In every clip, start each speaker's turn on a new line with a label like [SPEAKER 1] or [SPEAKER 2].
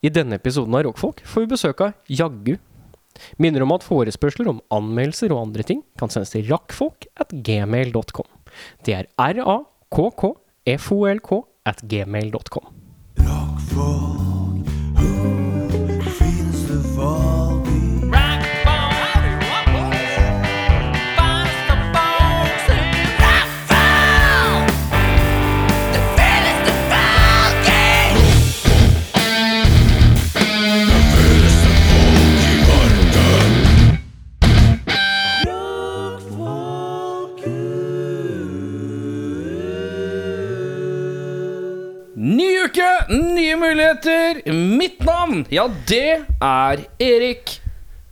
[SPEAKER 1] I denne episoden av Rockfolk får vi besøk av Jaggu. Minner om at forespørsler om anmeldelser og andre ting kan sendes til rakkfolk at gmail.com. Det er r-a-k-k-f-o-l-k at gmail.com.
[SPEAKER 2] Ny uke, nye muligheter. Mitt navn, ja, det er Erik.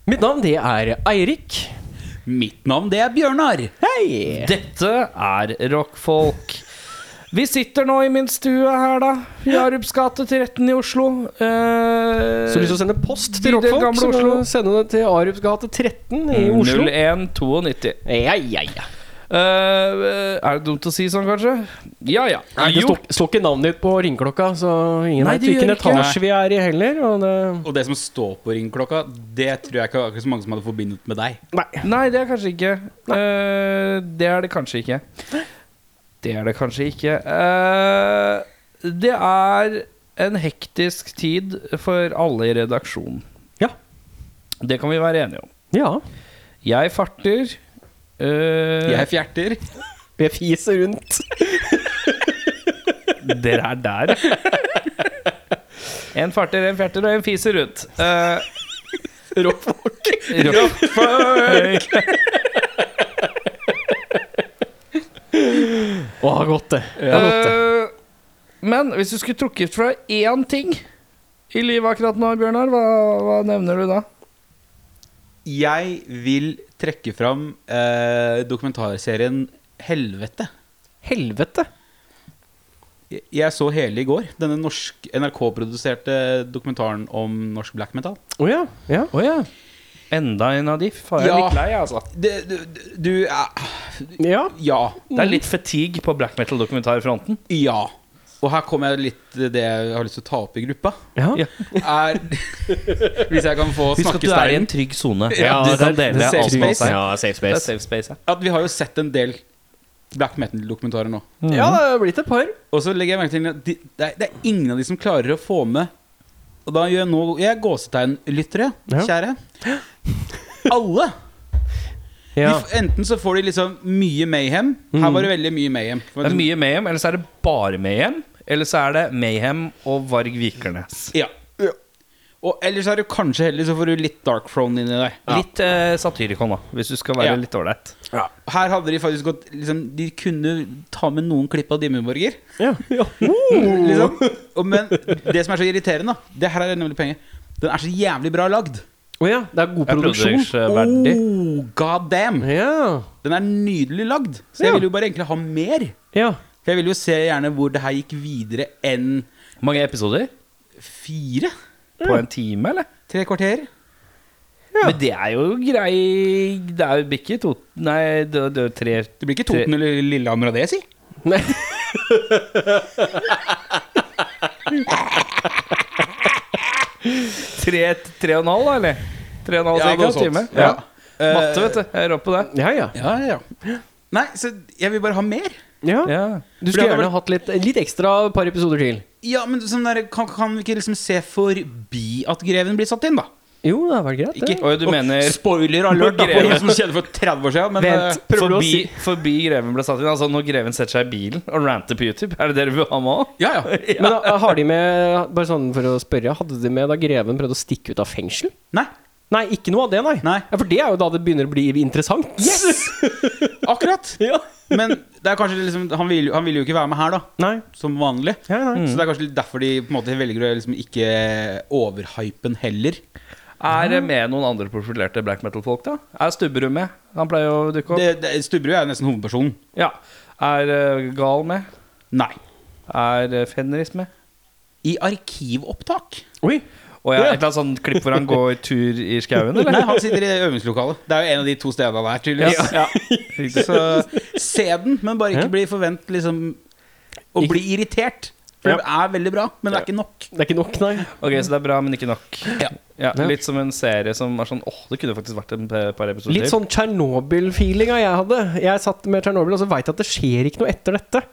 [SPEAKER 1] Mitt navn det er Eirik.
[SPEAKER 2] Mitt navn, det er Bjørnar.
[SPEAKER 1] Hei!
[SPEAKER 2] Dette er rockfolk. Vi sitter nå i min stue her, da. I Arups gate 13 i Oslo. Eh,
[SPEAKER 1] Så har du lyst til å sende post til
[SPEAKER 2] Bydel
[SPEAKER 1] rockfolk,
[SPEAKER 2] Gamle
[SPEAKER 1] så må
[SPEAKER 2] Oslo.
[SPEAKER 1] du sende det til Arups gate 13 i Oslo.
[SPEAKER 2] 0192.
[SPEAKER 1] Ja, ja, ja.
[SPEAKER 2] Eh, er det dumt å si sånn, kanskje? Ja ja.
[SPEAKER 1] Nei, det står står ikke navnet ditt på ringeklokka, så ingen
[SPEAKER 2] Nei,
[SPEAKER 1] vet
[SPEAKER 2] det gjør
[SPEAKER 1] hvilken
[SPEAKER 2] ikke.
[SPEAKER 1] etasje vi er i heller. Og det...
[SPEAKER 3] Og det som står på ringklokka, det tror jeg ikke var akkurat så mange som hadde forbindet med deg.
[SPEAKER 1] Nei.
[SPEAKER 2] Nei, det er kanskje ikke. Eh, det er det kanskje ikke. Det er det kanskje ikke. Eh, det er en hektisk tid for alle i redaksjonen.
[SPEAKER 1] Ja.
[SPEAKER 2] Det kan vi være enige om.
[SPEAKER 1] Ja.
[SPEAKER 2] Jeg farter. eh,
[SPEAKER 3] Jeg fjerter.
[SPEAKER 1] Jeg fiser rundt.
[SPEAKER 2] Dere er der. En farter, en fjerter og en fiser rundt. Eh,
[SPEAKER 1] Rockfolk.
[SPEAKER 2] rockfolk.
[SPEAKER 1] Å, godt det.
[SPEAKER 2] Eh, men hvis du skulle trukket fra én ting i livet akkurat nå, Bjørnar, hva, hva nevner du da?
[SPEAKER 3] Jeg vil trekke fram eh, dokumentarserien Helvete.
[SPEAKER 1] Helvete.
[SPEAKER 3] Jeg- Jeg så hele i går. Denne norsk NRK-produserte dokumentaren om norsk black metal.
[SPEAKER 1] Å ja. ja.
[SPEAKER 2] Å ja. Enda en av de. Faen, jeg er
[SPEAKER 3] Ja.
[SPEAKER 2] litt lei, altså.
[SPEAKER 3] Det, du, du- du eh,
[SPEAKER 1] Ja.
[SPEAKER 3] Ja.
[SPEAKER 2] Det er litt fatigue på black metal-dokumentarfronten.
[SPEAKER 3] Ja. Og her kommer jeg litt til det jeg har lyst til å ta opp i gruppa.
[SPEAKER 1] ja.
[SPEAKER 2] Ja.
[SPEAKER 3] Er, hvis jeg kan få
[SPEAKER 2] Husk at du er i en
[SPEAKER 3] snakkesteinen.
[SPEAKER 2] trygg sone.
[SPEAKER 3] Ja,
[SPEAKER 2] du
[SPEAKER 3] det
[SPEAKER 2] kan
[SPEAKER 3] er- det er
[SPEAKER 2] dele
[SPEAKER 3] safe
[SPEAKER 2] alt med
[SPEAKER 3] space.
[SPEAKER 2] seg.
[SPEAKER 1] Ja, safe
[SPEAKER 2] Det er
[SPEAKER 1] space.
[SPEAKER 2] safe space, ja.
[SPEAKER 3] At vi har jo sett en del black metal-dokumentarer nå.
[SPEAKER 1] Ja, det er blitt et par.
[SPEAKER 3] Og så legger jeg merke til at de, det, er, det er ingen av de som klarer å få med Og da gjør jeg nå Jeg gåsetegnlyttere,
[SPEAKER 1] Ja.
[SPEAKER 3] kjære. Alle! De,
[SPEAKER 1] Ja.
[SPEAKER 3] f- enten så får de liksom mye mayhem. Her var det veldig mye mayhem. For
[SPEAKER 2] Det er
[SPEAKER 3] at-
[SPEAKER 2] mye Mayhem, eller så er det bare Mayhem. Eller så er det Mayhem og Varg Vikernes.
[SPEAKER 3] Ja. Og ellers er du kanskje heldig, så får du litt dark throne inni deg.
[SPEAKER 2] Litt eh, satirikon, da, hvis du skal være
[SPEAKER 3] Ja.
[SPEAKER 2] litt ålreit.
[SPEAKER 3] Her hadde de faktisk gått liksom, De kunne ta med noen klipp av Dimmeborger.
[SPEAKER 1] Ja.
[SPEAKER 3] Liksom. Og- Men det som er så irriterende, da, det her er nemlig poenget, den er så jævlig bra lagd.
[SPEAKER 1] Å ja. Det er god produksjon.
[SPEAKER 2] Produksjonsverdig.
[SPEAKER 3] Oh, god damn!
[SPEAKER 1] Ja.
[SPEAKER 3] Den er nydelig lagd, så jeg
[SPEAKER 1] Ja.
[SPEAKER 3] vil jo bare egentlig ha mer.
[SPEAKER 1] Ja.
[SPEAKER 3] For jeg vil jo se gjerne hvor det her gikk videre enn
[SPEAKER 2] Mange episoder?
[SPEAKER 3] fire?
[SPEAKER 2] På en time, eller?
[SPEAKER 3] Tre kvarter?
[SPEAKER 2] Men det er jo grei Det er jo ikke to Nei, det, det er jo tre
[SPEAKER 3] Det blir ikke Toten eller Lillehammer av det, si.
[SPEAKER 1] Nei.
[SPEAKER 2] Tre, tre og en halv, da, eller? Tre og en halv
[SPEAKER 3] Ja,
[SPEAKER 2] cirka
[SPEAKER 3] noe sånt.
[SPEAKER 2] time?
[SPEAKER 3] Ja.
[SPEAKER 2] Ja. Matte, vet du. Jeg er rå på det.
[SPEAKER 1] Ja, ja.
[SPEAKER 3] Ja, ja, ja. Nei, så jeg vil bare ha mer.
[SPEAKER 1] ja.
[SPEAKER 2] Ja.
[SPEAKER 1] Du
[SPEAKER 3] For det
[SPEAKER 1] skulle
[SPEAKER 3] hadde
[SPEAKER 1] gjerne hatt litt, litt ekstra par episoder til.
[SPEAKER 3] Ja, men sånn der, kan, kan vi ikke liksom se forbi at Greven blir satt inn, da?
[SPEAKER 1] Jo, det hadde vært greit.
[SPEAKER 3] Ikke,
[SPEAKER 1] det.
[SPEAKER 2] Oi, du
[SPEAKER 3] og
[SPEAKER 2] mener-
[SPEAKER 3] Spoiler alert, da, for noe som skjedde for 30 år siden. Men
[SPEAKER 1] Vent.
[SPEAKER 3] eh, prøver du å
[SPEAKER 2] Forbi,
[SPEAKER 3] si
[SPEAKER 2] forbi Greven ble satt inn. Altså når Greven setter seg i bilen og ranter på YouTube. Er det det du vil ha med òg?
[SPEAKER 3] Ja, ja.
[SPEAKER 1] Men da, har de med Bare sånn for å spørre, hadde de med da greven prøvde å stikke ut av fengsel?
[SPEAKER 3] Nei.
[SPEAKER 1] Nei, ikke noe av det, nei.
[SPEAKER 3] Nei.
[SPEAKER 1] Ja, for det er jo da det begynner å bli interessant.
[SPEAKER 3] Yes! Akkurat.
[SPEAKER 1] ja.
[SPEAKER 3] Men det er kanskje liksom han vil, han vil jo ikke være med her, da.
[SPEAKER 1] Nei.
[SPEAKER 3] Som vanlig.
[SPEAKER 1] Ja, nei. Mm.
[SPEAKER 3] Så det er kanskje litt derfor de på en måte velger å liksom ikke overhype den heller.
[SPEAKER 2] Er det med noen andre profilerte black metal-folk, da? Er Stubberud med? Han pleier jo å dukke opp.
[SPEAKER 3] Det, det, Stubberud er jo nesten hovedpersonen.
[SPEAKER 2] Ja. Er eh, Gal med?
[SPEAKER 3] Nei.
[SPEAKER 2] Er eh, Fenris med?
[SPEAKER 3] I arkivopptak.
[SPEAKER 1] Oi.
[SPEAKER 2] Og jeg,
[SPEAKER 1] Ja.
[SPEAKER 2] et eller annet sånn klipp hvor han går tur i skauen, eller?
[SPEAKER 3] Nei, han sitter i øvingslokalet. Det er jo en av de to stedene der, tydeligvis.
[SPEAKER 2] Ja.
[SPEAKER 3] Så se den, men bare
[SPEAKER 1] Ja.
[SPEAKER 3] ikke bli forvent liksom å
[SPEAKER 1] Ikke-
[SPEAKER 3] bli irritert. For
[SPEAKER 1] Ja.
[SPEAKER 3] det er veldig bra, men det er ikke nok.
[SPEAKER 1] Det er ikke nok, nei.
[SPEAKER 2] Ok, Så det er bra, men ikke nok.
[SPEAKER 3] Ja.
[SPEAKER 2] Ja,
[SPEAKER 1] Ja.
[SPEAKER 2] litt som en serie som var sånn åh, det kunne faktisk vært en pe- par episoder
[SPEAKER 1] Litt
[SPEAKER 2] til.
[SPEAKER 1] sånn Tsjernobyl-feelinga jeg hadde. Jeg satt med Tsjernobyl og så veit jeg at det skjer ikke noe etter dette.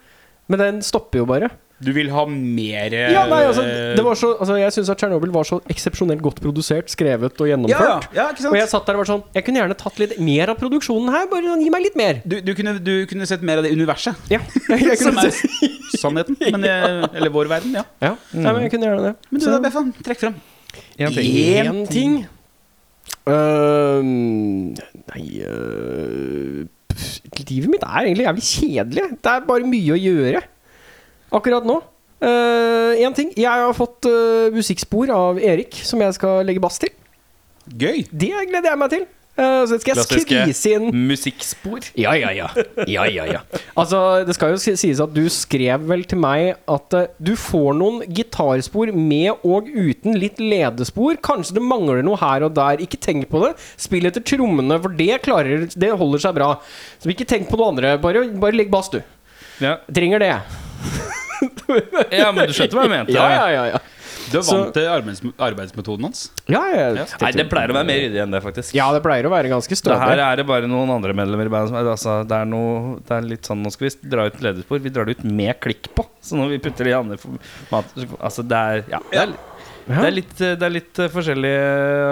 [SPEAKER 1] Men den stopper jo bare.
[SPEAKER 3] Du vil ha mer eh,
[SPEAKER 1] Ja, nei, altså, det var så, altså, jeg syns at Tsjernobyl var så eksepsjonelt godt produsert, skrevet og
[SPEAKER 3] ja, ja,
[SPEAKER 1] gjennomført.
[SPEAKER 3] ja, ikke
[SPEAKER 1] Og jeg
[SPEAKER 3] sant?
[SPEAKER 1] satt der og var sånn Jeg kunne gjerne tatt litt mer av produksjonen her. Bare sånn, gi meg litt mer.
[SPEAKER 3] Du, du, kunne, du kunne sett mer av det universet.
[SPEAKER 1] Ja, jeg
[SPEAKER 3] Som
[SPEAKER 1] kunne,
[SPEAKER 3] er sannheten. Men, eh, eller vår verden, ja.
[SPEAKER 1] ja. Nei, men jeg kunne gjerne det.
[SPEAKER 3] Men du
[SPEAKER 1] Så-
[SPEAKER 3] da, Beffan, trekk frem.
[SPEAKER 2] En ting.
[SPEAKER 3] Én
[SPEAKER 1] Én ting. Øhm, nei øh, pff, Livet mitt er egentlig jævlig kjedelig. Det er bare mye å gjøre akkurat nå. Én ting. Jeg har fått øh, musikkspor av Erik som jeg skal legge bass til.
[SPEAKER 3] Gøy.
[SPEAKER 1] Det gleder jeg meg til. Eh, så skal jeg
[SPEAKER 2] Klassiske.
[SPEAKER 1] skvise inn
[SPEAKER 2] Musikkspor.
[SPEAKER 1] ja, ja, ja. ja, ja, ja. Altså, det skal jo si- sies at du skrev vel til meg at eh, du får noen gitarspor med og uten litt ledespor. Kanskje det mangler noe her og der. Ikke tenk på det. Spill etter trommene, for det klarer Det holder seg bra. Så ikke tenk på noe andre. Bare, bare legg bass, du.
[SPEAKER 2] Ja.
[SPEAKER 1] Trenger det.
[SPEAKER 2] ja, men du skjønte hva jeg mente.
[SPEAKER 1] Ja, ja, ja. ja.
[SPEAKER 3] Du er
[SPEAKER 1] Så-
[SPEAKER 3] vant til arbeids arbeidsmetoden hans.
[SPEAKER 1] ja, ja, ja.
[SPEAKER 2] Nei, det pleier å være mer ryddig enn det, faktisk.
[SPEAKER 1] Ja, det pleier å være ganske
[SPEAKER 2] Det her
[SPEAKER 1] stødig.
[SPEAKER 2] er det bare noen andre medlemmer i bandet som er altså, det, er noe, det er litt sånn Nå skal vi dra ut lederspor. Vi drar det ut med klikk på. Så når vi putter det i andre format Altså, det er Ja. Det er, det er litt, eh, det er litt eh, forskjellige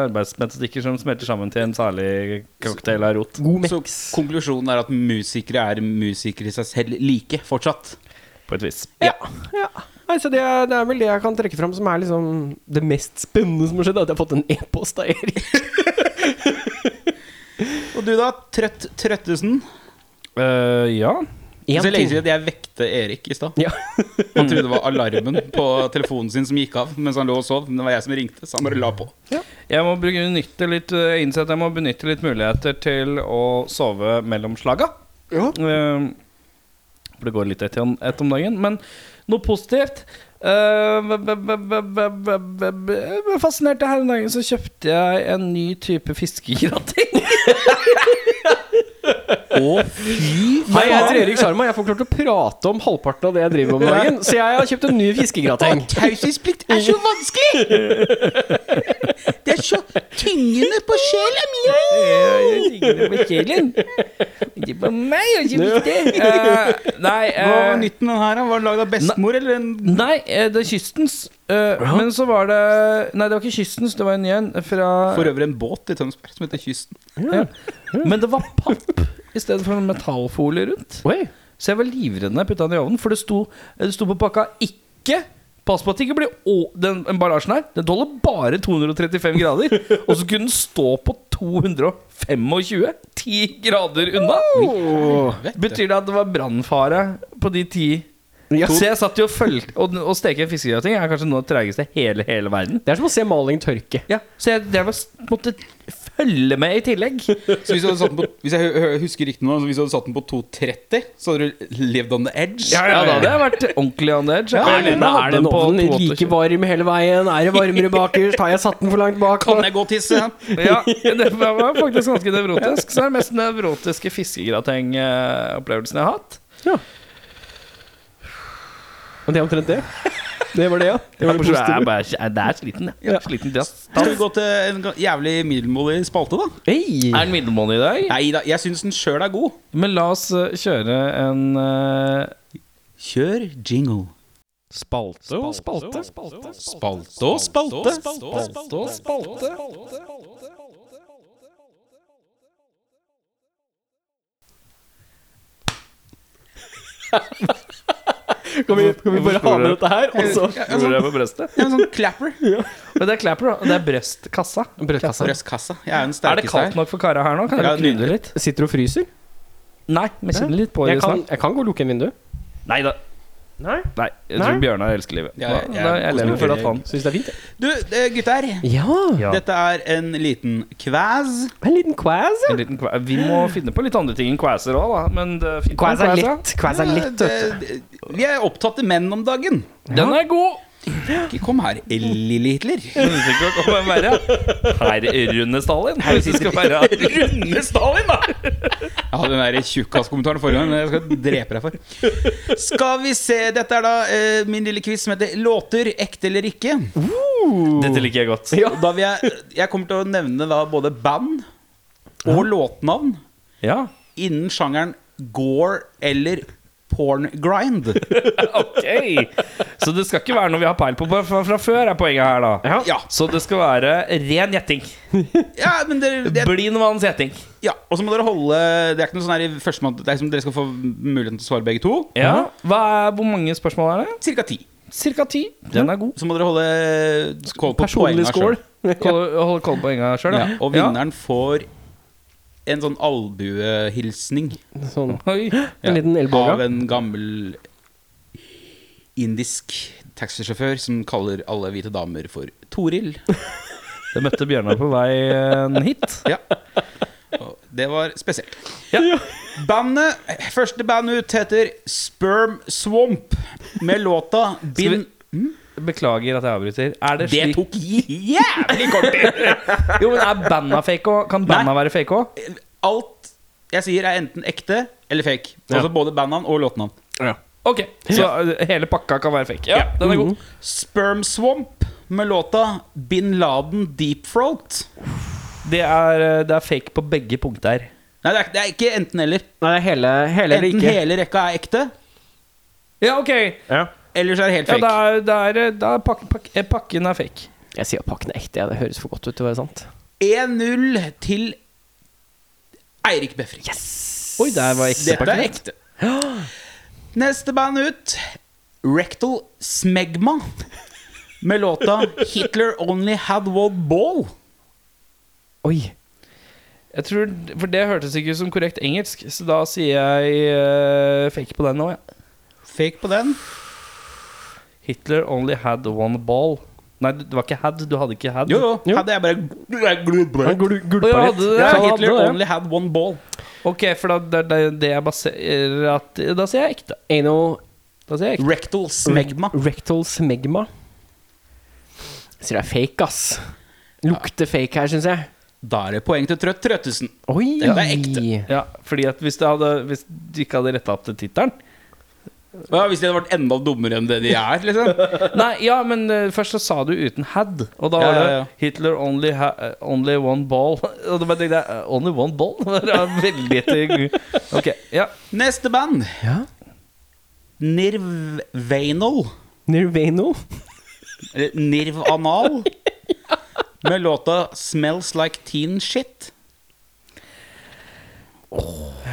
[SPEAKER 2] arbeidsmetodikker som smelter sammen til en salig cocktail av rot.
[SPEAKER 1] God
[SPEAKER 3] Så
[SPEAKER 1] mix.
[SPEAKER 3] konklusjonen er at musikere er musikere i seg selv like fortsatt.
[SPEAKER 2] På et vis.
[SPEAKER 1] Ja. ja. Nei, så det, er- det er vel det jeg kan trekke fram som er liksom det mest spennende som har skjedd. At jeg har fått en e-post av Erik.
[SPEAKER 3] Og du da, Trøtt Trøttesen?
[SPEAKER 2] Eh, ja.
[SPEAKER 1] En
[SPEAKER 3] Så lenge
[SPEAKER 1] ting.
[SPEAKER 3] siden at jeg vekte Erik i stad.
[SPEAKER 1] Ja.
[SPEAKER 3] Han trodde det var alarmen på telefonen sin som gikk av mens han lå og sov. Men det var jeg som ringte, så han bare la på.
[SPEAKER 2] Jeg må benytte litt eh, innse at jeg må benytte litt muligheter til å sove mellom slaga. Eh, For det går litt ett om, ett om dagen. Men noe positivt Eh, b- b- b- b- b- b- b- b- jeg ble Fascinert her om dagen, så kjøpte jeg en ny type fiskegratting.
[SPEAKER 1] Hei, jeg heter Erik Sjarma. Jeg får klart å prate om halvparten av det jeg driver med om dagen. Så jeg har kjøpt en ny fiskegrateng.
[SPEAKER 3] Taushetsplikt er så vanskelig! Det er så tyngende på sjela mi!
[SPEAKER 2] Eh, nei,
[SPEAKER 3] Hva var
[SPEAKER 2] eh,
[SPEAKER 3] nytten den her? da? Var den lagd av bestemor eller en
[SPEAKER 2] nei eh, det er kystens. eh, Men så var det Nei, det var ikke kystens, det var en ny en fra
[SPEAKER 3] For øvrig en båt i Tønsberg som heter Kysten.
[SPEAKER 2] Men det var papp i stedet for en metallfolie rundt.
[SPEAKER 1] Oi.
[SPEAKER 2] Så jeg var livredd når jeg putta den i ovnen, for det sto, eh, det sto på pakka 'ikke'. Pass på at det ikke blir å, Den emballasjen her Den tåler bare 235 grader. Og så kunne den stå på 225. 10 grader unna. Betyr det at det var brannfare på de ti?
[SPEAKER 1] Ja.
[SPEAKER 2] Så jeg satt jo og fulgte Og å steke en fiskegrating er kanskje noe av det treigeste i hele, hele verden.
[SPEAKER 1] Det er som å se maling tørke.
[SPEAKER 2] Ja, Så jeg drev og s- måtte følge med i tillegg.
[SPEAKER 3] Så hvis, du hadde satt den på, hvis jeg hø- hø- husker riktig nå, så hvis du hadde satt den på 2,30, så hadde du lived on the edge.
[SPEAKER 2] Ja, da hadde jeg vært ordentlig on the edge. Jeg
[SPEAKER 1] Er
[SPEAKER 2] kunne
[SPEAKER 1] denne-
[SPEAKER 2] hatt
[SPEAKER 1] er den
[SPEAKER 2] på
[SPEAKER 1] ovnen
[SPEAKER 2] 28.
[SPEAKER 1] like varm hele veien? Er det varmere bakerst? Har jeg satt den for langt bak?
[SPEAKER 3] Kan jeg gå og tisse?
[SPEAKER 2] Ja, det var faktisk ganske nevrotisk. Så det er den mest nevrotiske fiskegratengopplevelsen jeg har hatt.
[SPEAKER 1] Men det er omtrent det. Det var det, ja. Det var det
[SPEAKER 2] Jeg er
[SPEAKER 1] positive.
[SPEAKER 2] bare- jeg er- det er sliten, jeg. jeg. er Sliten drass.
[SPEAKER 3] Skal vi gå til en ga- jævlig middelmådig spalte, da?
[SPEAKER 1] Hey.
[SPEAKER 2] Er den middelmådig i dag?
[SPEAKER 3] Nei da, jeg syns den sjøl er god.
[SPEAKER 2] Men la oss eh, kjøre en eh,
[SPEAKER 3] Kjør jingle.
[SPEAKER 1] Spalte og spalte. spalte.
[SPEAKER 3] Spalte og spalte.
[SPEAKER 1] Kan vi, kan vi bare ha med dette her? altså? Og så
[SPEAKER 3] Ja,
[SPEAKER 2] Hvor
[SPEAKER 3] sånn,
[SPEAKER 2] er det på brøstet?
[SPEAKER 3] ja, sånn clapper.
[SPEAKER 2] Men det er clapper, da. Og det er brøstkassa.
[SPEAKER 1] Brødkassa.
[SPEAKER 3] Brøstkassa. Jeg er
[SPEAKER 2] Er
[SPEAKER 3] den
[SPEAKER 2] det
[SPEAKER 3] sterkeste
[SPEAKER 2] kaldt
[SPEAKER 3] her.
[SPEAKER 2] nok for kara her nå? Kan
[SPEAKER 3] Ja,
[SPEAKER 2] dere knude litt?
[SPEAKER 1] Sitter du og fryser?
[SPEAKER 2] Nei, men kjenner litt på det
[SPEAKER 1] Jeg kan,
[SPEAKER 2] snart.
[SPEAKER 1] jeg kan gå og lukke en vindu.
[SPEAKER 2] Nei da.
[SPEAKER 1] Nei.
[SPEAKER 2] Nei, jeg
[SPEAKER 1] Nei?
[SPEAKER 2] tror Bjørnar elsker livet.
[SPEAKER 3] Ja, jeg-
[SPEAKER 2] Da-
[SPEAKER 3] jeg-
[SPEAKER 2] da- Jeg lever for at han
[SPEAKER 1] Syns det er fint, jeg.
[SPEAKER 3] Du, eh, gutter.
[SPEAKER 1] Ja.
[SPEAKER 2] Ja.
[SPEAKER 3] Dette er en liten kvæs.
[SPEAKER 1] En liten quaz, ja.
[SPEAKER 2] En liten kva- Vi må finne på litt andre ting enn quaser òg, da. Men eh, det er fint med
[SPEAKER 1] Quaz er
[SPEAKER 2] quaser.
[SPEAKER 3] Eh,
[SPEAKER 1] lett. Quaz er lett, vet du.
[SPEAKER 3] Vi er opptatte menn om dagen.
[SPEAKER 2] Den er god.
[SPEAKER 3] Ikke kom her, lille Hitler.
[SPEAKER 2] Men hvis ikke hva kan være Herr Rune Stalin. Hvis det skal være Rune Stalin, da!
[SPEAKER 3] Jeg hadde den der tjukkaskommentaren forrige gang. men Jeg skal drepe deg for. Skal vi se. Dette er da eh, min lille quiz som heter 'Låter ekte eller ikke'.
[SPEAKER 2] Dette liker jeg godt.
[SPEAKER 1] Ja.
[SPEAKER 3] Da vil jeg, jeg kommer til å nevne da både band og låtnavn
[SPEAKER 2] Ja.
[SPEAKER 3] innen sjangeren gore eller porngrind.
[SPEAKER 2] Ok. Så det skal ikke være noe vi har peil på fra, fra før, er poenget her, da.
[SPEAKER 3] Ja.
[SPEAKER 2] Så det skal være ren gjetting.
[SPEAKER 3] Ja, men dere, det,
[SPEAKER 2] Blindmanns gjetting.
[SPEAKER 3] ja. Og så må dere holde Det er ikke noe sånn her i første måned, det er liksom dere skal få muligheten til å svare begge to.
[SPEAKER 2] Ja. Hva er, hvor mange spørsmål er det?
[SPEAKER 3] Cirka ti.
[SPEAKER 2] Cirka ti. Den er god.
[SPEAKER 3] Så må dere holde eh, skål på
[SPEAKER 1] Personlig
[SPEAKER 3] poengene
[SPEAKER 1] skål.
[SPEAKER 3] selv.
[SPEAKER 2] Hold hold koll på enga sjøl,
[SPEAKER 3] Ja, og vinneren får en sånn albuehilsning
[SPEAKER 1] Sånn.
[SPEAKER 2] Oi.
[SPEAKER 1] En
[SPEAKER 3] ja,
[SPEAKER 1] liten elboga.
[SPEAKER 3] av en gammel indisk taxisjåfør som kaller alle hvite damer for Toril.
[SPEAKER 2] Det møtte Bjørnar på veien hit.
[SPEAKER 3] Ja. Og det var spesielt.
[SPEAKER 2] Ja.
[SPEAKER 3] Bandet, Første band ut heter Sperm Swamp med låta Bin Mm?
[SPEAKER 2] Beklager at jeg avbryter. Er det
[SPEAKER 3] Det
[SPEAKER 2] slik
[SPEAKER 3] tok jævlig kort tid!
[SPEAKER 2] Jo, men er banda fake òg? Kan banda være fake òg?
[SPEAKER 3] Alt jeg sier, er enten ekte eller fake. Altså både bandnavn og låtnavn.
[SPEAKER 2] Ok, så uh, hele pakka kan være fake. Ja, Mhm. den er god.
[SPEAKER 3] Sperm Swamp med låta Bin Laden Deep Throat.
[SPEAKER 2] Det er, uh, det er fake på begge punkter.
[SPEAKER 3] Nei, det er, det er ikke enten-eller.
[SPEAKER 1] Nei, det er hele, hele eller
[SPEAKER 3] Enten
[SPEAKER 1] ikke.
[SPEAKER 3] hele rekka er ekte,
[SPEAKER 2] Ja, ok.
[SPEAKER 1] Ja.
[SPEAKER 3] eller så er det helt
[SPEAKER 2] Ja,
[SPEAKER 3] fake.
[SPEAKER 2] da er, da er, uh, da er pak, pak, eh, pakken er fake.
[SPEAKER 1] Jeg sier at pakken er ekte. Ja. Det høres for godt ut til å være sant.
[SPEAKER 3] 1-0 til Eirik Befring.
[SPEAKER 2] Oi, der var ekte
[SPEAKER 3] Dette er
[SPEAKER 2] pakken.
[SPEAKER 3] ekte. Neste band ut Rectal Smegma med låta 'Hitler Only Had One Ball'.
[SPEAKER 1] Oi.
[SPEAKER 2] Jeg tror, for det hørtes ikke ut som korrekt engelsk, så da sier jeg uh, fake på den nå, ja.
[SPEAKER 3] Fake på den.
[SPEAKER 2] Hitler only had one ball. Nei, du- det var ikke had. Du hadde ikke had.
[SPEAKER 3] Jo, jo.
[SPEAKER 1] Jo.
[SPEAKER 3] Hadde jeg bare
[SPEAKER 1] Han glu- gulpa
[SPEAKER 2] Å, ja,
[SPEAKER 1] litt.
[SPEAKER 2] det-
[SPEAKER 3] ja,
[SPEAKER 1] Ja,
[SPEAKER 3] Hitler
[SPEAKER 1] det-
[SPEAKER 3] only had one ball.
[SPEAKER 2] Ok, for da, det er det- det jeg baserer at Da sier jeg ekte.
[SPEAKER 1] Anal
[SPEAKER 2] Da sier jeg ekte.
[SPEAKER 3] Rectal Smegma.
[SPEAKER 1] Rectal smegma. Jeg sier det er fake, ass. Lukter fake her, syns jeg.
[SPEAKER 3] Da er det poeng til Trøtt Trøttesen.
[SPEAKER 1] Oi!
[SPEAKER 3] Ja, det er ekte.
[SPEAKER 2] Ja, fordi at hvis, det hadde, hvis du ikke hadde retta opp til tittelen
[SPEAKER 3] Ja, hvis de hadde vært enda dummere enn det de er, liksom.
[SPEAKER 2] Nei, ja, men eh, først så sa du uten had, og da
[SPEAKER 3] Ja,
[SPEAKER 2] var det
[SPEAKER 3] ja, ja.
[SPEAKER 2] Hitler only, ha, eh, only one ball. Og da bare tenkte jeg eh, Only one ball? Det er veldig til Ok, ja.
[SPEAKER 3] Neste band,
[SPEAKER 1] Ja.
[SPEAKER 3] Nirvanal.
[SPEAKER 1] Nirvano.
[SPEAKER 3] Eller Nirvanal. Med låta 'Smells Like Teen Shit'.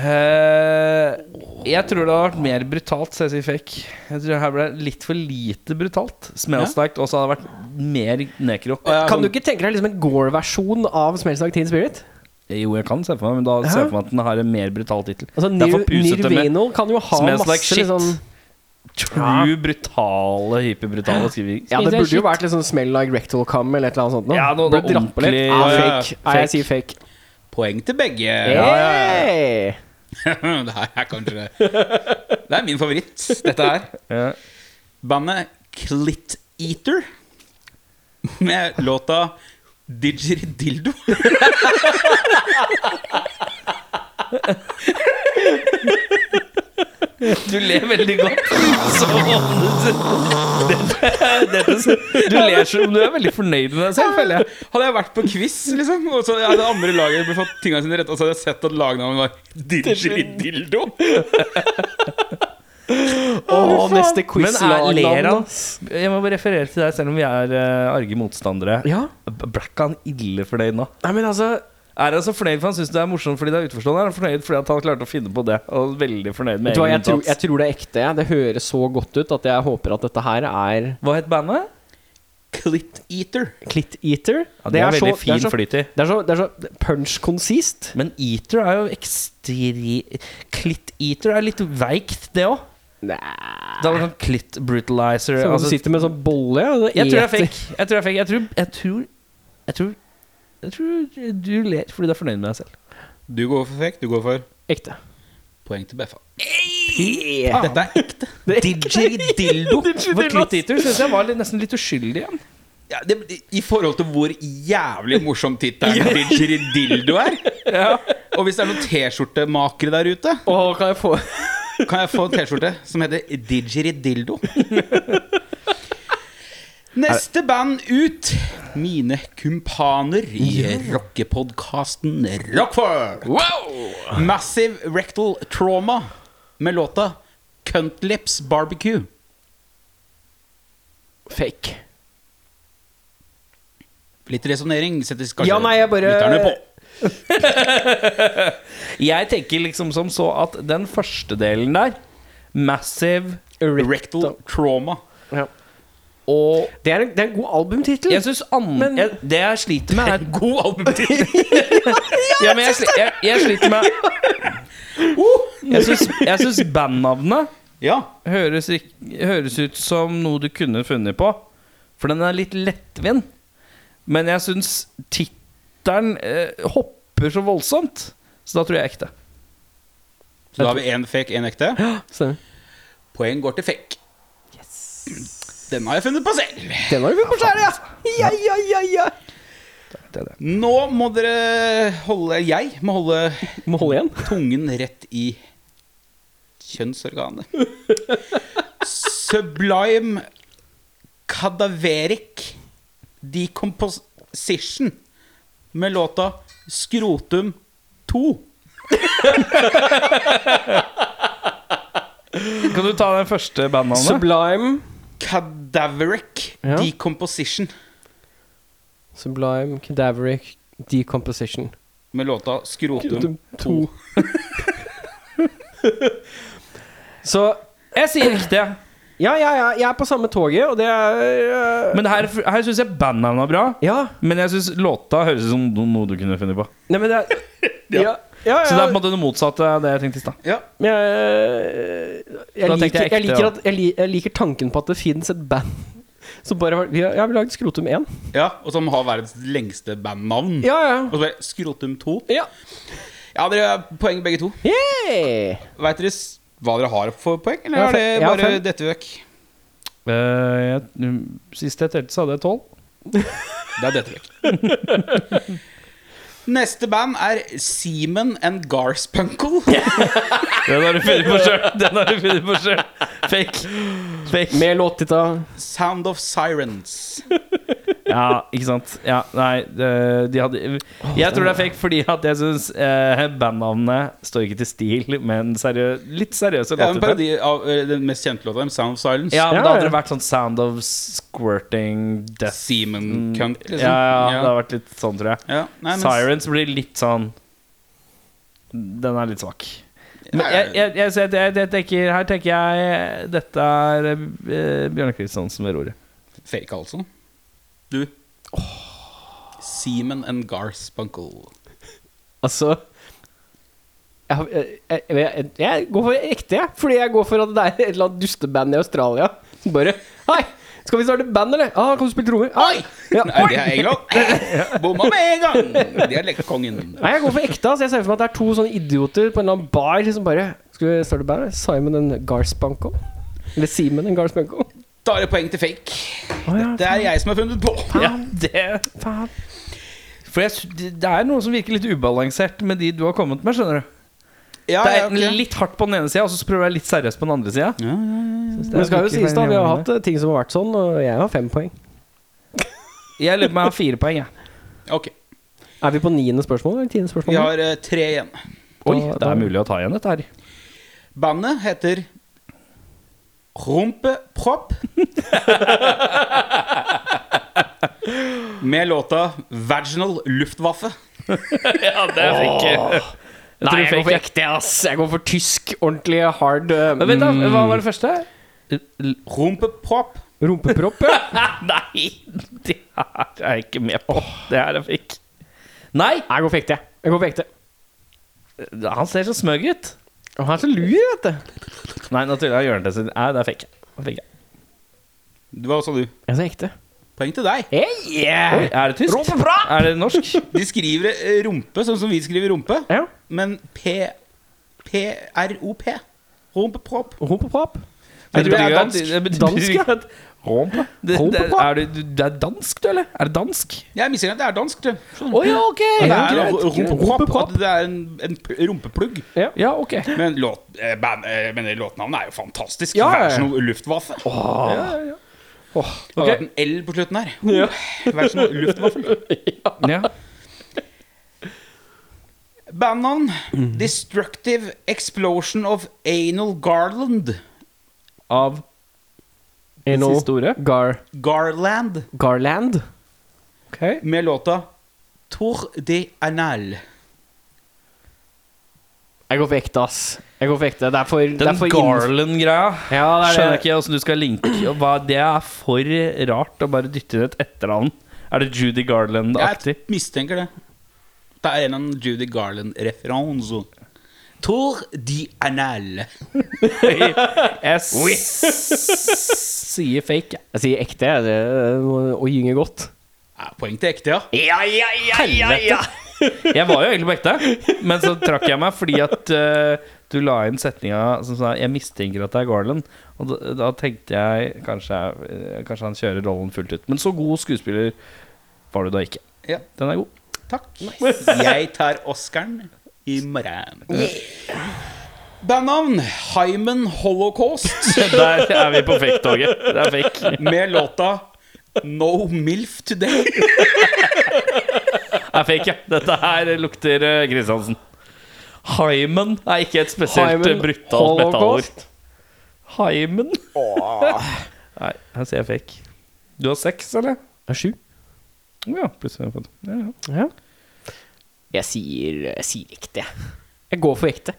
[SPEAKER 2] Eh, jeg tror det hadde vært mer brutalt, så jeg sier fake. Jeg tror det her ble litt for lite brutalt. Smells like og så hadde det vært mer nekro.
[SPEAKER 3] ja,
[SPEAKER 1] Kan
[SPEAKER 3] sånn-
[SPEAKER 1] du ikke tenke deg liksom en Gore-versjon av Smells Like Teen Spirit?
[SPEAKER 2] Jo, jeg kan se for meg, men da ser
[SPEAKER 1] Hæ?
[SPEAKER 2] jeg for meg at den har en mer brutal tittel.
[SPEAKER 1] Altså,
[SPEAKER 2] Det er for
[SPEAKER 1] Nir
[SPEAKER 2] pusete med-
[SPEAKER 1] Nirvano kan jo ha
[SPEAKER 2] Smells
[SPEAKER 1] masse
[SPEAKER 2] like shit.
[SPEAKER 1] sånn
[SPEAKER 3] liksom-
[SPEAKER 2] True, brutale, hyperbrutale skriving.
[SPEAKER 1] Ja, det burde jo vært liksom Smell Like Rectal Cum eller et eller annet sånt. nå.
[SPEAKER 2] Ja, noe-
[SPEAKER 1] Ble
[SPEAKER 2] noe
[SPEAKER 1] dratt på litt.
[SPEAKER 2] ordentlig-
[SPEAKER 1] Ah,
[SPEAKER 3] ja, ja, ja.
[SPEAKER 1] fake. Nei, jeg sier fake.
[SPEAKER 3] Poeng til begge.
[SPEAKER 1] Hey!
[SPEAKER 3] det her er kanskje Det er min favoritt, dette her.
[SPEAKER 2] Ja.
[SPEAKER 3] Bandet Clit Eater. Med låta 'Didgeridildo'.
[SPEAKER 2] Du ler veldig godt. Altså, Som om du- det- det- det- Du ler som om du er veldig fornøyd med deg selv, føler jeg.
[SPEAKER 3] Hadde jeg vært på quiz, liksom, og så hadde andre laget blitt fått tinga sine rett, og så hadde jeg sett at lagnavnet var Didgeridildo.
[SPEAKER 1] Åh, neste
[SPEAKER 2] Men er, ler han
[SPEAKER 1] quiz-lag.
[SPEAKER 2] Jeg må bare referere til deg, selv om vi er eh, arge motstandere.
[SPEAKER 1] Ja.
[SPEAKER 2] Black han ille fornøyd nå?
[SPEAKER 1] Nei, men altså
[SPEAKER 2] Er han så fornøyd for han syns det er morsomt fordi det er utenforstående? Er han fornøyd fordi at han klarte å finne på det? Og veldig fornøyd med
[SPEAKER 1] vet du hva,
[SPEAKER 2] egen
[SPEAKER 1] jeg, tror,
[SPEAKER 2] innsats.
[SPEAKER 1] jeg tror det er ekte. jeg. Det høres så godt ut at jeg håper at dette her er
[SPEAKER 2] Hva het bandet?
[SPEAKER 3] Clit Eater.
[SPEAKER 1] Clit Eater.
[SPEAKER 2] Ja, det er, veldig fin
[SPEAKER 1] det er så,
[SPEAKER 2] flyt i.
[SPEAKER 1] det er så, det er så punch-konsist.
[SPEAKER 2] Men Eater er jo ekstre... Klitt-Eater er litt veikt, det òg. Det hadde vært sånn klitt brutalizer.
[SPEAKER 1] Som om
[SPEAKER 2] altså-
[SPEAKER 1] du sitter med en sånn bolle. ja, og så
[SPEAKER 2] jeg tror det er
[SPEAKER 1] eter.
[SPEAKER 2] fake. Jeg tror det er fake. Jeg tror Jeg tror, jeg tror, jeg tror du ler fordi du er fornøyd med deg selv.
[SPEAKER 3] Du går for fake, du går for
[SPEAKER 1] Ekte.
[SPEAKER 3] poeng til Beffa.
[SPEAKER 1] Yeah.
[SPEAKER 3] Dette er ekte.
[SPEAKER 1] Det er
[SPEAKER 3] Didgeridildo.
[SPEAKER 2] For Clint Eater syns jeg var litt, nesten litt uskyldig igjen.
[SPEAKER 3] Ja, det, I forhold til hvor jævlig morsom tittelen Didgeridildo er. Og hvis det er noen T-skjortemakere der ute,
[SPEAKER 1] Og Ah, kan jeg få
[SPEAKER 3] kan jeg få en T-skjorte som heter Didgeridildo. Neste band ut, mine kumpaner i rockepodkasten Rockford. Massive Rectal Trauma med låta Cuntlips Barbecue.
[SPEAKER 1] Fake.
[SPEAKER 3] Litt resonnering settes kanskje
[SPEAKER 1] Ja, nei, jeg bare
[SPEAKER 3] lytterne på.
[SPEAKER 2] Jeg tenker liksom som så at den første delen der, Massive
[SPEAKER 3] Rectal Trauma.
[SPEAKER 1] Ja.
[SPEAKER 2] og
[SPEAKER 1] Det, er en, det er en god albumtittel.
[SPEAKER 2] Jeg syns an...
[SPEAKER 1] Men-
[SPEAKER 2] Jeg, det jeg sliter med, er
[SPEAKER 3] God albumtid.
[SPEAKER 2] ja, men jeg, sli- jeg, jeg sliter med Jeg syns- Jeg syns bandnavnet
[SPEAKER 3] Ja.
[SPEAKER 2] høres, rik- høres ut som noe du kunne funnet på. For den er litt lettvint. Men jeg syns tittelen eh, hopper så voldsomt. Så da tror jeg ekte.
[SPEAKER 3] Så da har vi én fake, én ekte.
[SPEAKER 1] Stemmer.
[SPEAKER 3] Poeng går til fake. Den har jeg funnet på selv.
[SPEAKER 1] Den har du funnet på sjæl, ja! Ja, ja, ja, ja.
[SPEAKER 2] Det er det.
[SPEAKER 3] Nå må dere holde Jeg må holde
[SPEAKER 1] Må holde igjen.
[SPEAKER 3] tungen rett i kjønnsorganet. Sublime Cadaveric Decomposition med låta Skrotum 2.
[SPEAKER 2] Kan du ta den første bandnavnet?
[SPEAKER 1] Sublime.
[SPEAKER 3] Cadaveric
[SPEAKER 1] Ja.
[SPEAKER 3] Decomposition
[SPEAKER 1] Sublime Cadaveric Decomposition.
[SPEAKER 3] med låta Skrotum 2.
[SPEAKER 1] Så
[SPEAKER 2] Jeg sier ekte.
[SPEAKER 1] ja, ja, ja, jeg er på samme toget, og det er øh,
[SPEAKER 2] Men her, her syns jeg bandnavnet er bra.
[SPEAKER 1] Ja.
[SPEAKER 2] Men jeg syns låta høres ut som no- noe du kunne funnet på.
[SPEAKER 1] Nei, men det er Ja, ja. ja,
[SPEAKER 2] Så det er på en måte det motsatte av det jeg tenkte i stad.
[SPEAKER 3] Ja.
[SPEAKER 1] Men jeg, jeg,
[SPEAKER 2] Da tenkte
[SPEAKER 1] liker, jeg,
[SPEAKER 2] jeg ekte,
[SPEAKER 1] liker
[SPEAKER 2] ja.
[SPEAKER 1] at, jeg, li, jeg liker tanken på at det fins et band som bare har Vi har, ja, vi har lagd Skrotum 1.
[SPEAKER 3] Ja, og som har verdens lengste bandnavn.
[SPEAKER 1] Ja, ja.
[SPEAKER 3] Og så bare Skrotum 2.
[SPEAKER 1] ja.
[SPEAKER 3] Ja, dere har poeng begge to.
[SPEAKER 1] Yeah.
[SPEAKER 3] Veit dere s- hva dere har for poeng, eller
[SPEAKER 1] Jeg har
[SPEAKER 3] er det
[SPEAKER 1] fem. Jeg har
[SPEAKER 3] bare
[SPEAKER 1] fem.
[SPEAKER 3] dette vekk?
[SPEAKER 2] Eh, jeg- mm, Sist jeg telte, så hadde jeg tolv.
[SPEAKER 3] Det er dette vekk. Neste band er Seaman and Garspunkle.
[SPEAKER 2] Den har du funnet på sjøl. Den har du funnet på sjøl. Fake. Fake.
[SPEAKER 1] Med låttitta
[SPEAKER 3] Sound of Sirens.
[SPEAKER 2] Ja, ikke sant. Ja, nei, eh, de hadde Jeg tror det er fake fordi at jeg syns eh, bandnavnet står ikke til stil med en seriø litt seriøse
[SPEAKER 3] Det er en
[SPEAKER 2] låter.
[SPEAKER 3] parodi av eh, den mest kjente låta dem, Sound of Silence.
[SPEAKER 2] Ja, men
[SPEAKER 1] Ja,
[SPEAKER 2] da hadde
[SPEAKER 1] ja.
[SPEAKER 2] det vært sånn Sound of Squirting Death.
[SPEAKER 3] Seaman Cunt, liksom.
[SPEAKER 2] Mm. Ja, ja, det
[SPEAKER 3] ja.
[SPEAKER 2] hadde vært litt sånn, tror jeg.
[SPEAKER 3] Ja, nei, men-
[SPEAKER 2] Sirens blir litt sånn Den er litt svak. Men
[SPEAKER 3] Ja,
[SPEAKER 2] jeg, jeg, jeg, jeg, jeg, jeg tenker, her tenker jeg Dette er eh, Bjørnar Kristiansen ved roret.
[SPEAKER 3] Fake, altså. Du. Seaman and Garspunkle.
[SPEAKER 1] Altså jeg, har- jeg, jeg, jeg, jeg går for ekte, jeg. Fordi jeg går for at det er et eller annet dusteband i Australia som bare Hei, skal vi starte band, eller? Ah, kan du spille trommer? Ah,
[SPEAKER 3] Oi!
[SPEAKER 1] ja.
[SPEAKER 3] Nei, det er England. Bomma med en gang! Dialektkongen.
[SPEAKER 1] Nei, jeg går for ekte. Altså, jeg ser for meg at det er to sånne idioter på en eller annen bar som bare Skal vi starte band? eller? Simon and Garsbanko? Eller Simon and Garsbanko?
[SPEAKER 3] Da er det poeng til fake.
[SPEAKER 1] Å ja, sånn.
[SPEAKER 3] Det er jeg som har funnet på.
[SPEAKER 2] Ja, det
[SPEAKER 1] faen.
[SPEAKER 2] For jeg, sy- det det er noe som virker litt ubalansert med de du har kommet med, skjønner du.
[SPEAKER 3] Ja,
[SPEAKER 2] Det
[SPEAKER 3] ja,
[SPEAKER 2] er
[SPEAKER 3] ok.
[SPEAKER 2] litt hardt på den ene sida, og så prøver jeg litt seriøst på den andre sida.
[SPEAKER 3] Ja, ja, ja.
[SPEAKER 1] Men det skal jo sies, da. Vi har hatt eh, ting som har vært sånn, og jeg har fem poeng.
[SPEAKER 2] Jeg lurer på om jeg har fire poeng, jeg.
[SPEAKER 3] Ok.
[SPEAKER 1] Er vi på niende spørsmål eller tiende
[SPEAKER 3] Vi
[SPEAKER 1] spørsmål?
[SPEAKER 3] har eh, tre igjen.
[SPEAKER 2] Oi,
[SPEAKER 1] Da-
[SPEAKER 2] det
[SPEAKER 1] da-
[SPEAKER 2] er mulig å ta igjen dette her.
[SPEAKER 3] Bandet heter Rumpepropp. Med låta 'Vaginal Luftwaffe'.
[SPEAKER 2] Ja, det er fake.
[SPEAKER 1] Nei, jeg går for
[SPEAKER 2] fake.
[SPEAKER 1] ekte, ass. Jeg går for tysk, ordentlig hard eh,
[SPEAKER 2] Men vent, da.
[SPEAKER 1] mm,
[SPEAKER 2] Hva var det første?
[SPEAKER 3] Rumpepropp.
[SPEAKER 1] Rumpepropp, ja.
[SPEAKER 2] Nei, det her er jeg ikke med på. Det her er fake. Nei!
[SPEAKER 1] Jeg går for ekte. Jeg går for ekte.
[SPEAKER 2] Han ser så smøg ut.
[SPEAKER 1] Og han er så lur, vet du.
[SPEAKER 2] Nei, naturlig han gjør han til sin. Nei, det er fake. Det er fake.
[SPEAKER 3] Hva sa du?
[SPEAKER 1] Jeg sa ekte.
[SPEAKER 3] Poeng til deg.
[SPEAKER 1] Hey,
[SPEAKER 2] Oi, er det tysk?
[SPEAKER 1] Rumpeprat!
[SPEAKER 2] Er det norsk?
[SPEAKER 3] De skriver eh, rumpe sånn som vi skriver rumpe,
[SPEAKER 1] Ja.
[SPEAKER 3] men P... PROP. Rumpepropp.
[SPEAKER 1] Humpepapp?
[SPEAKER 2] Det
[SPEAKER 3] Jeg tror
[SPEAKER 2] betyr
[SPEAKER 3] jeg er
[SPEAKER 2] jo at-
[SPEAKER 3] dansk.
[SPEAKER 2] det betyr
[SPEAKER 1] Dansk,
[SPEAKER 2] jo at- Romp? Det,
[SPEAKER 1] Romp,
[SPEAKER 2] det,
[SPEAKER 1] romp.
[SPEAKER 2] er, du, du, det er dansk, du, eller? Er det dansk?
[SPEAKER 3] Jeg mistenker at det er dansk. du.
[SPEAKER 2] Å
[SPEAKER 3] Skjønner du?
[SPEAKER 2] ja, ok!
[SPEAKER 3] Det
[SPEAKER 2] Ja,
[SPEAKER 3] er
[SPEAKER 2] greit.
[SPEAKER 3] rumpepropp.
[SPEAKER 1] Rumpepropp.
[SPEAKER 3] At det er en, en p- rumpeplugg.
[SPEAKER 2] Ja, ok.
[SPEAKER 3] Men, låt, eh, band, eh, men låtnavnet er jo fantastisk.
[SPEAKER 1] Ja, ja,
[SPEAKER 3] Ja,
[SPEAKER 1] ja.
[SPEAKER 3] Vær så snill, Luftwaffe. Oh, Det
[SPEAKER 2] Ok.
[SPEAKER 3] har vært en L på slutten her. Vær så snill, Luftwaffel.
[SPEAKER 2] Ja.
[SPEAKER 3] Bandnavn Destructive Explosion of Anal Garland.
[SPEAKER 2] Av
[SPEAKER 1] Eno
[SPEAKER 2] siste ordet?
[SPEAKER 1] Gar
[SPEAKER 3] Garland.
[SPEAKER 1] Garland?
[SPEAKER 2] Ok.
[SPEAKER 3] Med låta Tour de Anal.
[SPEAKER 1] Jeg går for ekte, ass. Jeg går for ekte. Det er for, det
[SPEAKER 2] Den
[SPEAKER 1] er for inn-
[SPEAKER 2] Garland-greia
[SPEAKER 1] Ja, det er
[SPEAKER 2] skjønner jeg
[SPEAKER 1] det.
[SPEAKER 2] ikke åssen du skal linke. og Hva, det er for rart å bare dytte inn et etternavn. Er det Judy Garland-aktig?
[SPEAKER 3] Jeg mistenker det. Det er en av Judy Garland-referanser. Tour de Anal.
[SPEAKER 2] Jeg s- sier fake, jeg.
[SPEAKER 1] Jeg sier ekte, jeg. Det må å gynge godt.
[SPEAKER 3] Ja, poeng til ekte, ja.
[SPEAKER 1] Ja, ja, ja, ja, ja.
[SPEAKER 2] Jeg var jo egentlig på ekte, men så trakk jeg meg fordi at eh, du la inn setninga som sa 'jeg mistenker at det er Garland'. Og da, da tenkte jeg kanskje, jeg- eh, kanskje han kjører rollen fullt ut. Men så god skuespiller var du da ikke.
[SPEAKER 3] Ja.
[SPEAKER 2] Den er god.
[SPEAKER 3] Takk. Jeg tar Oscaren i morgen. Bandnavn Hyman Holocaust
[SPEAKER 2] Der er vi på fake-toget. Det er fake.
[SPEAKER 3] med låta No Milf Today.
[SPEAKER 2] Det er fake, ja. Dette her lukter eh, Kristiansen. Hymen er ikke et spesielt eh,
[SPEAKER 1] Hymen,
[SPEAKER 2] brutalt metallord.
[SPEAKER 1] Holocaust.
[SPEAKER 2] Hymen? Nei, her sier jeg fake. Du har sex, eller?
[SPEAKER 1] Det er sju.
[SPEAKER 2] Ja, plutselig. har jeg fått- Ja, ja.
[SPEAKER 1] Jeg sier, jeg sier ekte, jeg. Jeg går for ekte.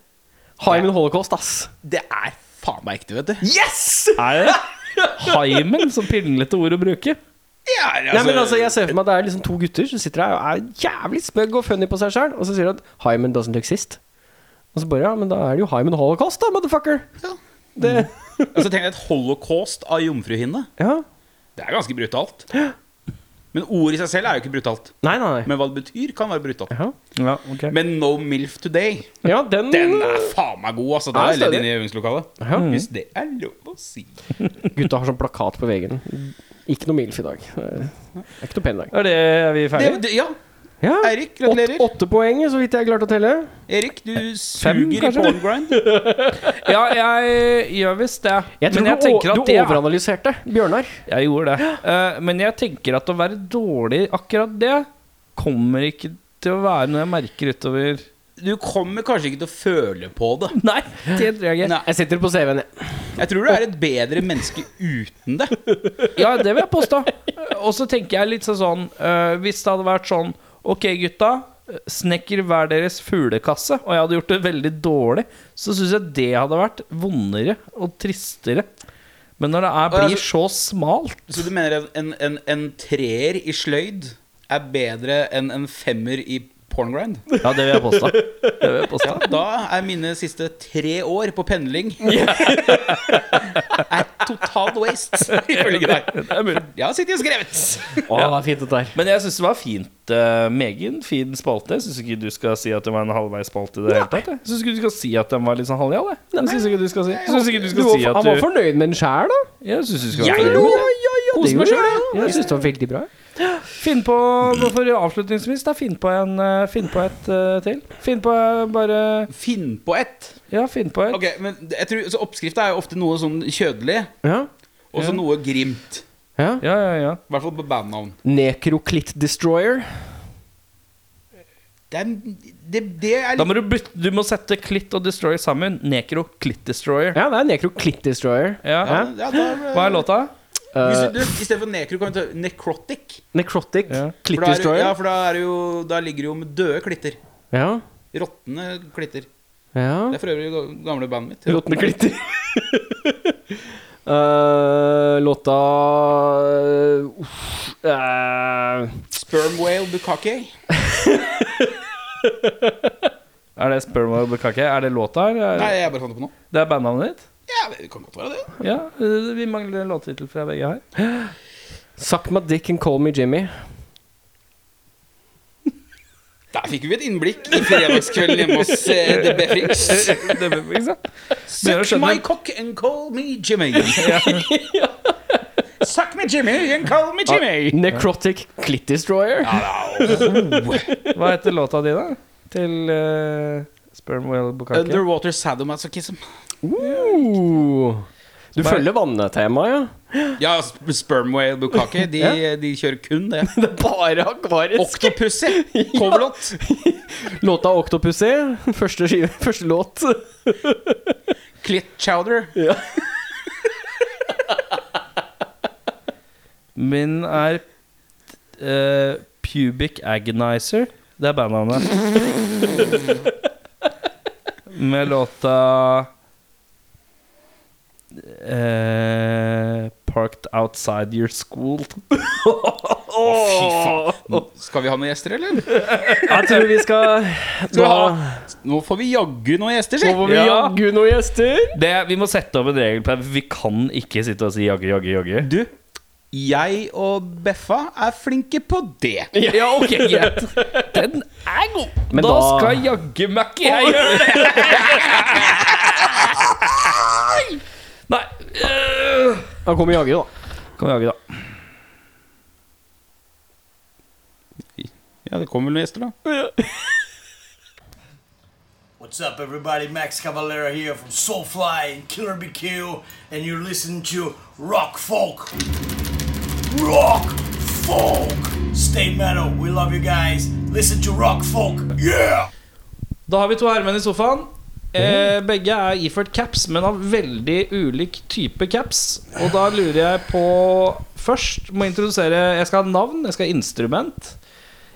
[SPEAKER 1] Hymen Holocaust, ass.
[SPEAKER 3] Det er faen meg ekte, vet du.
[SPEAKER 1] Yes!
[SPEAKER 2] Er det Hymen som pinglete ord å bruke?
[SPEAKER 3] Ja,
[SPEAKER 1] Nei, men altså, jeg ser for meg at det er liksom to gutter som sitter her og er jævlig spøgg og funny på seg sjøl, og så sier de at Hyman doesn't exist. Og så bare ja, men da er det jo Hyman Holocaust, da, motherfucker.
[SPEAKER 3] Ja.
[SPEAKER 1] Det,
[SPEAKER 3] altså, tenk deg et holocaust av jomfruhinne.
[SPEAKER 1] ja.
[SPEAKER 3] Det er ganske brutalt. Men ordet i seg selv er jo ikke brutalt.
[SPEAKER 1] Nei, nei, nei.
[SPEAKER 3] Men hva det betyr, kan være brutalt.
[SPEAKER 1] Ja,
[SPEAKER 2] Ja, ok
[SPEAKER 3] Men No Milf Today,
[SPEAKER 1] ja den,
[SPEAKER 3] den er Mm. faen meg god, altså. Det
[SPEAKER 1] Ja, Mm.
[SPEAKER 3] er ledd
[SPEAKER 1] stødig.
[SPEAKER 3] inne i øvingslokalet.
[SPEAKER 1] Ja.
[SPEAKER 3] Hvis det er lov å si.
[SPEAKER 1] Gutta har sånn plakat på veggen. Ikke noe MILF i dag. Det er ikke noe pen dag.
[SPEAKER 2] Er, det, er vi
[SPEAKER 3] Det,
[SPEAKER 2] ferdige?
[SPEAKER 3] det, ja.
[SPEAKER 1] Ja.
[SPEAKER 3] Eirik, gratulerer.
[SPEAKER 1] Åtte, åtte poeng, så vidt jeg klarte å telle.
[SPEAKER 3] Erik, du
[SPEAKER 2] Fem,
[SPEAKER 3] suger i
[SPEAKER 2] kanskje?
[SPEAKER 3] porngrind.
[SPEAKER 2] Ja, jeg gjør visst det.
[SPEAKER 1] Jeg tror
[SPEAKER 2] Men jeg
[SPEAKER 1] du,
[SPEAKER 2] tenker
[SPEAKER 1] o-
[SPEAKER 2] at
[SPEAKER 1] du
[SPEAKER 2] det er
[SPEAKER 1] overanalyserte Bjørnar.
[SPEAKER 2] Jeg gjorde det. Eh, men jeg tenker at å være dårlig i akkurat det kommer ikke til å være noe jeg merker utover
[SPEAKER 3] Du kommer kanskje ikke til å føle på det.
[SPEAKER 2] Nei, det tror jeg ikke.
[SPEAKER 3] Nei,
[SPEAKER 1] Jeg sitter på CV-en, jeg.
[SPEAKER 3] jeg tror du er et bedre menneske uten det.
[SPEAKER 2] Ja, det vil jeg påstå. Eh, Og så tenker jeg litt sånn sånn eh, Hvis det hadde vært sånn Ok, gutta. eh, Snekker hver deres fuglekasse, og jeg hadde gjort det veldig dårlig, så syns jeg det hadde vært vondere og tristere. Men når det er,
[SPEAKER 3] Og jeg-
[SPEAKER 2] blir så smalt
[SPEAKER 3] Så du mener en, en, en, en treer i sløyd er bedre enn en femmer i porngrind?
[SPEAKER 2] Ja, det vil jeg påstå. Det vil jeg påstå.
[SPEAKER 3] Da er mine siste tre år på pendling Er total waste, ifølge deg.
[SPEAKER 2] Det er mulig.
[SPEAKER 3] Jeg har sittet og skrevet.
[SPEAKER 1] Å, det var fint, dette her.
[SPEAKER 2] Men jeg syns det var fint. eh, Megen fin spalte. Jeg syns ikke du skal si at det var en halvveisspalte i det hele tatt. Jeg syns ikke du skal si at den var litt sånn halvjall. jeg. Jeg syns ikke du skal si, jeg synes ikke du skal
[SPEAKER 1] var,
[SPEAKER 2] si at
[SPEAKER 1] han var
[SPEAKER 2] du
[SPEAKER 1] fornøyd med den sjæl, da.
[SPEAKER 2] Jeg syns du skal
[SPEAKER 3] Jeg
[SPEAKER 2] være fornøyd.
[SPEAKER 3] lo.
[SPEAKER 1] Koste meg
[SPEAKER 3] gjorde
[SPEAKER 1] sjøl,
[SPEAKER 3] jeg.
[SPEAKER 1] jeg. Jeg syns det var veldig bra.
[SPEAKER 2] Finn på for avslutningsvis da, finn på, en, eh, finn på et eh, til. Finn på eh, bare
[SPEAKER 3] Finn på ett.
[SPEAKER 2] Ja, finn på et.
[SPEAKER 3] Ok, men jeg tror, så Oppskrifta er jo ofte noe sånn kjødelig,
[SPEAKER 1] Ja.
[SPEAKER 3] og så noe grimt.
[SPEAKER 1] ja.
[SPEAKER 2] Ja, ja, ja.
[SPEAKER 3] I hvert fall på bandnavn.
[SPEAKER 1] Nekroklitt Destroyer.
[SPEAKER 3] Det, er, det, det er
[SPEAKER 2] Da må du, bytte, du må sette Klitt og Destroyer sammen. Nekro Klitt Destroyer.
[SPEAKER 1] Ja, det er Nekroklitt Destroyer.
[SPEAKER 2] Ja.
[SPEAKER 3] ja, ja, da-
[SPEAKER 2] Hva er låta?
[SPEAKER 3] Hvis
[SPEAKER 1] Eh,
[SPEAKER 3] du, du, I stedet for nekro kan du ta necrotic.
[SPEAKER 1] necrotic
[SPEAKER 2] Ja.
[SPEAKER 1] Clit
[SPEAKER 3] For da, er, ja,
[SPEAKER 1] Destroyer.
[SPEAKER 3] for da, er det jo, da ligger det jo med døde klitter.
[SPEAKER 1] Ja.
[SPEAKER 3] Råtne klitter.
[SPEAKER 1] ja.
[SPEAKER 3] Det er for øvrig ga- gamle bandet mitt.
[SPEAKER 1] Råtne klitter. Eh, låta uff, eh,
[SPEAKER 3] Sperm whale bukake.
[SPEAKER 2] Er det Sperm og kake? Er det låta her? Er-
[SPEAKER 3] Nei, jeg bare fant det på nå.
[SPEAKER 2] Det er bandnavnet ditt?
[SPEAKER 3] Ja, det kan godt være det.
[SPEAKER 2] Ja, eh, vi mangler en låttittel fra begge her.
[SPEAKER 1] Suck my dick and call me Jimmy.
[SPEAKER 3] Der fikk vi et innblikk i fredagskvelden hjemme hos eh, The Befings.
[SPEAKER 2] Det, ikke sant? Begynner å
[SPEAKER 3] Suck my
[SPEAKER 2] skjønne
[SPEAKER 3] cock and call me Jimmy. Suck me Jimmy and call me Jimmy. Oh.
[SPEAKER 1] Necrotic Clit Destroyer.
[SPEAKER 2] Ah. Hva heter låta di, da? Til eh, Spermwell
[SPEAKER 3] Eh,
[SPEAKER 2] Bukake?
[SPEAKER 3] Underwater sadomasochism.
[SPEAKER 1] Uh. Du
[SPEAKER 2] Bare-
[SPEAKER 1] følger vannetemaet, ja?
[SPEAKER 3] Ja, sp- sperm whale bukake. De,
[SPEAKER 1] Ja.
[SPEAKER 3] de kjører kun det.
[SPEAKER 1] Det er bare akvarisk.
[SPEAKER 3] Octopussy. Coverlåt.
[SPEAKER 1] Låta 'Octopussy', første, skive, første låt.
[SPEAKER 3] Clit chowder.
[SPEAKER 2] Min er eh, Pubic Agonizer. Det er bandnavnet. Med låta eh, Parked Outside Your School.
[SPEAKER 3] Skal vi ha noen gjester, eller?
[SPEAKER 1] Jeg tror vi skal
[SPEAKER 3] vi
[SPEAKER 1] Nå,
[SPEAKER 3] ha- Nå får vi jaggu noen gjester,
[SPEAKER 1] nå
[SPEAKER 3] si.
[SPEAKER 1] må vi
[SPEAKER 2] Ja.
[SPEAKER 1] jaggu noen gjester.
[SPEAKER 2] Det, vi må sette opp en regel på det. Vi kan ikke sitte og si jagge, jagge, jagge.
[SPEAKER 3] Du, jeg og Beffa er flinke på det.
[SPEAKER 2] Ja, ok, greit. Den er god.
[SPEAKER 1] Men
[SPEAKER 2] da,
[SPEAKER 1] da-
[SPEAKER 2] skal jaggu meg ikke jeg gjøre det. Nei. øh.
[SPEAKER 1] Da kommer jaggu, da.
[SPEAKER 2] Kan vi jage, da.
[SPEAKER 3] Ja, det kommer vel noen gjester, da.
[SPEAKER 4] What's up, everybody? Max Cavalera here from Soulfly and Killer BQ, and you're listening to Rock Folk. Rock Folk! Stay metal. We love you guys. Listen to Rock Folk. Yeah!
[SPEAKER 2] Da har vi to herremenn i sofaen. Eh, begge er iført caps, men av veldig ulik type caps. Og da lurer jeg på Først må jeg introdusere Jeg skal ha navn, jeg skal ha instrument.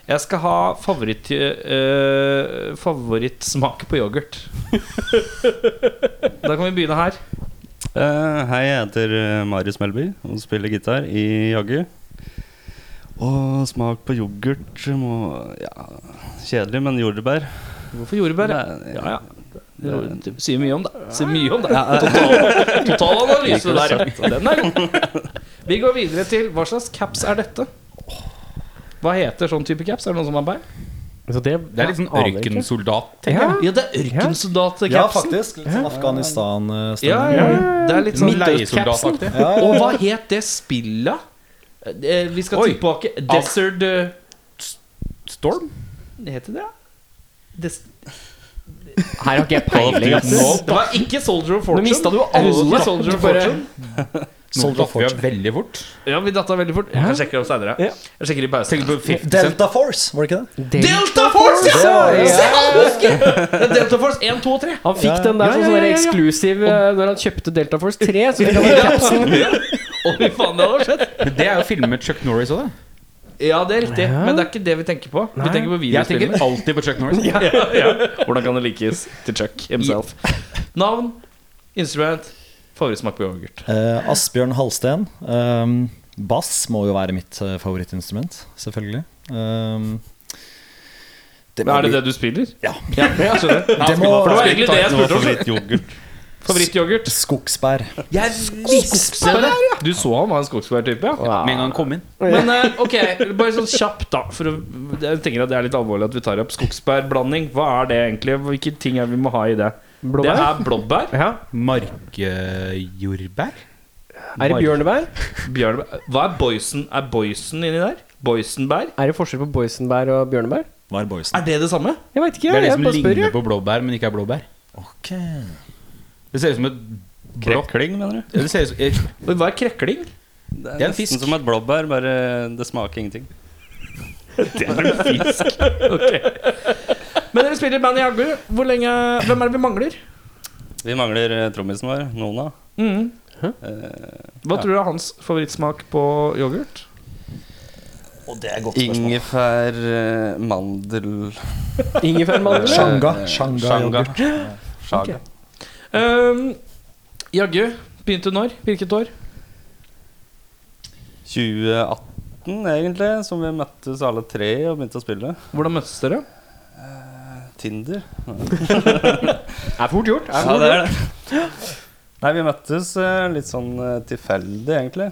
[SPEAKER 2] Jeg skal ha favoritt, eh, favorittsmak på yoghurt. da kan vi begynne her.
[SPEAKER 5] Eh, hei, jeg heter eh, Marius Melby og spiller gitar i Jaggu. Og smak på yoghurt må ja, Kjedelig, men jordbær.
[SPEAKER 2] Hvorfor jordbær?
[SPEAKER 5] Nei,
[SPEAKER 2] Ja, ja.
[SPEAKER 5] det-
[SPEAKER 2] Det sier mye om det. Sier mye om det. Total, total analyse der, ja. Den er god. Vi går videre til hva slags caps er dette? Hva heter sånn type caps? Er det noen som har bein?
[SPEAKER 1] Så det,
[SPEAKER 3] Det er litt sånn ørkensoldat.
[SPEAKER 2] Ja, det er
[SPEAKER 6] Ja,
[SPEAKER 2] ørkensoldatcapsen.
[SPEAKER 6] faktisk. Litt sånn Afghanistan-stemning.
[SPEAKER 2] Ja, ja, ja. Det er litt sånn
[SPEAKER 3] Leiesoldataktig.
[SPEAKER 6] Ja, ja,
[SPEAKER 2] Og
[SPEAKER 6] ja.
[SPEAKER 2] hva het det spillet? Eh, Vi skal
[SPEAKER 3] Oi.
[SPEAKER 2] tilbake Desert eh,
[SPEAKER 3] Storm?
[SPEAKER 2] Heter det det? Des
[SPEAKER 1] Her har ikke jeg peiling. ass.
[SPEAKER 2] det var ikke Soldier of Fortune.
[SPEAKER 1] Nå mistet du jo
[SPEAKER 2] Jeg husker
[SPEAKER 1] alle.
[SPEAKER 2] Soldier
[SPEAKER 1] Du
[SPEAKER 2] of
[SPEAKER 1] bare-
[SPEAKER 2] Fortune.
[SPEAKER 3] Nå datt vi av veldig fort.
[SPEAKER 2] Ja, vi datta veldig fort. Jeg sjekker opp senere.
[SPEAKER 1] Ja.
[SPEAKER 2] Jeg sjekker i pausen.
[SPEAKER 3] Tenkte på 50 Cent.
[SPEAKER 6] Delta Force, var det ikke det?
[SPEAKER 2] Delta Force! Ja!
[SPEAKER 1] Ja.
[SPEAKER 2] Se, han husker! Det er Delta Force 1, 2 og 3.
[SPEAKER 1] Han fikk den der
[SPEAKER 2] Ja,
[SPEAKER 1] som
[SPEAKER 2] ja,
[SPEAKER 1] sånn
[SPEAKER 2] ja, ja, ja.
[SPEAKER 1] eksklusiv eh, Når han kjøpte Delta Force 3. Så fikk han den capsen.
[SPEAKER 2] Å, fy faen, det hadde skjedd.
[SPEAKER 3] Men Det er jo filmet Chuck Norris òg, det.
[SPEAKER 2] Ja, det er riktig, men det er ikke det vi tenker på. Vi tenker på
[SPEAKER 3] Jeg tenker
[SPEAKER 2] videospillene.
[SPEAKER 3] alltid på Chuck Norris.
[SPEAKER 2] Hvordan kan det likes til Chuck himself? Navn, instrument, favorittsmak på yoghurt.
[SPEAKER 6] Eh, Asbjørn Halsten. Ehm, bass må jo være mitt eh, favorittinstrument, selvfølgelig. Ehm, det må
[SPEAKER 2] Er det
[SPEAKER 6] bli-
[SPEAKER 2] det du spiller?
[SPEAKER 6] Ja.
[SPEAKER 2] ja jeg skjønner.
[SPEAKER 6] Det må
[SPEAKER 2] For det var egentlig det jeg spurte om.
[SPEAKER 5] Favorittyoghurt.
[SPEAKER 2] Favorittyoghurt.
[SPEAKER 6] Skogsbær.
[SPEAKER 2] Skogsbær? Du så han var en skogsbærtype, ja?
[SPEAKER 3] Med en gang han kom inn.
[SPEAKER 2] Men eh, ok, bare sånn kjapt da for å- Jeg tenker at det er litt alvorlig at vi tar opp skogsbærblanding Hva er det egentlig? Hvilke ting er vi må ha i det? Det
[SPEAKER 1] Blåbær?
[SPEAKER 2] er blåbær,
[SPEAKER 1] Ja.
[SPEAKER 3] Markjordbær?
[SPEAKER 1] Er det bjørnebær?
[SPEAKER 2] bjørnebær Hva er boysen? Er boysen inni der? Boysenbær?
[SPEAKER 1] Er det forskjell på boysenbær og bjørnebær?
[SPEAKER 6] Var boysen.
[SPEAKER 2] Er det det samme?
[SPEAKER 1] Jeg veit ikke.
[SPEAKER 3] Det er det
[SPEAKER 1] jeg
[SPEAKER 3] som
[SPEAKER 1] bare spør.
[SPEAKER 3] ligner
[SPEAKER 1] jeg.
[SPEAKER 3] på blåbær, men ikke er blåbær.
[SPEAKER 6] Ok
[SPEAKER 3] Det ser ut som et blått
[SPEAKER 5] Krekling, mener du?
[SPEAKER 3] Det ser ut som eh,
[SPEAKER 2] Og hva er krekling?
[SPEAKER 5] Det
[SPEAKER 3] Det er
[SPEAKER 5] er
[SPEAKER 3] en fisk.
[SPEAKER 5] nesten som et blåbær, bare det smaker ingenting.
[SPEAKER 2] Men dere spiller i band i Jaggu Hvor lenge, hvem er det vi mangler?
[SPEAKER 5] Vi mangler eh, trommisen vår, Nona.
[SPEAKER 2] Mm.
[SPEAKER 5] Eh,
[SPEAKER 2] Hva tror du er hans favorittsmak på yoghurt?
[SPEAKER 6] Og det er et godt spørsmål.
[SPEAKER 5] ingefær, eh, mandel
[SPEAKER 1] Ingefærmandel? ja.
[SPEAKER 6] Shanga. Shanga.
[SPEAKER 5] Shanga.
[SPEAKER 6] yoghurt.
[SPEAKER 5] Shaga.
[SPEAKER 2] Um, Jaggu, begynte når? Hvilket år?
[SPEAKER 5] 2018, egentlig, som vi møttes alle tre og begynte å spille.
[SPEAKER 2] Hvordan møttes dere?
[SPEAKER 5] Tinder.
[SPEAKER 1] Er fort gjort. Er
[SPEAKER 5] Ja,
[SPEAKER 1] fort.
[SPEAKER 5] det er det. Nei, vi møttes eh, litt sånn eh, tilfeldig, egentlig.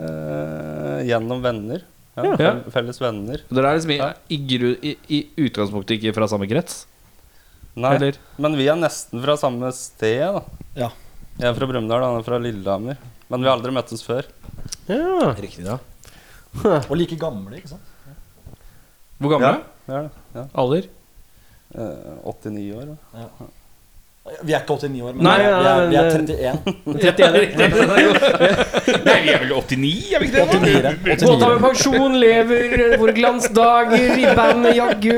[SPEAKER 5] Eh, gjennom venner. Ja,
[SPEAKER 2] Ja.
[SPEAKER 5] fe- Felles venner.
[SPEAKER 2] Dere er liksom i, i, gru, i, i utgangspunktet ikke fra samme krets?
[SPEAKER 5] Nei,
[SPEAKER 2] Eller?
[SPEAKER 5] men vi er nesten fra samme sted, da.
[SPEAKER 6] Ja.
[SPEAKER 5] Jeg er fra Brumunddal, han er fra Lillehammer. Men vi har aldri møttes før.
[SPEAKER 1] Ja.
[SPEAKER 6] Riktig, ja. Og like gamle, ikke sant?
[SPEAKER 2] Hvor gamle?
[SPEAKER 5] Det er det. Ja.
[SPEAKER 2] Alder?
[SPEAKER 5] Eh, 89 år. Da.
[SPEAKER 6] Vi er ikke 89 år, men
[SPEAKER 1] Nei,
[SPEAKER 6] vi, er,
[SPEAKER 1] nei,
[SPEAKER 6] vi, er,
[SPEAKER 1] men-
[SPEAKER 6] vi er 31.
[SPEAKER 2] 31.
[SPEAKER 3] Nei, vi er vel 89, er vi ikke det?
[SPEAKER 6] 84.
[SPEAKER 1] Gått av
[SPEAKER 6] 89.
[SPEAKER 1] med pensjon, lever våre glansdager i bandet jaggu.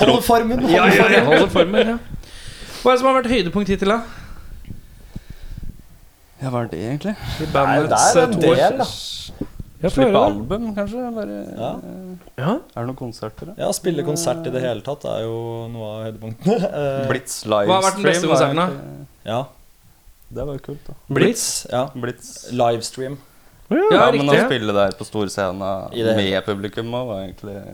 [SPEAKER 6] Hold formen! Hold
[SPEAKER 2] Ja, ja,
[SPEAKER 6] formen.
[SPEAKER 2] ja, holder formen, ja. Hva er det som har vært høydepunkt hittil, da?
[SPEAKER 5] Ja, hva er det, egentlig?
[SPEAKER 2] I
[SPEAKER 6] Nei, det er en del, da.
[SPEAKER 2] Ja, få høre
[SPEAKER 5] Slippe
[SPEAKER 2] det.
[SPEAKER 5] album, kanskje? Bare,
[SPEAKER 6] Ja.
[SPEAKER 1] Ja.
[SPEAKER 5] Er det noen konserter, da?
[SPEAKER 6] Ja, spille konsert i det hele tatt er jo noe av høydepunktene. Eh,
[SPEAKER 5] Blitz livestream.
[SPEAKER 2] Hva har vært den beste
[SPEAKER 5] var
[SPEAKER 2] konserten, da?
[SPEAKER 5] egentlig-
[SPEAKER 6] Ja.
[SPEAKER 5] Det var jo kult, da.
[SPEAKER 2] Blitz.
[SPEAKER 6] Ja.
[SPEAKER 5] Blitz.
[SPEAKER 6] Livestream.
[SPEAKER 2] Ja,
[SPEAKER 5] Ja, men å
[SPEAKER 2] riktig.
[SPEAKER 5] spille der på storscena
[SPEAKER 6] I det hele-
[SPEAKER 5] med publikum også, var egentlig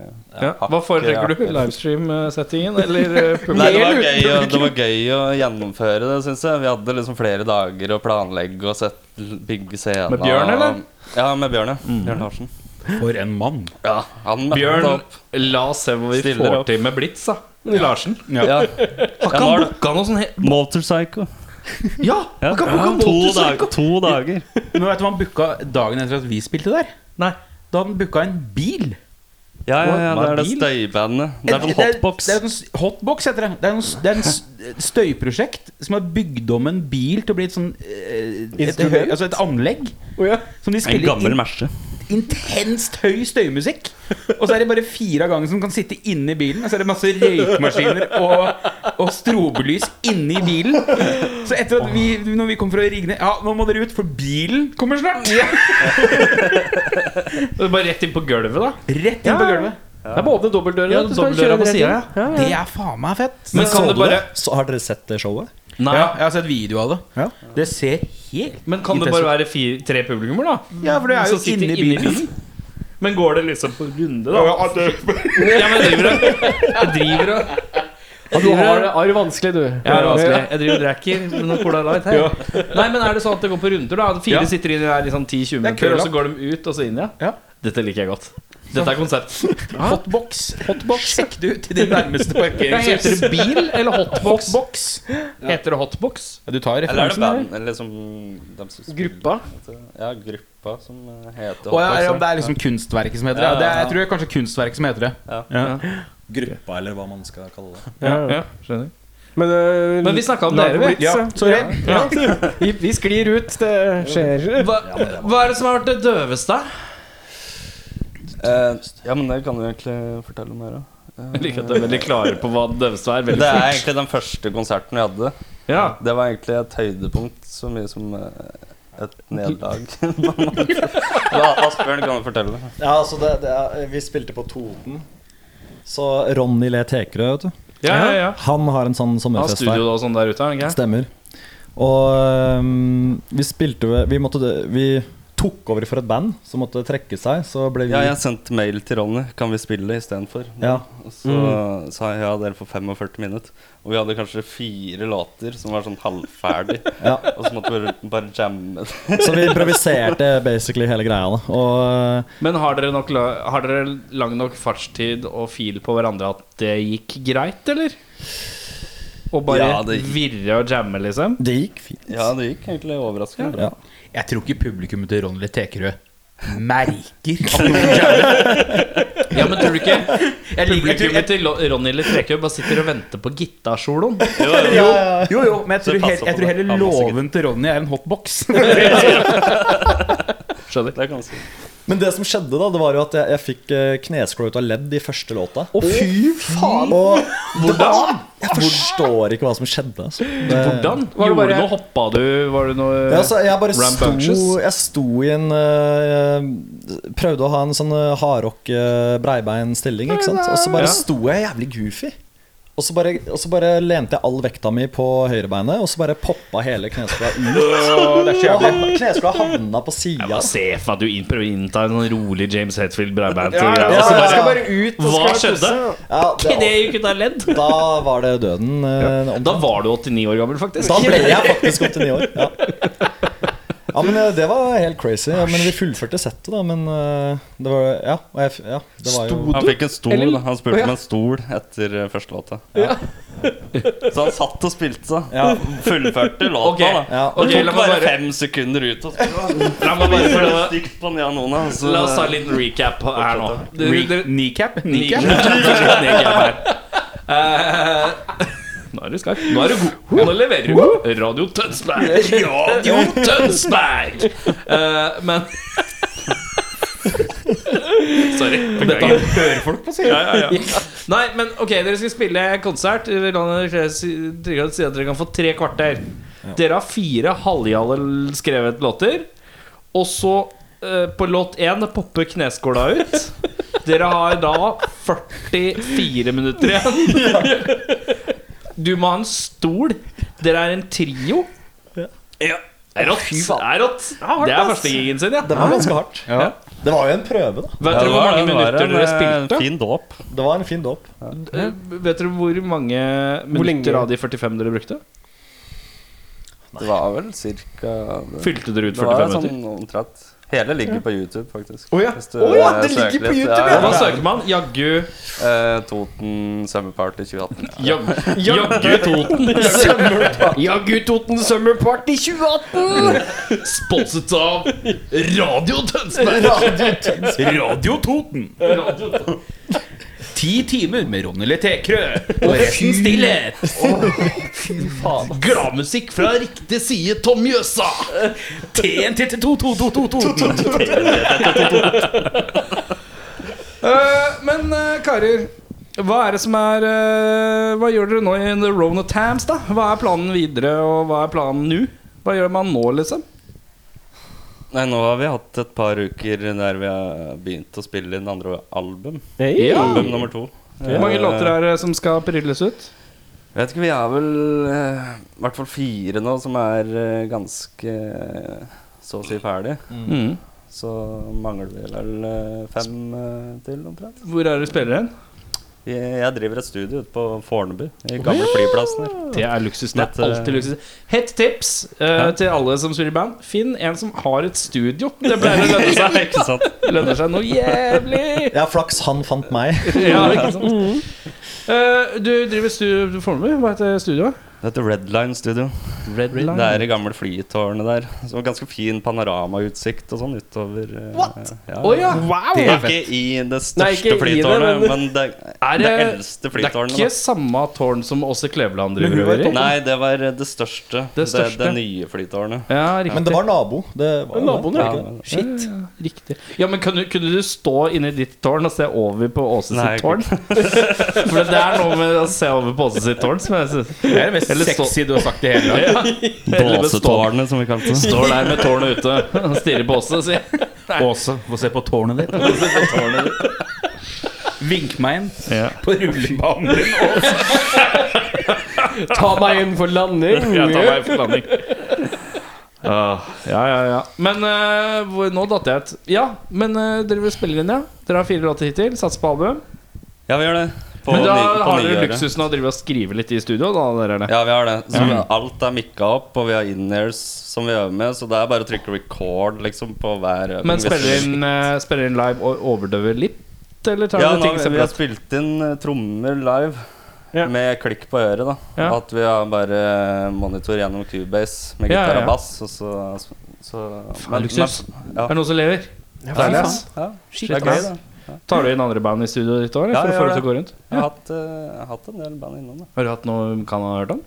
[SPEAKER 2] Ja. Hva foretrekker du? Livestream-settingen eller eh,
[SPEAKER 5] Nei, det var,
[SPEAKER 1] Mer
[SPEAKER 5] gøy, å- det var gøy å gjennomføre det, syns jeg. Vi hadde liksom flere dager å planlegge og sette, bygge scener.
[SPEAKER 2] Med Bjørn, eller?
[SPEAKER 5] Ja, med Bjørn, ja. Bjørn Larsen.
[SPEAKER 2] For en mann.
[SPEAKER 5] Ja, han møtte
[SPEAKER 2] Bjørn,
[SPEAKER 5] opp.
[SPEAKER 2] la oss se hva vi
[SPEAKER 5] Stiller
[SPEAKER 2] får
[SPEAKER 5] opp.
[SPEAKER 2] til med Blitz, da. Larsen.
[SPEAKER 5] Ja.
[SPEAKER 2] Har
[SPEAKER 5] Ja,
[SPEAKER 2] ikke
[SPEAKER 5] nå
[SPEAKER 2] han
[SPEAKER 5] er det-
[SPEAKER 2] booka noe sånn he-
[SPEAKER 5] Motorpsycho.
[SPEAKER 2] Ja!
[SPEAKER 5] Ja.
[SPEAKER 2] Har ikke han booka
[SPEAKER 5] to, dag,
[SPEAKER 2] motorpsycho?
[SPEAKER 5] to dager.
[SPEAKER 3] Men vet du hva han booka dagen etter at vi spilte der?
[SPEAKER 2] Nei.
[SPEAKER 3] Da han booka en bil.
[SPEAKER 5] Ja, ja, ja, det er det
[SPEAKER 3] Mobil?
[SPEAKER 5] støybandet. Det er sånn
[SPEAKER 3] Det
[SPEAKER 5] hotbox.
[SPEAKER 3] Det er, sånn s- hotbox heter det. Det er, noen, s- det er en s- støyprosjekt som har bygd om en bil til å bli et sånn eh, et, høy, altså et anlegg.
[SPEAKER 1] Å ja.
[SPEAKER 3] Som de
[SPEAKER 5] En
[SPEAKER 3] spiller
[SPEAKER 5] gammel
[SPEAKER 3] in,
[SPEAKER 5] merse.
[SPEAKER 3] intenst høy støymusikk. Og så er det bare fire av gangen som kan sitte inne i bilen. Og så er det masse røykmaskiner og, og strobelys inne i bilen. Så etter at vi, når vi kom fra Rigne Ja, nå må dere ut, for bilen kommer snart!
[SPEAKER 2] Det er Bare rett inn på gulvet, da.
[SPEAKER 3] Rett inn på gulvet.
[SPEAKER 1] Det er både dobbeltdører.
[SPEAKER 2] Ja,
[SPEAKER 1] vet du, så kan du
[SPEAKER 2] dobbeltdører
[SPEAKER 1] kjøre
[SPEAKER 2] på
[SPEAKER 1] rett
[SPEAKER 2] siden,
[SPEAKER 1] inn. Ja,
[SPEAKER 3] Det
[SPEAKER 1] ja.
[SPEAKER 3] er faen meg fett.
[SPEAKER 2] Men kan
[SPEAKER 6] Så
[SPEAKER 2] det
[SPEAKER 6] du
[SPEAKER 2] bare
[SPEAKER 6] Så har dere sett det showet?
[SPEAKER 3] Ja, jeg har sett video av det.
[SPEAKER 6] Ja.
[SPEAKER 3] Det ser helt
[SPEAKER 2] Men kan det bare være fire, tre publikummer, da?
[SPEAKER 3] Ja, for det er jo
[SPEAKER 2] Som sitter
[SPEAKER 3] inni
[SPEAKER 2] inne i
[SPEAKER 3] bilen.
[SPEAKER 2] Men går det liksom på runde, da? Ja, men driver du Jeg driver og
[SPEAKER 1] Ja, du har det har det vanskelig, du.
[SPEAKER 2] Jeg er vanskelig. Jeg driver og drikker med noe Cola Light her. Nei, men er det sånn at det går på runder, da? Fire
[SPEAKER 3] Ja.
[SPEAKER 2] sitter inn der i sånn 10-20
[SPEAKER 3] Det er
[SPEAKER 2] minutter,
[SPEAKER 3] kø,
[SPEAKER 2] og så
[SPEAKER 3] da.
[SPEAKER 2] går de ut, og så inn, ja?
[SPEAKER 3] Ja.
[SPEAKER 2] Dette liker jeg godt. Dette er konsept.
[SPEAKER 3] Hotbox. Sjekk det ut i din nærmeste
[SPEAKER 2] Ja, heter
[SPEAKER 3] parkeringshus.
[SPEAKER 2] det bil eller hotbox?
[SPEAKER 3] Hotbox.
[SPEAKER 2] Heter det hotbox?
[SPEAKER 3] Ja, du tar
[SPEAKER 5] Eller er det
[SPEAKER 3] referansen der.
[SPEAKER 5] band? Eller liksom dem som spiller
[SPEAKER 1] Gruppa?
[SPEAKER 5] dette? Ja, gruppa som eh, heter
[SPEAKER 3] Å, ja, ja,
[SPEAKER 5] hotbox.
[SPEAKER 3] det er liksom kunstverket som heter det. Ja, det er, jeg tror det er kanskje kunstverket som heter det.
[SPEAKER 5] Ja.
[SPEAKER 6] Gruppa, eller hva man skal kalle det.
[SPEAKER 2] Ja, ja, skjønner.
[SPEAKER 1] Men, øh,
[SPEAKER 2] Men vi snakket om
[SPEAKER 1] lag
[SPEAKER 2] dere,
[SPEAKER 1] på
[SPEAKER 2] vi.
[SPEAKER 1] Blitz, ja.
[SPEAKER 3] Sorry.
[SPEAKER 1] Vi, vi sklir ut. Det skjer.
[SPEAKER 2] Hva, hva er det som har vært det døveste?
[SPEAKER 5] Eh, ja, men det kan du egentlig fortelle mer om.
[SPEAKER 2] Jeg liker at du er veldig klare på hva det døveste er.
[SPEAKER 5] Det
[SPEAKER 2] Veldig
[SPEAKER 5] er
[SPEAKER 2] fort.
[SPEAKER 5] egentlig den første konserten vi hadde.
[SPEAKER 2] Ja.
[SPEAKER 5] Det var egentlig et høydepunkt så mye som eh, et nederlag. Ja, Asbjørn kan jo fortelle det.
[SPEAKER 6] Ja, altså, det, det er, vi spilte på Toten. Så Ronny Le Tekerø, vet du.
[SPEAKER 2] Ja, ja, ja.
[SPEAKER 6] Han har en sånn
[SPEAKER 2] Han har
[SPEAKER 6] sommerfest der.
[SPEAKER 2] studio og sånn der ute, har han ikke?
[SPEAKER 6] Stemmer. Og øhm, vi spilte jo- vi, måtte, vi tok over for et band som måtte trekke seg. Så ble vi
[SPEAKER 5] Ja, jeg sendte mail til Ronny. Kan vi spille istedenfor?
[SPEAKER 6] Ja.
[SPEAKER 5] Og Så sa jeg ja, dere får 45 minutter. Og vi hadde kanskje fire låter som var sånn halvferdig.
[SPEAKER 6] Ja.
[SPEAKER 5] Og så måtte vi rundt og bare jamme.
[SPEAKER 6] Så vi improviserte basically hele greia. Da. Og eh,
[SPEAKER 2] Men har dere, nok, la- har dere lang nok fartstid og fil på hverandre at det gikk greit, eller? Å bare
[SPEAKER 5] Ja, det gikk.
[SPEAKER 2] virre og jamme, liksom?
[SPEAKER 6] øh, det gikk fint.
[SPEAKER 5] Ja, det gikk egentlig overraskende bra.
[SPEAKER 6] Ja.
[SPEAKER 3] Jeg tror ikke publikummet til Ronny Tekerø merker at noen kjære-
[SPEAKER 2] Ja, men tror du ikke
[SPEAKER 3] jeg liker, jeg tror,
[SPEAKER 2] publikummet til Lo- Ronny eller Trekø bare sitter og venter på gitarsoloen?
[SPEAKER 3] jeg, jo, jo, jo, men jeg tror,
[SPEAKER 5] Det
[SPEAKER 3] hel-
[SPEAKER 5] passer
[SPEAKER 3] jeg
[SPEAKER 5] på
[SPEAKER 3] tror
[SPEAKER 5] det.
[SPEAKER 3] heller
[SPEAKER 5] Han må sikkert-
[SPEAKER 3] låven til Ronny er en hotbox.
[SPEAKER 2] Skjønner.
[SPEAKER 5] Det kan jeg si.
[SPEAKER 6] Men det som skjedde, da, det var jo at jeg, jeg fikk eh, kneskåla ut av ledd i første låta.
[SPEAKER 1] Å, fy faen!
[SPEAKER 6] Og hvordan? Jeg forstår ikke hva som skjedde. Altså. Det-
[SPEAKER 2] Hvordan?
[SPEAKER 1] Var det
[SPEAKER 2] Gjorde
[SPEAKER 1] bare-
[SPEAKER 2] du noe? Hoppa du? Var det noe
[SPEAKER 6] Ja, så jeg bare
[SPEAKER 2] Rambunctious?
[SPEAKER 6] sto, jeg sto i en eh, Prøvde å ha en sånn eh, hardrock uh, breibein stilling, ikke sant? Og så bare
[SPEAKER 2] Ja.
[SPEAKER 6] sto jeg jævlig goofy. Og så, bare, og så bare lente jeg all vekta mi på høyrebeinet, og så bare poppa hele kneskåla ut. Og han- Kneskåla havna på sida.
[SPEAKER 2] Bare se for meg at du innprøver å innta en sånn rolig James Hetfield breiband
[SPEAKER 1] Ja, ja,
[SPEAKER 2] og
[SPEAKER 1] ja,
[SPEAKER 2] så
[SPEAKER 1] jeg
[SPEAKER 2] bare
[SPEAKER 1] skal bare ut og
[SPEAKER 2] Hva
[SPEAKER 1] skal
[SPEAKER 2] skjedde?
[SPEAKER 1] tisse.
[SPEAKER 6] Ja,
[SPEAKER 2] Det
[SPEAKER 6] det-
[SPEAKER 2] gikk ut av ledd.
[SPEAKER 6] da var det døden. eh, om-
[SPEAKER 2] Da var du 89 år gammel, faktisk.
[SPEAKER 6] Da ble jeg faktisk 89 år. Ja. Ja, men eh, det var helt crazy. Ja, men vi fullførte settet, da. Men eh, det var Ja. og Jeg, f- ja det var jo
[SPEAKER 5] Han fikk en stol,
[SPEAKER 1] Eller-
[SPEAKER 5] da. han spurte
[SPEAKER 1] Å, ja.
[SPEAKER 5] om en stol etter eh, første låta. Så han satt og spilte seg.
[SPEAKER 6] Ja.
[SPEAKER 5] Fullførte låta,
[SPEAKER 2] Ok.
[SPEAKER 5] da.
[SPEAKER 6] ja.
[SPEAKER 2] Ok,
[SPEAKER 5] Det
[SPEAKER 2] la
[SPEAKER 5] tok
[SPEAKER 2] meg
[SPEAKER 5] bare
[SPEAKER 2] bare-
[SPEAKER 5] fem sekunder ut. Og så
[SPEAKER 2] La meg bare
[SPEAKER 5] var det
[SPEAKER 2] prøve
[SPEAKER 5] stygt på Nianona. Så
[SPEAKER 2] La oss ta en liten recap her nå. Du,
[SPEAKER 3] Re-
[SPEAKER 2] dere-
[SPEAKER 3] Kneecap? Kneecap?
[SPEAKER 2] Kneecap. Kneecap her. Eh, Nå er du skarp. Nå er du god. Nå leverer du. Radio Tønsberg. Radio Tønsberg! Eh, men Sorry. Beklager.
[SPEAKER 3] Hører folk på seg?
[SPEAKER 2] Ja, ja, ja. Nei, men ok, dere skal spille konsert. Vi la dere si trygge at dere kan få tre kvarter. Dere har fire halvjale skrevet låter. Og så, eh, på låt én, popper kneskåla ut. Dere har da 44 minutter igjen. Du må ha en stol. Dere er en trio. Ja. Det er rått. Det er, rått. Det er første gigen sin, ja.
[SPEAKER 6] Det var ganske hardt.
[SPEAKER 5] Ja.
[SPEAKER 6] Det var jo en prøve, da.
[SPEAKER 2] Vet dere hvor mange minutter dere
[SPEAKER 5] en
[SPEAKER 2] spilte?
[SPEAKER 5] eh, fin dåp.
[SPEAKER 6] Det var en fin dåp.
[SPEAKER 2] Eh, Vet dere hvor mange
[SPEAKER 1] lenge?
[SPEAKER 2] minutter av de 45 dere brukte?
[SPEAKER 5] Det var vel cirka
[SPEAKER 2] Fylte dere ut
[SPEAKER 5] Det var
[SPEAKER 2] 45 minutter?
[SPEAKER 5] sånn omtrent. Hele ligger på YouTube, faktisk.
[SPEAKER 1] Å ja.
[SPEAKER 5] Hvis du,
[SPEAKER 1] Å ja,
[SPEAKER 5] eh,
[SPEAKER 1] det
[SPEAKER 5] søker
[SPEAKER 1] ligger på
[SPEAKER 5] litt.
[SPEAKER 1] YouTube,
[SPEAKER 2] Hva søker man? Jaggu
[SPEAKER 5] Eh, Toten Summer Party 2018.
[SPEAKER 2] jag- Jaggu Toten.
[SPEAKER 1] Jaggu Toten Summer Party 2018!
[SPEAKER 2] Sponset av Radio Tønsberg.
[SPEAKER 3] Radio Toten.
[SPEAKER 2] Radio Tønsberg.
[SPEAKER 3] Ti timer med Ronny Letekrø. Og resten stillhet.
[SPEAKER 2] Gladmusikk fra riktig side, Tom Mjøsa.
[SPEAKER 3] TNT-2-2-2-2-2.
[SPEAKER 2] Eh, men eh, karer, hva er det som er eh, Hva gjør dere nå i The Rona Tams, da? Hva er planen videre, og hva er planen nå? Hva gjør man nå, liksom?
[SPEAKER 5] Nei, nå har vi hatt et par uker der vi har begynt å spille inn andre album.
[SPEAKER 1] Hey.
[SPEAKER 2] Ja.
[SPEAKER 5] Album nummer to.
[SPEAKER 2] Hvor
[SPEAKER 5] Eh,
[SPEAKER 2] mange låter er det som skal prilles ut?
[SPEAKER 5] Jeg vet ikke, vi er vel eh, i hvert fall fire nå som er eh, ganske eh, så å si ferdig.
[SPEAKER 2] Mm.
[SPEAKER 5] Så mangler vi vel eh, fem eh, til, omtrent.
[SPEAKER 2] Hvor er det spiller hen?
[SPEAKER 5] Jeg, jeg driver et studio ute på Fornebu, i gamle flyplassen her.
[SPEAKER 2] Det er eh. luksus. Det
[SPEAKER 5] Dette-
[SPEAKER 2] er alltid luksus. Hett tips eh, til alle som spiller i band. Finn en som har et studio. Det pleier å lønne seg.
[SPEAKER 5] Ikke sant?
[SPEAKER 2] Det lønner seg noe jævlig.
[SPEAKER 6] Ja, flaks han fant meg.
[SPEAKER 2] Ja, ikke sant? Eh, du driver studio Fornebu? Hva heter studioet?
[SPEAKER 5] Det heter Redline Studio.
[SPEAKER 2] Redline.
[SPEAKER 5] Det er i gamle flytårnet der. Så ganske fin panoramautsikt og sånn utover eh, Ja.
[SPEAKER 2] Å ja!
[SPEAKER 5] Det er ikke i det største
[SPEAKER 1] Nei, ikke i det,
[SPEAKER 5] flytårnet,
[SPEAKER 1] men-
[SPEAKER 5] men, det
[SPEAKER 2] Er
[SPEAKER 5] er det
[SPEAKER 2] det-
[SPEAKER 5] eldste
[SPEAKER 2] Det er
[SPEAKER 5] flytårnet.
[SPEAKER 2] ikke samme tårn som Åse Kleveland driver
[SPEAKER 6] hun var
[SPEAKER 2] over
[SPEAKER 5] da.
[SPEAKER 2] i.
[SPEAKER 5] Nei, det var det største. Det, det,
[SPEAKER 2] største.
[SPEAKER 5] nye flytårnet.
[SPEAKER 2] Ja,
[SPEAKER 6] Men det
[SPEAKER 2] riktig.
[SPEAKER 6] var nabo. Det var jo
[SPEAKER 1] Naboen,
[SPEAKER 6] det.
[SPEAKER 1] ja.
[SPEAKER 6] var det ikke det?
[SPEAKER 2] Shit. Riktig. Ja, men kunne, kunne du stå inni ditt tårn og se over på Åse
[SPEAKER 5] Nei,
[SPEAKER 2] sitt tårn? For det er noe med å se over på Åse sitt tårn som jeg synes
[SPEAKER 3] Det er det mest
[SPEAKER 2] Eller stå-
[SPEAKER 3] sexy du har sagt i hele dag.
[SPEAKER 2] Eller bestå-
[SPEAKER 5] Båsetårnet, som vi kalte det.
[SPEAKER 2] Står der med tårnet ute og stirrer på Åse og sier
[SPEAKER 3] Åse, få se på tårnet ditt. Vink meg inn på rullebanen din.
[SPEAKER 1] Ta meg inn for landing.
[SPEAKER 2] Jeg tar meg for landing. Ah, ja, ja, ja. Men eh, hvor, nå datt jeg ut. Ja, men eh, dere vil spille inn, ja? Dere har fire låter hittil. Satser på album.
[SPEAKER 5] Ja, vi gjør det. På
[SPEAKER 2] Men da
[SPEAKER 5] ny- på
[SPEAKER 2] har dere
[SPEAKER 5] nyåret.
[SPEAKER 2] luksusen av å drive og skrive litt i studio. Da, dere, eller?
[SPEAKER 5] Ja, vi har det. Så
[SPEAKER 2] Mm.
[SPEAKER 5] Alt er mikka opp, og vi har in-airs som vi øver med. Så det er bare å trykke record liksom, på hver øving.
[SPEAKER 2] Men
[SPEAKER 5] Hvis-
[SPEAKER 2] spiller inn, eh, spiller inn live og overdøver litt? Eller tar
[SPEAKER 5] Ja,
[SPEAKER 2] dere
[SPEAKER 5] nå,
[SPEAKER 2] ting
[SPEAKER 5] vi vi har
[SPEAKER 2] separat?
[SPEAKER 5] spilt inn eh, trommer live
[SPEAKER 1] Ja.
[SPEAKER 5] med klikk på øret. da
[SPEAKER 2] Ja.
[SPEAKER 5] At vi har bare eh, monitor gjennom Cubase med
[SPEAKER 2] Ja,
[SPEAKER 5] gitar
[SPEAKER 2] ja.
[SPEAKER 5] og bass. Og så, så men-
[SPEAKER 2] luksus.
[SPEAKER 5] men-
[SPEAKER 2] Er det noen som lever?
[SPEAKER 5] Ja,
[SPEAKER 2] ass.
[SPEAKER 5] ja.
[SPEAKER 1] Shit,
[SPEAKER 5] Det er gøy,
[SPEAKER 1] ass.
[SPEAKER 5] da.
[SPEAKER 2] Tar du inn andre band i studio ditt år?
[SPEAKER 5] Ja,
[SPEAKER 2] for å få
[SPEAKER 5] jeg gjør
[SPEAKER 2] det
[SPEAKER 5] det.
[SPEAKER 2] til å gå rundt?
[SPEAKER 5] Jeg har hatt, eh, jeg har hatt en del band innom. da
[SPEAKER 2] Har du hatt noe kan ha hørt om?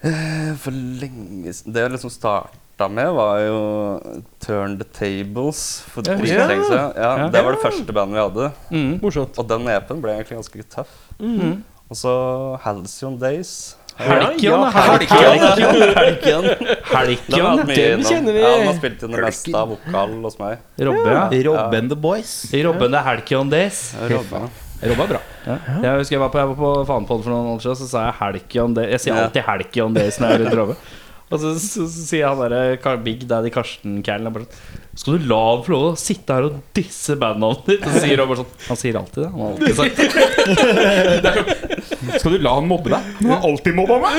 [SPEAKER 5] Eh, For lenge siden Det jeg liksom starta med, var jo Turn the Tables. For
[SPEAKER 2] Ja,
[SPEAKER 5] dritlenge
[SPEAKER 2] ja.
[SPEAKER 5] siden.
[SPEAKER 2] Ja.
[SPEAKER 5] Ja, det var det første bandet vi hadde.
[SPEAKER 2] Mm.
[SPEAKER 1] Morsomt.
[SPEAKER 5] Og den EP-en ble egentlig ganske tøff. Og så Halcyon Days.
[SPEAKER 2] Helkion,
[SPEAKER 1] ja.
[SPEAKER 5] Helgen. Den har
[SPEAKER 2] Helkion,
[SPEAKER 5] hatt mye
[SPEAKER 1] den
[SPEAKER 5] innom.
[SPEAKER 1] kjenner vi.
[SPEAKER 5] Ja, den har spilt inn det meste av vokal hos meg.
[SPEAKER 2] Robbe, ja.
[SPEAKER 6] Rob and the Boys.
[SPEAKER 2] Robben, det er Helkion Days.
[SPEAKER 5] Robben.
[SPEAKER 3] Robba er bra.
[SPEAKER 2] Jeg husker jeg var på, jeg var på Fanpod for noen år siden, så sa jeg Helkion Days. Jeg sier
[SPEAKER 5] Ja.
[SPEAKER 2] alltid Helkion Days når jeg er rundt Robbe. Og så, så, så sier han derre Kar- Big Daddy Karsten-kælen bare sånn Skal du la ham få lov å sitte her og disse bandnavnet ditt? Og så sier han bare sånn Han sier alltid det. Han har alltid sagt det.
[SPEAKER 3] Skal du la han mobbe deg? Han har alltid mobba meg.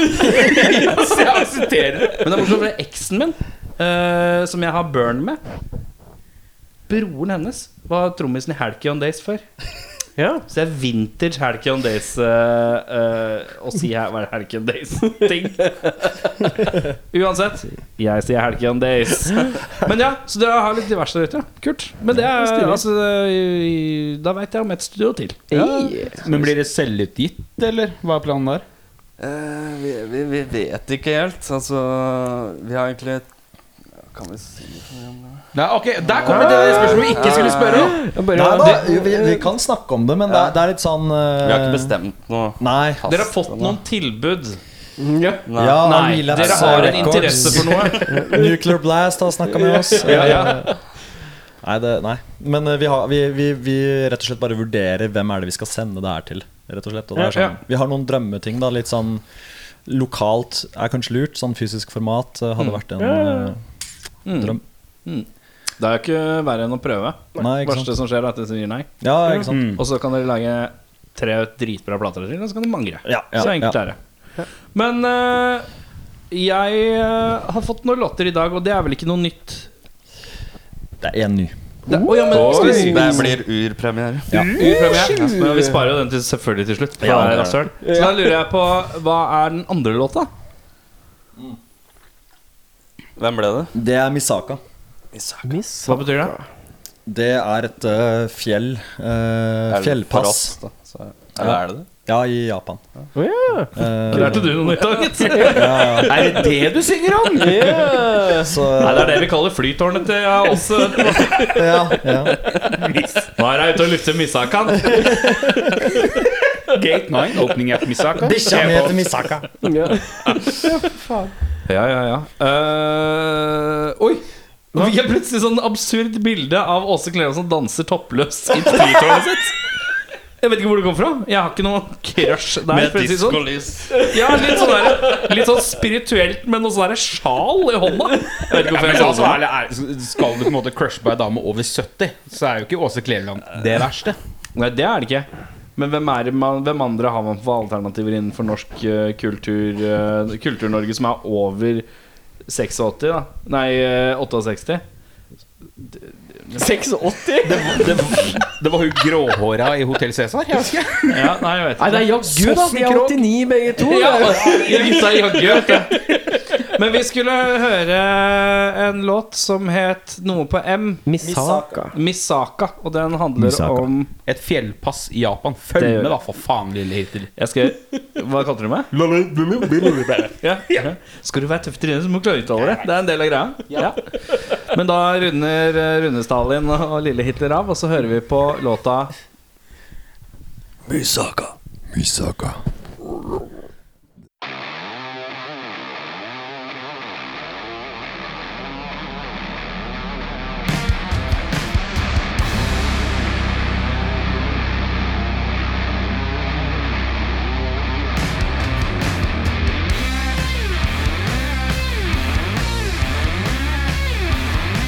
[SPEAKER 3] Så jeg aksepterer det.
[SPEAKER 2] Men det er morsomt, for det er eksen min eh, som jeg har burn med. Broren hennes var trommisen i Halcyon Days før.
[SPEAKER 1] Ja.
[SPEAKER 2] Så det er vintage Halcyon Days eh, eh, Å si her hva er Halcyon Days-ting. Uansett, jeg sier Halcyon Days. Men ja, så dere har litt diverse der ute. Kult. Men det er, altså, eh, da veit jeg om et studio til.
[SPEAKER 3] Men blir det selvutgitt, eller? Hva er planen der?
[SPEAKER 7] Eh, vi, vi, vi vet ikke helt. Altså, vi har egentlig Kan vi si
[SPEAKER 3] Nei, ok, Der kommer det
[SPEAKER 2] Ah.
[SPEAKER 3] spørsmålet vi ikke skulle spørre om!
[SPEAKER 1] Jeg Bare,
[SPEAKER 6] Nei da,
[SPEAKER 1] det,
[SPEAKER 6] jo, vi, vi kan snakke om det, men det er, det er litt sånn eh,
[SPEAKER 5] Vi har ikke bestemt noe.
[SPEAKER 6] Nei.
[SPEAKER 2] Dere har fått noen tilbud.
[SPEAKER 1] ja.
[SPEAKER 6] Ja,
[SPEAKER 2] Nei,
[SPEAKER 6] Relapse
[SPEAKER 2] dere har en
[SPEAKER 6] Records.
[SPEAKER 2] interesse for noe.
[SPEAKER 6] Nuclear Blast har snakka med oss. Eh, Nei, det, nei. Men eh, vi, har, vi, vi, vi rett og slett bare vurderer hvem er det vi skal sende det her til. Rett og slett. Og det er
[SPEAKER 2] Ja, ja.
[SPEAKER 6] sånn, vi har noen drømmeting. da Litt sånn lokalt er kanskje lurt. Sånn fysisk format eh, hadde vært en eh, drøm.
[SPEAKER 2] Det er jo ikke verre enn å prøve.
[SPEAKER 6] Nei, ikke
[SPEAKER 2] Verste
[SPEAKER 6] sant?
[SPEAKER 2] som skjer, er at de sier nei.
[SPEAKER 6] Ja, ikke sant?
[SPEAKER 3] Mm.
[SPEAKER 2] Og så kan dere lage tre dritbra plater til, og så kan dere mangre.
[SPEAKER 6] Ja, ja,
[SPEAKER 2] så enkelt
[SPEAKER 6] ja.
[SPEAKER 2] er det. Men eh, jeg eh, har fått noen låter i dag, og det er vel ikke noe nytt?
[SPEAKER 6] Det er én ny.
[SPEAKER 2] Det, Å, ja, men, skal vi
[SPEAKER 5] Det blir urpremiere.
[SPEAKER 2] Urpremiere. Men vi sparer jo den til, selvfølgelig til slutt. for det
[SPEAKER 5] Ja,
[SPEAKER 2] er
[SPEAKER 5] det er
[SPEAKER 2] rasshøl. Så da lurer jeg på hva er den andre låta?
[SPEAKER 5] Hvem ble det?
[SPEAKER 6] Det er Misaka.
[SPEAKER 2] Hva betyr det?
[SPEAKER 6] Det er et eh, fjell. eh,
[SPEAKER 5] Er det for
[SPEAKER 6] fjellpass.
[SPEAKER 5] oss, da? Så, eller er det det?
[SPEAKER 6] Ja, i Japan. Eh,
[SPEAKER 2] Lærte du noe nytt av gitt?
[SPEAKER 3] Er det det du synger om?
[SPEAKER 6] så,
[SPEAKER 2] Nei, det er det vi kaller flytårnet til ja, oss. Nå
[SPEAKER 6] ja, ja.
[SPEAKER 2] er jeg ute og lufter Misakan.
[SPEAKER 3] Gate 9, opening at Misaka.
[SPEAKER 6] Bikkja mi heter Misaka.
[SPEAKER 2] Ja, ja, ja. Eh, oi! Nå fikk jeg plutselig sånn absurd bilde av Åse Kleven som danser toppløs i flytårnet sitt. Jeg vet ikke hvor det kom fra. Jeg har ikke noe crush der. for å si det sånn. Ja, litt, sånn der, litt sånn spirituelt, men noe sånn der sjal i hånda. Jeg vet ikke hvorfor jeg
[SPEAKER 3] Men
[SPEAKER 2] sa
[SPEAKER 3] altså,
[SPEAKER 2] sånn.
[SPEAKER 3] ærlig, er- skal du på en måte crushe på ei dame over 70, så er jo ikke Åse Kleveland det verste.
[SPEAKER 2] Nei, det er det ikke. Men hvem, er det man, hvem andre har man for alternativer innenfor norsk eh, kultur eh, Kultur-Norge som er over 86, da? Nei, eh, 68?
[SPEAKER 1] 86?
[SPEAKER 3] Det, det var hun gråhåra i Hotell Cæsar. jeg vet ikke.
[SPEAKER 2] Ja, nei, jeg vet ikke.
[SPEAKER 1] Nei, det er jaggu, da. De er
[SPEAKER 3] Sossenkrok.
[SPEAKER 1] 89 begge to.
[SPEAKER 2] Ja,
[SPEAKER 1] det er-
[SPEAKER 2] de gutta jaggu, vet du. Men vi skulle høre en låt som het noe på M.
[SPEAKER 1] Misaka.
[SPEAKER 2] Misaka. Og den handler
[SPEAKER 6] Misaka.
[SPEAKER 2] om
[SPEAKER 3] Et fjellpass i Japan.
[SPEAKER 2] Det
[SPEAKER 3] Følg
[SPEAKER 2] gjør
[SPEAKER 3] med, da,
[SPEAKER 2] jeg.
[SPEAKER 3] for faen, lille Hitler.
[SPEAKER 2] Jeg skal Hva kalte du meg? Ja. ja. Skal du være tøff til det, så må du klare å uttale det. Det er en del av greia. Ja. Men da runder Rune Stalin og lille Hitler av, og så hører vi på låta
[SPEAKER 8] 「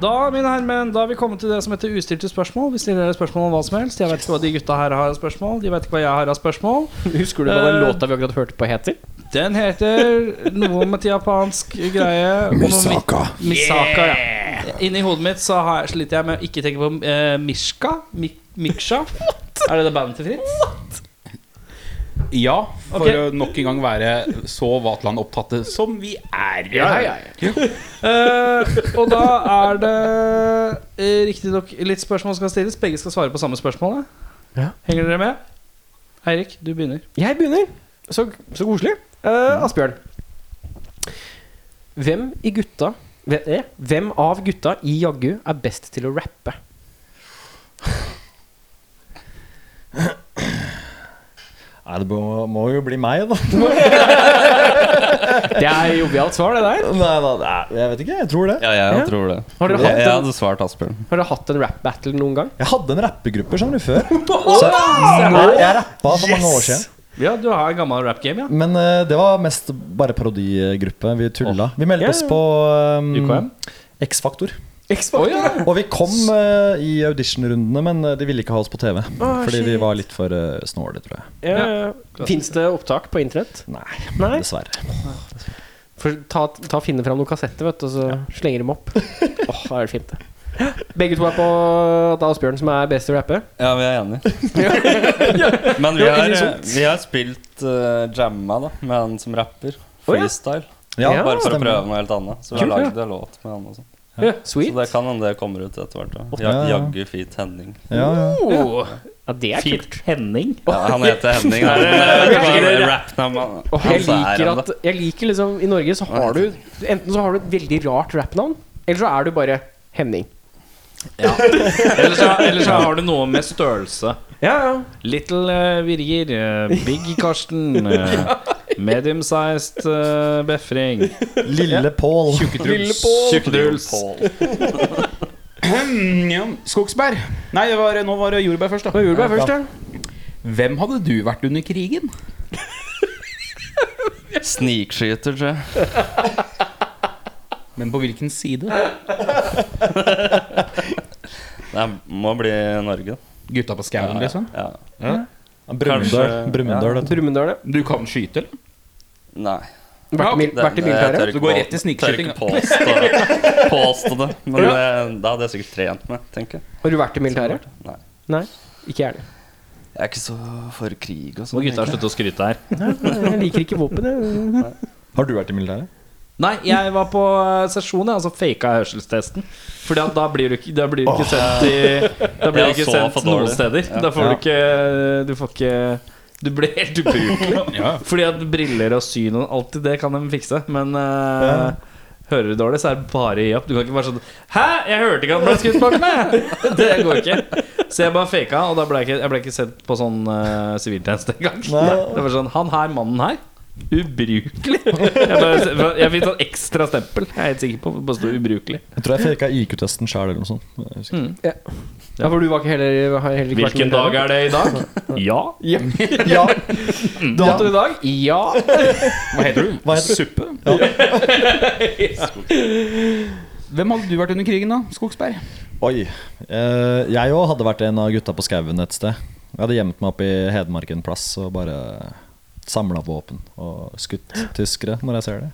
[SPEAKER 2] Da mine hermen, da er vi kommet til det som heter ustilte spørsmål. Vi stiller dere spørsmål om hva som helst. Jeg vet ikke hva de gutta her har av spørsmål. De vet ikke hva jeg har av spørsmål.
[SPEAKER 1] Husker du hva den
[SPEAKER 2] Eh,
[SPEAKER 1] låta vi akkurat hørte på, heter?
[SPEAKER 2] Den heter noe med til japansk greie. Misaka. Misaka, ja. Inni hodet mitt så har jeg, sliter jeg med å ikke tenke på eh, Mishka. Mi Miksha. Er det det bandet til Fritz?
[SPEAKER 3] Ja, for
[SPEAKER 2] Ok.
[SPEAKER 3] å nok en gang være så Vatland-opptatte som vi er.
[SPEAKER 2] Eh, og da er det eh, riktignok litt spørsmål som skal stilles. Begge skal svare på samme spørsmål. da.
[SPEAKER 1] Ja.
[SPEAKER 2] Henger dere med? Eirik, du begynner.
[SPEAKER 1] Jeg begynner. Så, så koselig. Eh, Asbjørn. Hvem i gutta hve- eh, Hvem av gutta i Jaggu er best til å rappe?
[SPEAKER 6] Nei, det må, må jo bli meg, da.
[SPEAKER 1] Det er jovialt svar, det der.
[SPEAKER 6] Nei, da, nei, jeg vet ikke. Jeg tror det.
[SPEAKER 5] Ja, jeg
[SPEAKER 1] Ja.
[SPEAKER 5] tror det.
[SPEAKER 1] Har dere
[SPEAKER 5] jeg,
[SPEAKER 1] hatt
[SPEAKER 5] jeg
[SPEAKER 1] en-
[SPEAKER 5] hadde svart Asbjørn.
[SPEAKER 1] Har dere hatt en rap-battle noen gang?
[SPEAKER 6] Jeg hadde en rappegruppe skjønner du, før. Så jeg, nå, jeg rappa for mange år siden.
[SPEAKER 2] Ja, du har en gammel rap game, ja.
[SPEAKER 6] Men eh, det var mest bare parodigruppe. Vi tulla. Vi meldte
[SPEAKER 1] Ja,
[SPEAKER 6] oss
[SPEAKER 1] ja.
[SPEAKER 6] på
[SPEAKER 2] UKM?
[SPEAKER 6] um, X-Faktor.
[SPEAKER 1] X-Factor.
[SPEAKER 6] Og vi kom eh, i auditionrundene, men eh, de ville ikke ha oss på TV. fordi vi
[SPEAKER 1] shit.
[SPEAKER 6] var litt for uh, snåle, tror jeg.
[SPEAKER 1] ja. ja. Fins det opptak på internett?
[SPEAKER 6] Nei,
[SPEAKER 1] Nei.
[SPEAKER 6] dessverre.
[SPEAKER 1] For ta, ta Finne fram noen kassetter, vet du, og så slenger dem opp. Åh, da er det fint, det. Begge to er på at det er Asbjørn som er best til å rappe.
[SPEAKER 5] Ja, vi er enige. Men vi
[SPEAKER 1] Ja,
[SPEAKER 5] har,
[SPEAKER 1] unisont.
[SPEAKER 5] vi har spilt eh, jamma da med han som
[SPEAKER 1] Å,
[SPEAKER 5] rapper.
[SPEAKER 1] ja.
[SPEAKER 5] Freestyle.
[SPEAKER 6] Ja,
[SPEAKER 1] Ja,
[SPEAKER 5] Bare for å
[SPEAKER 6] stemmer.
[SPEAKER 5] prøve noe helt annet. Så vi har
[SPEAKER 1] Kult, ja.
[SPEAKER 5] lagd en låt med han også.
[SPEAKER 1] Ja,
[SPEAKER 5] Så
[SPEAKER 1] sweet.
[SPEAKER 5] det kan hende det kommer ut etter hvert. da.
[SPEAKER 6] Ja,
[SPEAKER 5] Ja,
[SPEAKER 6] ja.
[SPEAKER 5] Jaggu fit Henning.
[SPEAKER 6] Ja, ja.
[SPEAKER 2] Oh,
[SPEAKER 1] Ja, det er kult.
[SPEAKER 2] fint. Henning.
[SPEAKER 5] Ja, han heter Henning. da. Men jeg vet ikke hva det rap-navnet
[SPEAKER 1] Og
[SPEAKER 5] hans
[SPEAKER 1] jeg
[SPEAKER 5] er
[SPEAKER 1] liker
[SPEAKER 5] ennå.
[SPEAKER 1] at jeg liker liksom, I Norge så har du Enten så har du et veldig rart rappnavn, eller så er du bare Henning.
[SPEAKER 2] Ellers, så- ellers så har du noe med størrelse.
[SPEAKER 1] Ja, ja.
[SPEAKER 2] Little eh, Virgir, eh, Big Karsten, eh, medium-sized eh, befring,
[SPEAKER 6] Lille Pål.
[SPEAKER 2] tjukkedruls,
[SPEAKER 5] Tjukkedruls.
[SPEAKER 2] tjukkedruls.
[SPEAKER 3] Ja, skogsbær. Nei, det var, nå var det jordbær først, da.
[SPEAKER 1] Jordbær først, ja.
[SPEAKER 3] Hvem hadde du vært under krigen?
[SPEAKER 5] Snikskyter, tror jeg.
[SPEAKER 3] Men på hvilken side?
[SPEAKER 5] Det må bli Norge. da.
[SPEAKER 3] Gutta på skauen, liksom?
[SPEAKER 5] Ja.
[SPEAKER 6] Brumunddøl.
[SPEAKER 5] Kanskje-
[SPEAKER 6] Brumunddøl, vet du.
[SPEAKER 1] Brumunddøl, ja.
[SPEAKER 3] Du kan skyte, eller?
[SPEAKER 5] Nei.
[SPEAKER 1] Vært i mil-
[SPEAKER 5] Det-
[SPEAKER 1] vært i
[SPEAKER 5] det- jeg tør
[SPEAKER 1] militæret.
[SPEAKER 5] ikke
[SPEAKER 3] Du går
[SPEAKER 5] på-
[SPEAKER 3] rett til snikskyting,
[SPEAKER 5] Tør ikke påstå, påstå det. Men det, da hadde jeg sikkert trent meg, tenker jeg.
[SPEAKER 1] Har du vært i militæret?
[SPEAKER 5] Nei.
[SPEAKER 1] Nei. Ikke jeg heller.
[SPEAKER 5] Jeg er ikke så for krig
[SPEAKER 2] Må
[SPEAKER 5] og sånn.
[SPEAKER 2] gutta
[SPEAKER 5] egentlig.
[SPEAKER 2] slutte å skryte her.
[SPEAKER 1] Jeg liker ikke våpen. jeg.
[SPEAKER 6] Har du vært i militæret?
[SPEAKER 2] Nei, jeg var på eh, sesjon, jeg, og så faka jeg hørselstesten. For da blir du ikke, da blir du ikke sendt, i, da blir du
[SPEAKER 5] Jeg
[SPEAKER 2] ikke
[SPEAKER 5] så
[SPEAKER 2] sendt
[SPEAKER 5] for
[SPEAKER 2] noen
[SPEAKER 5] dårlig.
[SPEAKER 2] steder. Da får du ikke Du får ikke du blir helt ubrukelig. Fordi at briller og syn og alt det kan de fikse. Men eh, hører du dårlig, så er det bare å gi opp. Du kan ikke bare sånn Hæ! Jeg hørte ikke at han ble skutt bak meg! Det går ikke. Så jeg bare faka, og da ble jeg ikke, jeg ble ikke sendt på sånn eh, siviltjeneste engang. Det var sånn Han her, mannen her. Ubrukelig! Jeg, bare, jeg fikk sånn ekstra stempel. Jeg er helt sikker på Bare stod ubrukelig.
[SPEAKER 6] Jeg tror jeg faka IQ-testen sjøl eller noe sånt. Jeg husker ikke.
[SPEAKER 1] Ja, for du var ikke heller, har heller ikke vært i
[SPEAKER 2] Hvilken dag
[SPEAKER 1] militæret.
[SPEAKER 2] er det i dag? Ja.
[SPEAKER 6] Ja, Mm.
[SPEAKER 1] Dato i dag? Ja.
[SPEAKER 3] Hva heter du?
[SPEAKER 6] hva heter det?
[SPEAKER 3] Suppe? Hvem hadde du vært under krigen, da? Skogsberg?
[SPEAKER 6] Oi. Eh, jeg òg hadde vært en av gutta på skauen et sted. Jeg hadde gjemt meg opp i Hedmark en plass og bare samla våpen og skutt tyskere når jeg ser det.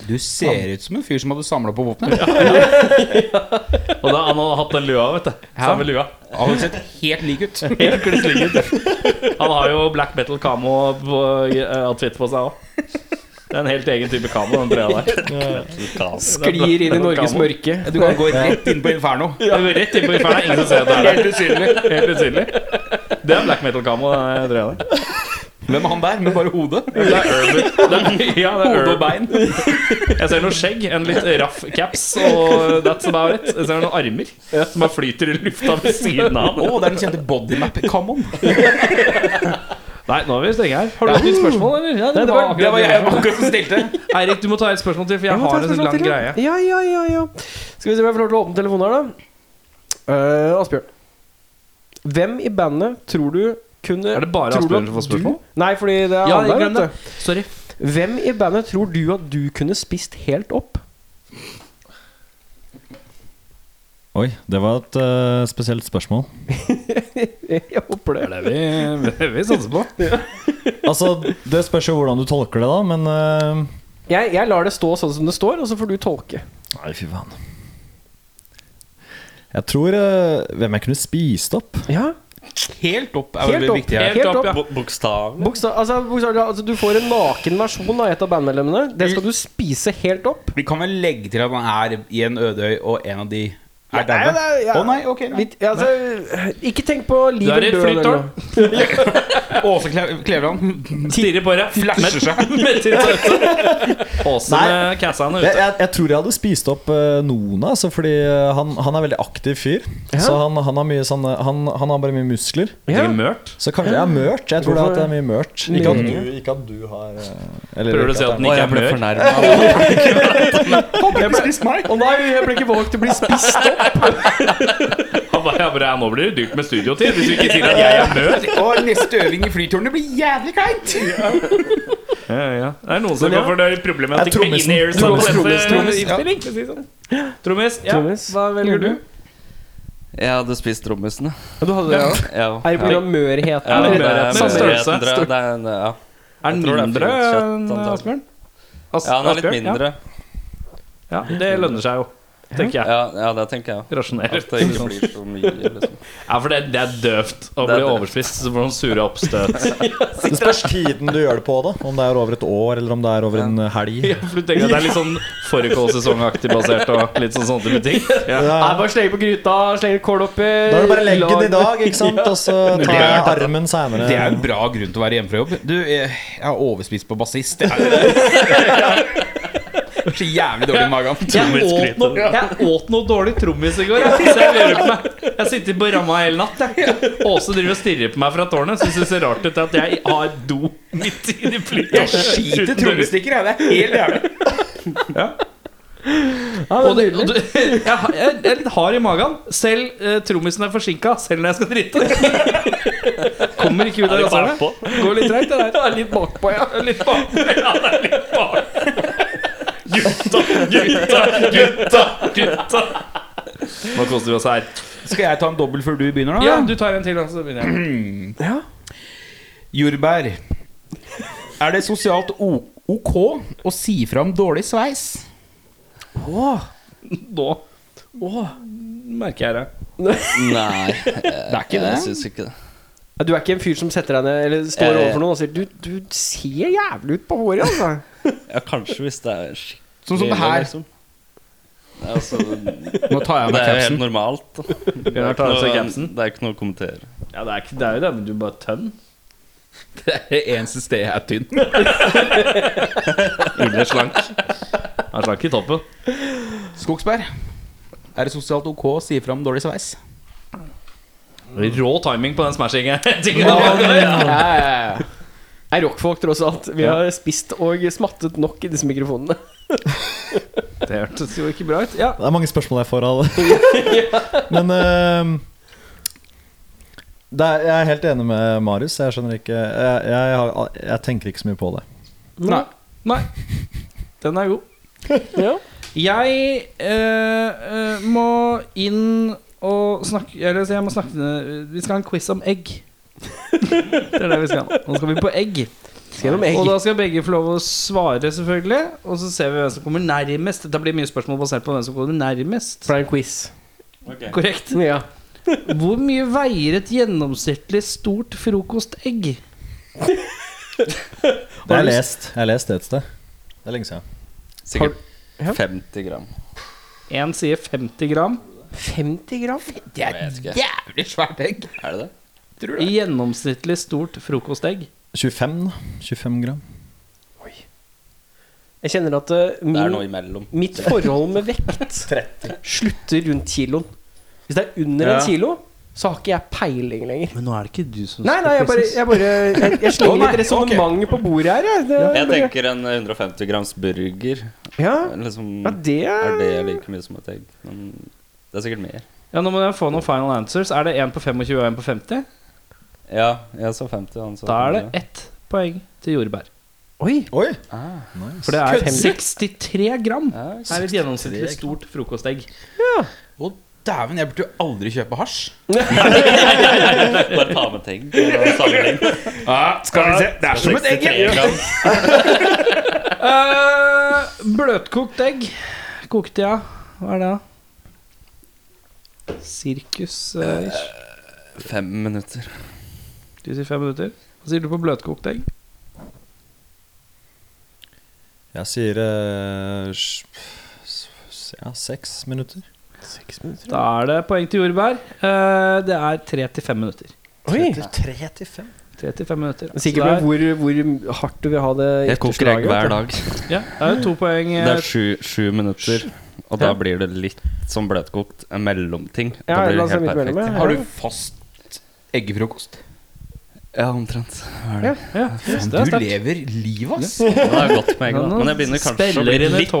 [SPEAKER 3] Du ser ut som en fyr som hadde samla på våpenet.
[SPEAKER 2] Og da han hadde hatt den lua, vet du. Samme lua.
[SPEAKER 3] Han hadde sett helt lik ut.
[SPEAKER 2] Helt kliss lik ut. Han har jo black metal camo på eh, outfit på seg òg. Det er en helt egen type camo, den breda der.
[SPEAKER 1] Sklir inn i Norges mørke.
[SPEAKER 3] Du kan gå rett inn på Inferno.
[SPEAKER 2] Ja. Rett innpå inferno. Ingen som ser at det er der. Helt usynlig. Helt usynlig. Det er black metal camo, den breda der.
[SPEAKER 3] Hvem er han der, med bare hodet?
[SPEAKER 2] Det er urban. Det er, ja, det er
[SPEAKER 3] Hode og
[SPEAKER 2] urban.
[SPEAKER 3] bein.
[SPEAKER 2] Jeg ser noe skjegg, en litt raff caps, og that's about it. Jeg ser noen armer som bare flyter i lufta ved siden
[SPEAKER 3] Å,
[SPEAKER 2] av. han.
[SPEAKER 3] det er den kjente bodymap-kammoen.
[SPEAKER 2] Nei, nå er vi strenge her. Har du hatt et spørsmål, eller? Ja,
[SPEAKER 1] Nei, det var-
[SPEAKER 2] akkurat
[SPEAKER 3] Det var jeg akkurat som stilte.
[SPEAKER 2] Eirik, du må ta et spørsmål til, for jeg,
[SPEAKER 1] må ta
[SPEAKER 2] har
[SPEAKER 1] et
[SPEAKER 2] en sånn
[SPEAKER 1] spørsmål
[SPEAKER 2] lang
[SPEAKER 1] til, ja.
[SPEAKER 2] greie.
[SPEAKER 1] Ja, ja, ja, ja. Skal vi se om jeg får lov til å åpne telefonen her, da. Eh, Asbjørn. Hvem i bandet tror du kunne
[SPEAKER 2] Er det bare
[SPEAKER 1] tror du
[SPEAKER 2] Asbjørn
[SPEAKER 1] at
[SPEAKER 2] som får
[SPEAKER 1] du-
[SPEAKER 2] spørsmål?
[SPEAKER 1] Nei, fordi det er
[SPEAKER 2] Ja,
[SPEAKER 1] alle
[SPEAKER 2] glem
[SPEAKER 1] vet
[SPEAKER 2] det. Sorry.
[SPEAKER 1] du. Hvem i bandet tror du at du kunne spist helt opp?
[SPEAKER 6] Oi, det var et eh, spesielt spørsmål.
[SPEAKER 1] Jeg håper det.
[SPEAKER 2] Det er det vi, det er det vi satser på.
[SPEAKER 6] Altså, Det spørs jo hvordan du tolker det, da, men eh,
[SPEAKER 1] Jeg, jeg lar det stå sånn som det står, og så får du tolke.
[SPEAKER 6] Nei, fy faen. Jeg tror eh, Hvem jeg kunne spist opp?
[SPEAKER 1] Ja,
[SPEAKER 3] Helt opp er
[SPEAKER 1] Helt
[SPEAKER 3] veldig
[SPEAKER 1] opp.
[SPEAKER 3] viktig her.
[SPEAKER 1] Helt opp, ja.
[SPEAKER 5] Bokstavelig.
[SPEAKER 1] Boksta- altså, bokstavelig altså, Du får en naken versjon av et av bandmedlemmene. Det skal du spise helt opp.
[SPEAKER 3] Vi kan vel legge til at man er i en ødøy, og en av de er
[SPEAKER 1] Nei,
[SPEAKER 3] daua.
[SPEAKER 1] nei, ja.
[SPEAKER 3] Å nei, ok. Nei.
[SPEAKER 1] Litt, altså, ikke tenk på liv
[SPEAKER 2] Du er i
[SPEAKER 1] eller død. eller
[SPEAKER 2] flyttårn.
[SPEAKER 1] noe.
[SPEAKER 3] Åse Kle- Kleveland.
[SPEAKER 2] Stirrer på deg.
[SPEAKER 3] Flasher seg.
[SPEAKER 2] Åsen
[SPEAKER 6] Nei.
[SPEAKER 2] eh, cassa han
[SPEAKER 6] Jeg,
[SPEAKER 2] ute.
[SPEAKER 6] jeg, jeg tror jeg hadde spist opp eh, noen, altså, fordi eh, han, han er veldig aktiv fyr. Så han, han, har mye sånn, han, han har bare mye muskler.
[SPEAKER 1] Ja.
[SPEAKER 2] Blir mørt.
[SPEAKER 6] Så kanskje jeg er mørt. Jeg tror det er, at det er mye mørt. Ikke at du, ikke at du har eh, eller
[SPEAKER 2] Prøver du å si
[SPEAKER 6] ikke at
[SPEAKER 2] at den
[SPEAKER 6] jeg-
[SPEAKER 5] Å,
[SPEAKER 2] ikke
[SPEAKER 5] jeg
[SPEAKER 2] er
[SPEAKER 5] ble
[SPEAKER 2] mør?
[SPEAKER 5] fornærma.
[SPEAKER 1] Å nei, jeg ble ikke valgt til å bli spist opp!
[SPEAKER 2] Han bare, jeg bare, nå blir det dyrt med studiotid hvis du ikke sier at jeg er mør.
[SPEAKER 3] Og neste øving i flytårnet blir jævlig kleint!
[SPEAKER 2] Ja, ja. Det er noen som går for det problematikk
[SPEAKER 6] Det er
[SPEAKER 2] med
[SPEAKER 6] trommisen.
[SPEAKER 2] in-ear
[SPEAKER 6] Trommis,
[SPEAKER 2] soundsetter-
[SPEAKER 3] trommis, ja.
[SPEAKER 2] innspilling, for å si det sånn. Trommis, ja.
[SPEAKER 1] Trommis.
[SPEAKER 2] hva velger du?
[SPEAKER 5] Jeg hadde spist trommisen, ja.
[SPEAKER 1] Ja, du hadde det, ja.
[SPEAKER 5] ja.
[SPEAKER 1] Er det pga. mørheten?
[SPEAKER 5] Ja,
[SPEAKER 1] eller?
[SPEAKER 5] det er
[SPEAKER 2] Samme
[SPEAKER 5] mørheten,
[SPEAKER 2] størrelse.
[SPEAKER 5] tror jeg. Det er en-
[SPEAKER 2] Er den
[SPEAKER 5] ja. Jeg tror det er
[SPEAKER 2] mindre
[SPEAKER 5] fint kjøtt,
[SPEAKER 2] enn
[SPEAKER 5] antagelig.
[SPEAKER 2] Asbjørn? As-
[SPEAKER 5] ja, den er litt
[SPEAKER 2] Asbjørn, ja.
[SPEAKER 5] mindre.
[SPEAKER 2] Ja, det lønner seg jo, tenker jeg.
[SPEAKER 5] Ja, ja det tenker jeg.
[SPEAKER 2] Rasjonelt.
[SPEAKER 5] At det ikke blir så mye, liksom.
[SPEAKER 2] Ja, for det, det er døvt å
[SPEAKER 5] Det er
[SPEAKER 2] bli
[SPEAKER 5] døvt.
[SPEAKER 2] overspist. Så får man sure oppstøt.
[SPEAKER 6] Det spørs tiden du gjør det på, da. Om det er over et år, eller om det er over en eh, helg.
[SPEAKER 2] Ja, for du tenker at det er litt sånn fårikålsesongaktig basert og litt sånn sånne type ting.
[SPEAKER 1] Nei, bare slenge på gryta, slenge kål oppi
[SPEAKER 6] Da er det bare leggen i dag, ikke sant? Og så tar jeg armen seinere.
[SPEAKER 3] Det er en bra grunn til å være hjemme fra jobb. Du, jeg jeg har overspist på bassist. Det er så jævlig dårlig i magen.
[SPEAKER 2] Jeg åt, noe, jeg åt noe dårlig trommis i går. Jeg, så jeg lurer på meg Jeg sitter på ramma hele natt. Jeg. Åse driver og stirrer på meg fra tårnet. Syns det ser rart ut at jeg har do midt i det
[SPEAKER 3] Jeg skiter trommestikker, jeg. Det er helt jævlig.
[SPEAKER 2] Og det, og det, jeg, jeg er litt hard i magen. Selv eh, trommisen er forsinka, selv når jeg skal drite. Kommer ikke ut av rasshølet. Går litt treigt, det der. Litt bakpå, ja. Litt bakpå, ja, det er litt bak. Gutta, gutta, gutta, gutta. Nå koster vi oss her.
[SPEAKER 3] Skal jeg ta en dobbel før du begynner, da?
[SPEAKER 2] Ja, du tar en til, da, så begynner jeg.
[SPEAKER 3] Jordbær. Er det sosialt o- ok å si fra om dårlig sveis?
[SPEAKER 2] Nå Åh, merker jeg det.
[SPEAKER 5] Nei,
[SPEAKER 3] Det er ikke det.
[SPEAKER 5] jeg syns ikke det.
[SPEAKER 1] Ja, Du er ikke en fyr som setter deg ned eller står
[SPEAKER 5] Eh.
[SPEAKER 1] overfor noen og sier du, du ser jævlig ut på håret, altså.
[SPEAKER 5] Ja, kanskje hvis det er skikkelig
[SPEAKER 3] Sånn som det her.
[SPEAKER 5] liksom. Det er, altså, det
[SPEAKER 3] Nå tar jeg av meg
[SPEAKER 5] er jo helt
[SPEAKER 3] capsen.
[SPEAKER 5] normalt. da. Det er
[SPEAKER 2] Bjørnar
[SPEAKER 5] ikke
[SPEAKER 2] tar av seg
[SPEAKER 5] noe,
[SPEAKER 2] capsen.
[SPEAKER 5] det er ikke noe å kommentere.
[SPEAKER 2] Ja, det er, ikke- det er jo det, men du er bare tønn.
[SPEAKER 3] Det er det eneste stedet jeg er tynn.
[SPEAKER 2] Ille slank. Er slank i toppen.
[SPEAKER 3] Skogsberg. Er det sosialt ok å si fra om dårlig sveis?
[SPEAKER 2] Rå timing på den smashingen.
[SPEAKER 1] Er rockfolk tross alt. Vi har spist og smattet nok i disse mikrofonene.
[SPEAKER 2] Det hørtes jo ikke bra ut. Ja.
[SPEAKER 6] Det er mange spørsmål jeg får av det. Men eh, det er, jeg er helt enig med Marius. Jeg skjønner ikke jeg, jeg, har- jeg tenker ikke så mye på det.
[SPEAKER 2] Nei. Nei. Den er god.
[SPEAKER 1] Ja.
[SPEAKER 2] Jeg eh, eh, må inn og snakke Eller så jeg må snakke Vi skal ha en quiz om egg. Det er det vi skal. ha. Nå skal vi på egg.
[SPEAKER 1] Skal gjennom egg.
[SPEAKER 2] Og da skal begge få lov å svare, selvfølgelig. Og så ser vi hvem som kommer nærmest. Dette blir mye spørsmål basert på hvem som kommer nærmest.
[SPEAKER 1] For det er en quiz.
[SPEAKER 2] Korrekt.
[SPEAKER 1] Ja.
[SPEAKER 2] Hvor mye veier et gjennomsnittlig stort frokostegg?
[SPEAKER 6] Det har jeg lest. Jeg har lest det et sted. Det er lenge siden.
[SPEAKER 5] Sikkert
[SPEAKER 1] Ja.
[SPEAKER 5] 50 gram.
[SPEAKER 2] Én sier 50 gram.
[SPEAKER 1] 50 gram?
[SPEAKER 3] Det er et jævlig svært egg.
[SPEAKER 5] Er det det?
[SPEAKER 2] I gjennomsnittlig stort frokostegg.
[SPEAKER 6] 25, da. 25 gram.
[SPEAKER 1] Jeg kjenner at eh,
[SPEAKER 5] Det er
[SPEAKER 1] min,
[SPEAKER 5] noe imellom.
[SPEAKER 1] mitt forhold med vekt slutter rundt kiloen. Hvis det er under en kilo, så har ikke jeg peiling lenger.
[SPEAKER 2] Men nå er det ikke du som
[SPEAKER 1] Nei, nei, jeg bare Jeg, bare, jeg, jeg slenger litt resonnement på bordet her, jeg. Det,
[SPEAKER 5] Jeg tenker en 150 grams burger.
[SPEAKER 1] ja.
[SPEAKER 5] Liksom,
[SPEAKER 1] ja, det
[SPEAKER 5] er det like mye som et egg? Men det er sikkert mer.
[SPEAKER 2] Ja, Nå må jeg få noen final answers. Er det én på 25 og én på 50?
[SPEAKER 5] Ja, jeg sa 50. Han sa
[SPEAKER 2] Da er det ett poeng til jordbær.
[SPEAKER 1] Oi!
[SPEAKER 6] Oi!
[SPEAKER 5] Ah.
[SPEAKER 6] Nice.
[SPEAKER 2] For det er
[SPEAKER 1] Kødder.
[SPEAKER 2] 63 gram.
[SPEAKER 5] Ja,
[SPEAKER 2] Det er et gjennomsnittlig stort frokostegg.
[SPEAKER 3] Og Dæven, jeg burde jo aldri kjøpe hasj.
[SPEAKER 5] Bare ta med ting. og sammenligne.
[SPEAKER 3] skal vi se. Det er som et egg.
[SPEAKER 5] 63 gram.
[SPEAKER 2] Eh, bløtkokt egg kokte jeg. Hva er det, da? Sirkus eh, ish.
[SPEAKER 7] Fem minutter.
[SPEAKER 2] Du sier fem minutter. Hva sier du på bløtkokt egg?
[SPEAKER 6] Jeg sier eh, sj- s- ja, seks minutter.
[SPEAKER 2] Da er det poeng til jordbær. Eh, det er tre til fem minutter.
[SPEAKER 1] Oi!
[SPEAKER 2] Tre til fem minutter.
[SPEAKER 1] Sikkert
[SPEAKER 2] Så
[SPEAKER 1] med hvor, hvor hardt du vil ha det
[SPEAKER 5] Jeg koker egg hver dag.
[SPEAKER 2] det er- Ja, det er jo to poeng. eh,
[SPEAKER 5] Det er sju, sju minutter, og da
[SPEAKER 2] Ja.
[SPEAKER 5] blir det litt som bløtkokt. En mellomting.
[SPEAKER 1] Ja,
[SPEAKER 5] Da blir
[SPEAKER 1] la
[SPEAKER 5] det
[SPEAKER 1] oss ha midt
[SPEAKER 5] helt
[SPEAKER 1] mellom, ja.
[SPEAKER 5] perfekt.
[SPEAKER 3] Har du fast eggefrokost?
[SPEAKER 5] Ja, omtrent. Er det.
[SPEAKER 2] ja, ja, det er
[SPEAKER 3] Du
[SPEAKER 2] sterkt.
[SPEAKER 3] lever livet, ass.
[SPEAKER 5] Ja, det er godt med egg, da. Men jeg begynner kanskje å bli litt lei nå.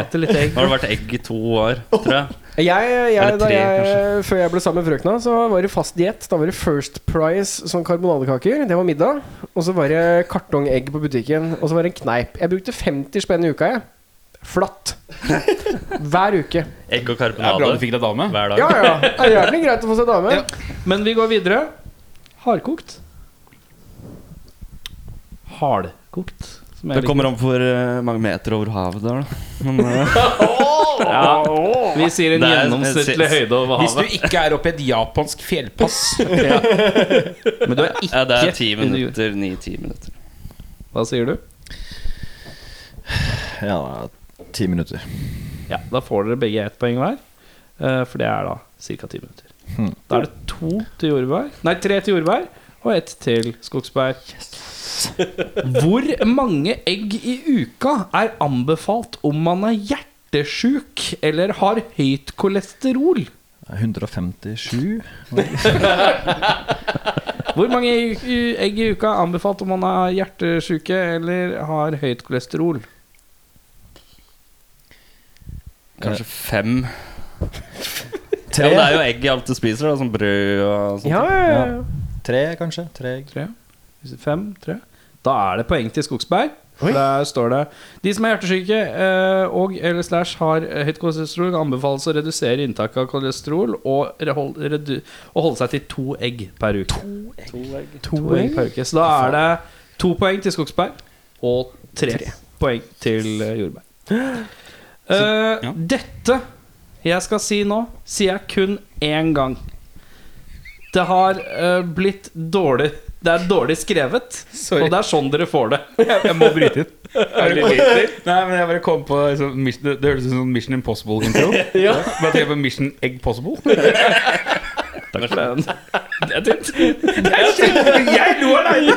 [SPEAKER 2] eter litt egg.
[SPEAKER 5] Nå har det vært egg i to år, tror jeg.
[SPEAKER 1] Jeg, jeg,
[SPEAKER 5] Eller
[SPEAKER 1] da
[SPEAKER 5] tre,
[SPEAKER 1] jeg,
[SPEAKER 5] kanskje.
[SPEAKER 1] før jeg ble sammen med frøkna, så var det fast diett. Da var det First Price som karbonadekaker. Det var middag. Og så var det kartongegg på butikken. Og så var det en kneip. Jeg brukte 50 spenn i uka, jeg. Flatt. Hver uke.
[SPEAKER 5] Egg og
[SPEAKER 3] Det er bra du
[SPEAKER 5] karbonade
[SPEAKER 3] fikk deg dame.
[SPEAKER 5] hver dag.
[SPEAKER 1] Ja, ja. Det er jævlig greit å få seg dame.
[SPEAKER 2] Men vi går videre. Hardkokt. Hardkokt. Som jeg
[SPEAKER 5] Det
[SPEAKER 2] liker.
[SPEAKER 5] kommer an på hvor eh, mange meter over havet det er, da. Men, eh,
[SPEAKER 2] Ja, vi sier en
[SPEAKER 5] Det er-
[SPEAKER 2] gjennomsnittlig høyde over
[SPEAKER 3] Hvis du
[SPEAKER 2] havet.
[SPEAKER 3] ikke er oppe i et japansk fjellpass. Men du er ikke
[SPEAKER 5] ja, det er ti
[SPEAKER 2] Ikke under jord.
[SPEAKER 5] minutter. Ni-ti minutter.
[SPEAKER 2] Hva sier du?
[SPEAKER 6] Ja, ti minutter.
[SPEAKER 2] Ja, Da får dere begge ett poeng hver. eh, For det er da ca. ti minutter. Da er det to til jordbær Nei, tre til jordbær og ett til skogsbær. Hvor mange egg i uka er anbefalt om man er hjertesjuk eller har høyt kolesterol?
[SPEAKER 6] 157.
[SPEAKER 2] Hvor mange egg i- egg i uka er anbefalt om man er hjertesjuke eller har høyt kolesterol?
[SPEAKER 5] Kanskje fem. Ja,
[SPEAKER 6] Tre,
[SPEAKER 5] men det er jo egg i alt du spiser, da, som brød og sånn. sånt.
[SPEAKER 1] Ja, ja, ja.
[SPEAKER 6] tre kanskje? Tre egg.
[SPEAKER 2] Tre? Fem? Tre? Da er det poeng til Skogsberg. For der står det De som er hjertesyke eh, og eller slash har høyt kolesterol, kan anbefales å redusere inntaket av kolesterol og, rehold, redu, og holde seg til to egg per uke. To egg, to egg per uke. Så da er det to poeng til Skogsberg og tre, poeng til eh, jordbær. Eh, Dette jeg skal si nå, sier jeg kun én gang. Det har eh, blitt dårlig Det er dårlig skrevet, og det er sånn dere får det.
[SPEAKER 3] Jeg må bryte inn. Nei, men jeg bare kom på liksom, Mission- Det det hørtes ut som Mission Impossible-intro. ja. Bare tenk på Mission Egg Possible.
[SPEAKER 5] Takk for det.
[SPEAKER 2] Det er tynt.
[SPEAKER 3] Jeg lo aleine!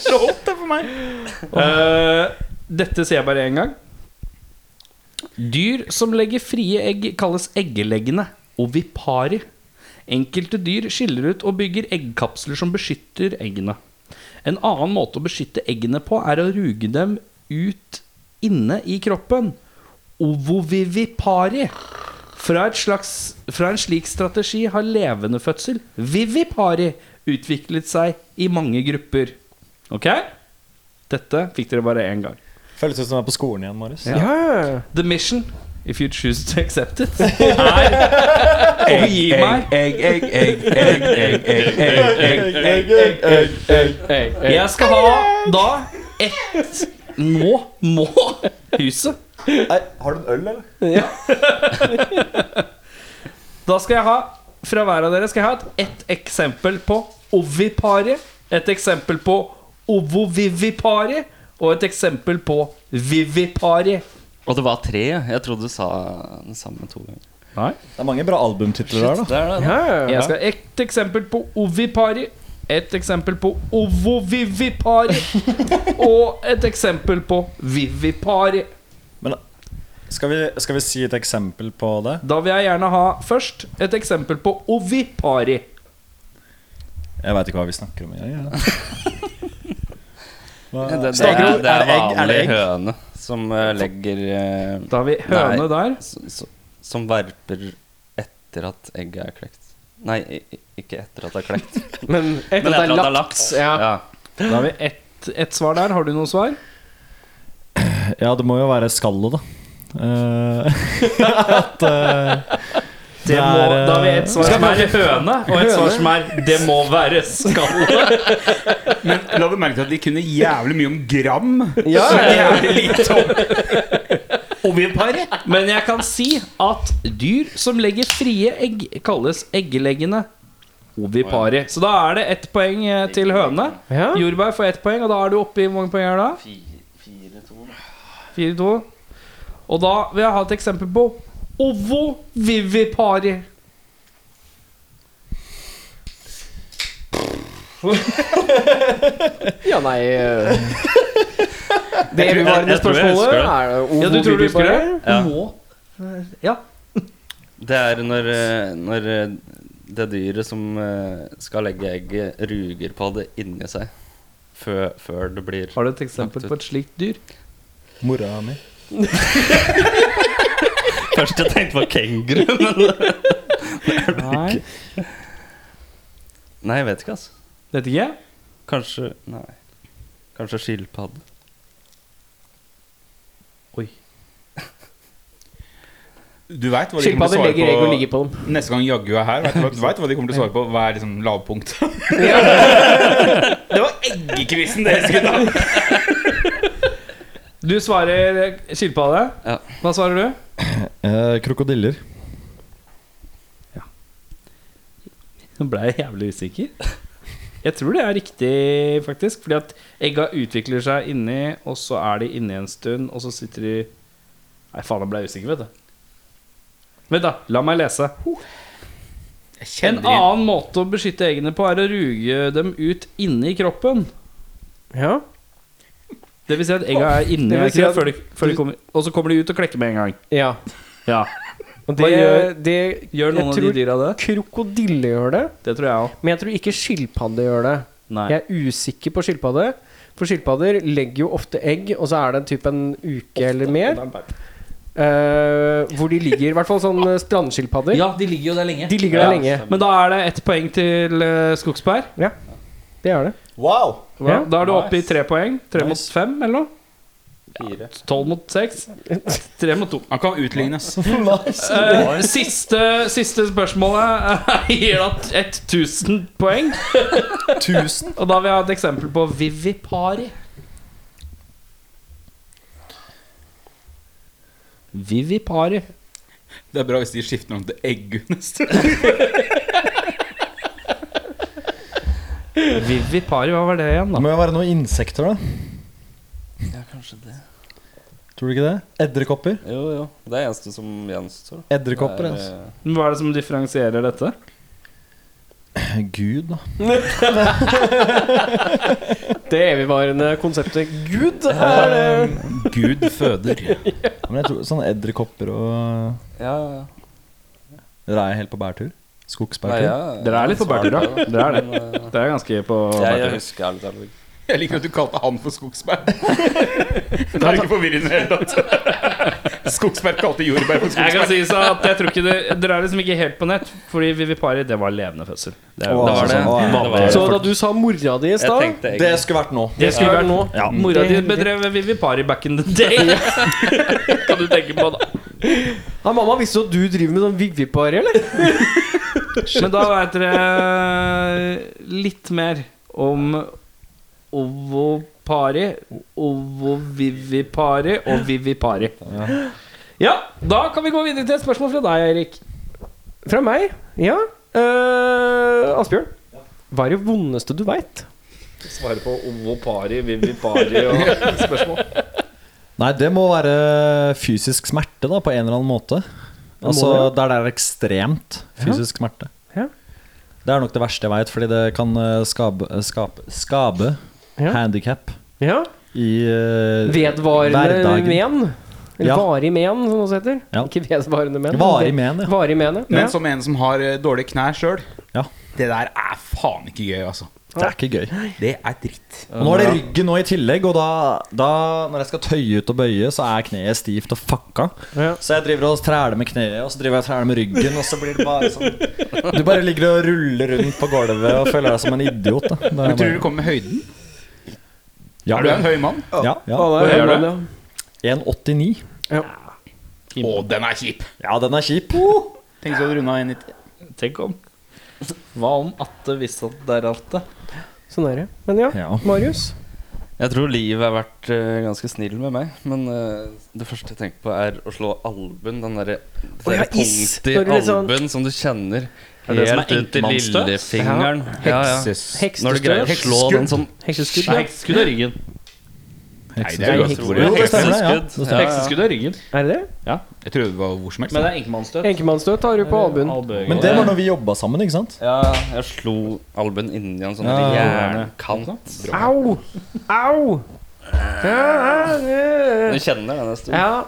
[SPEAKER 3] Så holdt det for meg.
[SPEAKER 2] Eh, dette sier jeg bare én gang. Dyr som legger frie egg, kalles eggeleggende. Ovipari. Enkelte dyr skiller ut og bygger eggkapsler som beskytter eggene. En annen måte å beskytte eggene på er å ruge dem ut inne i kroppen. Ovovivipari. Fra, et slags, fra en slik strategi har levende fødsel, vivipari, utviklet seg i mange grupper. Ok? Dette fikk dere bare én gang.
[SPEAKER 6] Føles ut som jeg er på skolen igjen, Marius.
[SPEAKER 1] ja. ja.
[SPEAKER 2] The mission, if you choose to accept it, er å gi meg
[SPEAKER 3] Egg, egg, egg, egg, egg, egg, egg, egg, egg.
[SPEAKER 2] Jeg skal ha da ett Nå må huset.
[SPEAKER 6] Har du en øl, eller?
[SPEAKER 2] Da skal jeg ha fra hver av dere skal jeg ha et, ett eksempel på ovipari, et eksempel på ovovivipari og et eksempel på vivipari.
[SPEAKER 5] Og det var tre. ja. Jeg trodde du sa den samme to ganger.
[SPEAKER 6] Det er mange bra albumtitler der, da.
[SPEAKER 5] Der, da.
[SPEAKER 2] Jeg skal ha ett eksempel på ovipari, et eksempel på ovovivipari og et eksempel på vivipari.
[SPEAKER 6] Men skal vi, skal vi si et eksempel på det?
[SPEAKER 2] Da vil jeg gjerne ha først et eksempel på ovipari.
[SPEAKER 6] Jeg veit ikke hva vi snakker om engang. jeg. Hva-
[SPEAKER 5] Det, det,
[SPEAKER 6] Snakker
[SPEAKER 5] er,
[SPEAKER 6] om-
[SPEAKER 5] det er
[SPEAKER 6] egg? Er
[SPEAKER 5] vanlig
[SPEAKER 6] det egg?
[SPEAKER 5] høne som eh, legger eh,
[SPEAKER 2] Da har vi høne der.
[SPEAKER 5] s- s- Som verper etter at egget er klekt. Nei, i- i- ikke etter at det er klekt.
[SPEAKER 1] Men etter
[SPEAKER 5] Men
[SPEAKER 1] at det er lagt
[SPEAKER 5] laks.
[SPEAKER 1] ja.
[SPEAKER 5] Ja.
[SPEAKER 2] Da har vi ett et svar der. Har du noe svar?
[SPEAKER 6] Ja, det må jo være skallet, da. Eh, at eh,
[SPEAKER 8] Det må,
[SPEAKER 6] er, eh,
[SPEAKER 8] da har vi ett svar som er høne, og et svar som er 'det må være skalle'.
[SPEAKER 3] Men la du merke til at de kunne jævlig mye om gram?
[SPEAKER 1] Ja,
[SPEAKER 3] Så jævlig lite om
[SPEAKER 2] Men jeg kan si at dyr som legger frie egg, kalles eggeleggende. Ovipari. Så da er det ett poeng eh, til høne.
[SPEAKER 1] Ja.
[SPEAKER 2] Jordbær får ett poeng, og da er du oppe i hvor mange poeng er det da? Fire, to. Og da vil jeg ha et eksempel på ovovivipari.
[SPEAKER 1] ja nei eh, Det
[SPEAKER 5] Jeg tror- jeg-
[SPEAKER 1] evigvarende
[SPEAKER 5] jeg tror jeg
[SPEAKER 1] spørsmålet
[SPEAKER 5] husker det.
[SPEAKER 1] er det
[SPEAKER 2] Ja, du tror du husker det?
[SPEAKER 5] Ja.
[SPEAKER 2] Du må. Ja.
[SPEAKER 5] Det er når, eh, når eh, det dyret som eh, skal legge egget, ruger på det inni seg før, før det blir
[SPEAKER 2] Har du et eksempel på et slikt dyr?
[SPEAKER 6] Mora mi.
[SPEAKER 5] Først jeg tenkte på kenguru, men
[SPEAKER 2] Nei.
[SPEAKER 5] Nei, jeg vet ikke, altså.
[SPEAKER 2] Vet ikke.
[SPEAKER 5] Kanskje Nei. Kanskje skilpadde.
[SPEAKER 3] Du vet hva de kommer
[SPEAKER 1] Skilpadder
[SPEAKER 3] til å
[SPEAKER 1] legger egg og
[SPEAKER 3] svare
[SPEAKER 1] ligger på dem.
[SPEAKER 3] på neste gang Jaggu er her. Vet du, hva- du vet hva de kommer til å svare på? Hva er liksom lavpunkt? det var eggekvissen dere skulle ta!
[SPEAKER 2] Du svarer eh, skilpadde.
[SPEAKER 5] Ja.
[SPEAKER 2] Hva svarer du?
[SPEAKER 6] Eh, krokodiller.
[SPEAKER 2] Nå ble jeg jævlig usikker. Jeg tror det er riktig, faktisk. Fordi at egga utvikler seg inni, og så er de inni en stund, og så sitter de Nei, faen, nå ble jeg usikker, vet du. Vent, da. La meg lese. En annen måte å beskytte eggene på er å ruge dem ut inni kroppen.
[SPEAKER 1] Ja.
[SPEAKER 2] Det vil si at egga er inni
[SPEAKER 1] Det vil si
[SPEAKER 2] kroppen
[SPEAKER 1] at
[SPEAKER 2] før de, før de kommer, og så kommer de ut og klekker med en gang.
[SPEAKER 1] ja.
[SPEAKER 2] Ja.
[SPEAKER 1] Og
[SPEAKER 2] Hva
[SPEAKER 1] det,
[SPEAKER 2] gjør-
[SPEAKER 1] det
[SPEAKER 2] Gjør noen
[SPEAKER 1] jeg
[SPEAKER 2] av de
[SPEAKER 1] tror
[SPEAKER 2] dyra det?
[SPEAKER 1] Krokodille gjør det,
[SPEAKER 2] Det tror jeg òg.
[SPEAKER 1] men jeg tror ikke skilpadde gjør det.
[SPEAKER 2] Nei.
[SPEAKER 1] Jeg er usikker på skilpadde. For skilpadder legger jo ofte egg, og så er det typ en uke eller mer. eh, hvor de ligger, i hvert fall sånn eh, strandskilpadder.
[SPEAKER 8] Ja, de ligger jo der lenge.
[SPEAKER 1] De ligger der lenge.
[SPEAKER 2] Men da er det ett poeng til eh, Skogsberg.
[SPEAKER 1] Det er det.
[SPEAKER 8] Wow!
[SPEAKER 2] Ja,
[SPEAKER 1] Ja.
[SPEAKER 2] da er du oppe i tre poeng. Tre
[SPEAKER 6] Nice.
[SPEAKER 2] mot fem, eller noe?
[SPEAKER 8] Fire.
[SPEAKER 2] Tolv mot seks. Tre mot to.
[SPEAKER 3] Han kan utlignes.
[SPEAKER 2] Eh, siste, siste spørsmålet eh, gir da 1000 poeng.
[SPEAKER 6] 1000?
[SPEAKER 2] Og da vil jeg ha et eksempel på Vivipari. Vivipari.
[SPEAKER 3] Det er bra hvis de skifter navn til Eggu neste.
[SPEAKER 2] Vivipari, hva var det igjen,
[SPEAKER 6] Det
[SPEAKER 2] da?
[SPEAKER 6] må jo være noen insekter, da. Ja, kanskje det. Tror du ikke det? Edderkopper.
[SPEAKER 5] Jo, jo. Det er eneste som gjenstår. eh,
[SPEAKER 6] Edderkopper, altså.
[SPEAKER 2] Men Hva er det som differensierer dette?
[SPEAKER 6] Gud, da.
[SPEAKER 1] Det evigvarende konseptet Gud er eh,
[SPEAKER 3] Gud føder.
[SPEAKER 6] Ja, Men jeg tror Sånne edderkopper og
[SPEAKER 5] Ja, ja.
[SPEAKER 6] Dere er helt på bærtur?
[SPEAKER 5] Nei,
[SPEAKER 6] Skogsbærtur?
[SPEAKER 2] Dere er litt på bærtur, da. Dere er det. Det er ganske på
[SPEAKER 5] Jeg, jeg husker ærlig talt ikke.
[SPEAKER 3] Jeg liker at du kalte han for Skogsberg. Det er ikke forvirrende i det hele tatt. Skogsberg kalte jordbær for
[SPEAKER 2] Jeg kan
[SPEAKER 3] Skogsberg.
[SPEAKER 2] si så at jeg tror ikke det, Dere er liksom ikke helt på nett, fordi Vivipari, det var levende fødsel. Det, er jo-
[SPEAKER 6] Åh,
[SPEAKER 5] Det var det.
[SPEAKER 6] sånn,
[SPEAKER 5] det,
[SPEAKER 6] åh,
[SPEAKER 5] var det.
[SPEAKER 1] Så da du sa mora di i
[SPEAKER 5] Jeg
[SPEAKER 1] stad
[SPEAKER 5] tenkte egentlig
[SPEAKER 6] skulle vært nå.
[SPEAKER 2] det skulle vært
[SPEAKER 1] nå.
[SPEAKER 6] Ja.
[SPEAKER 2] Mora di bedrev Vivipari back in the day. kan du tenke på det?
[SPEAKER 1] Ja, Mamma, visste du at du driver med sånn viggvipari, eller?
[SPEAKER 2] Men da vet dere litt mer om Ovopari, Ovovivipari og Vivipari. Ja, da kan vi gå videre til et spørsmål fra deg, Eirik.
[SPEAKER 1] Fra meg? Ja. Eh, Asbjørn, hva er det vondeste du veit?
[SPEAKER 2] Svare på Ovopari, Vivipari og spørsmål.
[SPEAKER 6] Nei, det må være fysisk smerte, da, på en eller annen måte. Altså der det er ekstremt fysisk smerte.
[SPEAKER 1] Ja.
[SPEAKER 6] Det er nok det verste jeg veit, fordi det kan eh, skabe, skape, skabe
[SPEAKER 1] Ja.
[SPEAKER 6] handikap
[SPEAKER 1] Ja.
[SPEAKER 6] i eh,
[SPEAKER 1] Vedvarende
[SPEAKER 6] hverdagen.
[SPEAKER 1] men. Eller
[SPEAKER 6] Ja.
[SPEAKER 1] varig men, som det også heter.
[SPEAKER 6] Ja.
[SPEAKER 1] Ikke vedvarende men.
[SPEAKER 6] Varig men, ja.
[SPEAKER 1] ja. Varig men, ja.
[SPEAKER 3] Men som en som har eh, dårlige knær sjøl,
[SPEAKER 6] Ja.
[SPEAKER 3] det der er faen ikke gøy, altså.
[SPEAKER 6] Det er ikke gøy.
[SPEAKER 3] Det er dritt.
[SPEAKER 6] Og nå er det ryggen nå i tillegg, og da, da når jeg skal tøye ut og bøye, så er kneet stivt og fucka.
[SPEAKER 1] Ja.
[SPEAKER 6] Så jeg driver og træler med kneet, og så driver jeg og træler med ryggen, og så blir det bare sånn Du bare ligger og ruller rundt på gulvet og føler deg som en idiot. Da. Det er
[SPEAKER 3] Men tror du
[SPEAKER 6] bare-
[SPEAKER 3] det kommer med høyden?
[SPEAKER 6] ja,
[SPEAKER 3] Er du en høy mann?
[SPEAKER 6] Ja, ja.
[SPEAKER 1] Hva
[SPEAKER 3] Hva
[SPEAKER 1] er
[SPEAKER 3] gjør
[SPEAKER 1] det?
[SPEAKER 6] 1,89.
[SPEAKER 3] Å, den er kjip.
[SPEAKER 6] Ja, den er kjip.
[SPEAKER 3] Tenk så du runda 1,90.
[SPEAKER 2] Tenk om. Hva om Atte visste at det er Atte?
[SPEAKER 1] Sånn er det. Men ja,
[SPEAKER 6] Ja.
[SPEAKER 1] Marius.
[SPEAKER 5] Jeg tror livet har vært eh, ganske snill med meg, men eh, det første jeg tenker på, er å slå albuen. Den derre
[SPEAKER 1] Å, ja,
[SPEAKER 5] der
[SPEAKER 1] is.
[SPEAKER 5] punktet i
[SPEAKER 1] Når du liksom-
[SPEAKER 5] albuen som du kjenner
[SPEAKER 2] Er det det som er
[SPEAKER 5] helt ut til
[SPEAKER 2] enkeltmannsstøt?
[SPEAKER 5] lillefingeren. Ja, ja. Når du greier å slå den sånn
[SPEAKER 1] Hekseskudd.
[SPEAKER 2] Nei,
[SPEAKER 1] ja.
[SPEAKER 2] hekseskudd er ryggen.
[SPEAKER 1] hekseskudd.
[SPEAKER 6] Jo, det stemmer, ja.
[SPEAKER 5] Hekseskudd.
[SPEAKER 6] Det stemmer.
[SPEAKER 2] Hekseskudd er ryggen.
[SPEAKER 1] Er det det?
[SPEAKER 3] Jeg trodde det var hvor som helst.
[SPEAKER 2] Men det er enkemannsstøt.
[SPEAKER 1] Enkemannsstøt har du på albuen.
[SPEAKER 6] Men det var når vi jobba sammen, ikke sant?
[SPEAKER 5] Ja, jeg slo albuen inni en sånn
[SPEAKER 6] Ja.
[SPEAKER 5] jernkant.
[SPEAKER 1] Au! Au! Ja, ja,
[SPEAKER 5] Du
[SPEAKER 1] ja.
[SPEAKER 5] kjenner den en stund.
[SPEAKER 1] ja.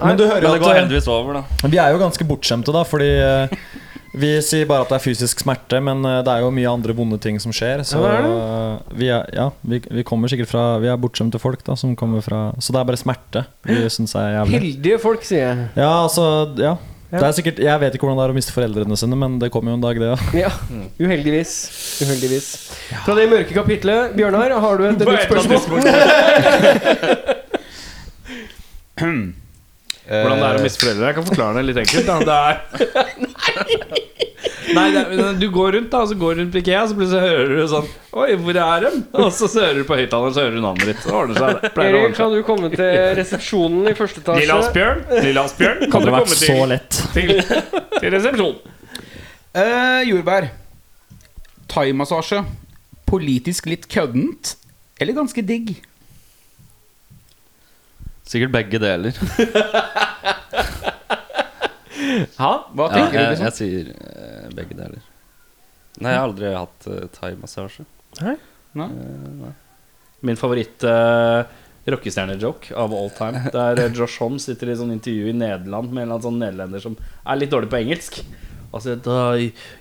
[SPEAKER 6] Men du hører
[SPEAKER 5] Men det går
[SPEAKER 6] at
[SPEAKER 5] heldigvis over, da.
[SPEAKER 6] eh, vi er jo ganske bortskjemte, da, fordi eh, vi sier bare at det er fysisk smerte, men eh, det er jo mye andre vonde ting som skjer. Så
[SPEAKER 1] Ja, det er
[SPEAKER 6] eh, vi er, ja, vi, vi kommer sikkert fra Vi er bortskjemte folk, da, som kommer fra Så det er bare smerte vi syns er jævlig.
[SPEAKER 1] Heldige folk, sier jeg.
[SPEAKER 6] Ja, altså Ja.
[SPEAKER 1] Ja.
[SPEAKER 6] Det er sikkert, jeg vet ikke hvordan det er å miste foreldrene sine, men det kommer jo en dag, det òg.
[SPEAKER 1] Ja,
[SPEAKER 2] Mm.
[SPEAKER 1] uheldigvis. Uheldigvis. Fra det mørke kapitlet, Bjørnar, har du et nytt spørsmål?
[SPEAKER 2] Hvordan det er å miste foreldre? Jeg kan forklare det litt enkelt. Da. Det er Nei, det er, men du går rundt da og så går du rundt på IKEA, og så plutselig hører du sånn Oi, hvor er dem? Og så hører du på høyttaleren, så hører du navnet ditt. Så ordner seg det. Pleier å
[SPEAKER 1] Erik,
[SPEAKER 2] ordne seg.
[SPEAKER 1] kan du komme til resepsjonen i første etasje?
[SPEAKER 2] Lille Asbjørn, Lille Asbjørn, kan
[SPEAKER 6] Det
[SPEAKER 2] dere
[SPEAKER 6] har
[SPEAKER 2] komme
[SPEAKER 6] vært så
[SPEAKER 2] til,
[SPEAKER 6] lett.
[SPEAKER 2] til, til resepsjon?
[SPEAKER 3] Eh, jordbær. Thaimassasje. Politisk litt køddent. Eller ganske digg.
[SPEAKER 5] Sikkert begge deler.
[SPEAKER 3] Hva
[SPEAKER 5] Ja,
[SPEAKER 3] tenker
[SPEAKER 5] jeg,
[SPEAKER 3] du? Liksom?
[SPEAKER 5] jeg sier eh, begge deler. Nei, jeg har aldri hatt uh, thaimassasje.
[SPEAKER 2] Min favoritt uh, rockestjerne-joke av all time. Der eh, Josh Homme sitter i sånn intervju i Nederland med en eller annen sånn nederlender som er litt dårlig på engelsk. Og så da,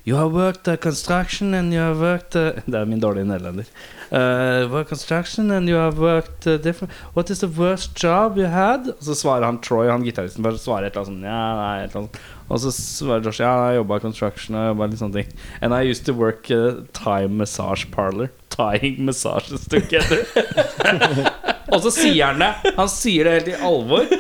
[SPEAKER 2] You have worked uh, construction and you have worked uh, Det er min dårlige nederlender. Uh, work construction and you have worked uh, different What is the worst job you had? Og så svarer han Troy, han gitaristen, bare svarer et eller annet sånn Ja, nei, et eller annet sånt. Og så svarer Josh ja, jeg jobba i construction og jobbet litt sånne ting. And I used to work uh, Thai massage parlor. Tying massages together. og så sier han det. Han sier det helt i alvor.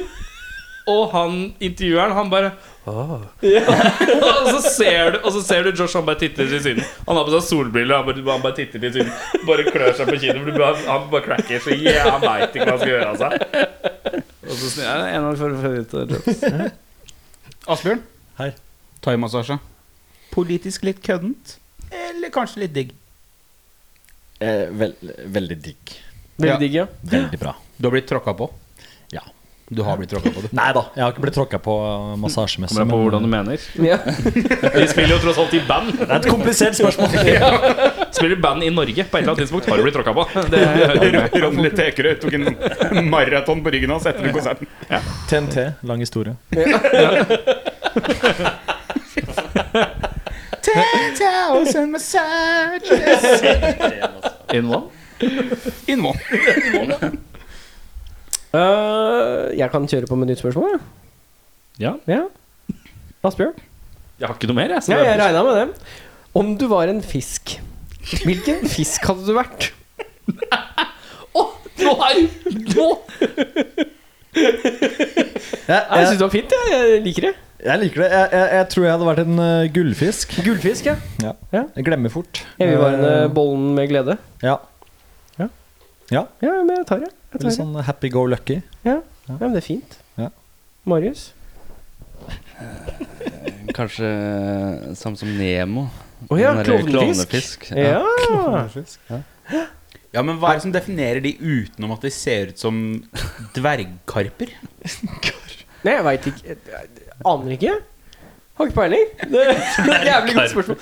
[SPEAKER 2] Og han intervjueren, han bare «Åh». og, så ser du, og så ser du Josh, han bare titter til siden. Han har på seg solbriller, han bare, han bare titter til siden. Bare klør seg på kinnet. for du bare- Han bare cracker så yeah, han veit ikke hva han skal gjøre altså. av seg. Og så snur jeg en av de favoritter.
[SPEAKER 3] Asbjørn?
[SPEAKER 6] Hei.
[SPEAKER 3] Thaimassasje. Politisk litt køddent. Eller kanskje litt digg.
[SPEAKER 6] Eh, vel, veldig digg.
[SPEAKER 1] Veldig digg, ja.
[SPEAKER 6] Veldig bra.
[SPEAKER 3] Du har blitt tråkka på.
[SPEAKER 6] Ja.
[SPEAKER 3] Du har blitt tråkka på, du.
[SPEAKER 6] Nei da, jeg har ikke blitt tråkka på eh, massasjemessig.
[SPEAKER 2] Kommer an på
[SPEAKER 6] men-
[SPEAKER 2] hvordan du mener.
[SPEAKER 1] ja.
[SPEAKER 2] Vi spiller jo tross alt i band.
[SPEAKER 6] Det er et eh, komplisert spørsmål.
[SPEAKER 2] Spiller band i Norge på et eller annet tidspunkt. Har du blitt tråkka på? Det
[SPEAKER 3] Ronny Tekerøy tok en maraton på ryggen hans etter konserten.
[SPEAKER 6] TNT, lang historie.
[SPEAKER 3] Ten thousand massages
[SPEAKER 2] In one?
[SPEAKER 3] In one.
[SPEAKER 1] Øh, jeg kan kjøre på med nytt spørsmål, jeg.
[SPEAKER 2] Ja.
[SPEAKER 1] Ja. Asbjørn?
[SPEAKER 2] Jeg har ikke noe mer, jeg. så
[SPEAKER 1] Ja,
[SPEAKER 2] det-
[SPEAKER 1] jeg regna med det. Om du var en fisk, hvilken fisk hadde du vært?
[SPEAKER 2] Nå er du Nå!
[SPEAKER 6] Jeg,
[SPEAKER 1] Nei, Jeg
[SPEAKER 6] jeg,
[SPEAKER 1] syns det var fint, jeg. Jeg liker det.
[SPEAKER 6] jeg liker det. Jeg, jeg, jeg tror jeg hadde vært en eh, gullfisk.
[SPEAKER 1] Gullfisk, ja.
[SPEAKER 6] Jeg glemmer fort.
[SPEAKER 1] Evigvarende
[SPEAKER 6] Eh,
[SPEAKER 1] bollen med glede.
[SPEAKER 6] ja.
[SPEAKER 1] Ja, men jeg tar det. Jeg tar
[SPEAKER 6] Litt
[SPEAKER 1] det.
[SPEAKER 6] sånn happy go lucky.
[SPEAKER 1] Ja, men det er fint.
[SPEAKER 6] Ja.
[SPEAKER 1] Marius?
[SPEAKER 5] Kanskje eh, samme som Nemo.
[SPEAKER 1] Å ja,
[SPEAKER 5] Den der
[SPEAKER 1] klovnefisk.
[SPEAKER 5] klovnefisk. Ja.
[SPEAKER 1] Ja.
[SPEAKER 3] Ja, men Hva er det som definerer de utenom at de ser ut som dvergkarper?
[SPEAKER 1] Nei, jeg veit ikke. Jeg- jeg Aner ikke. Har ikke peiling. Det er et jævlig godt spørsmål.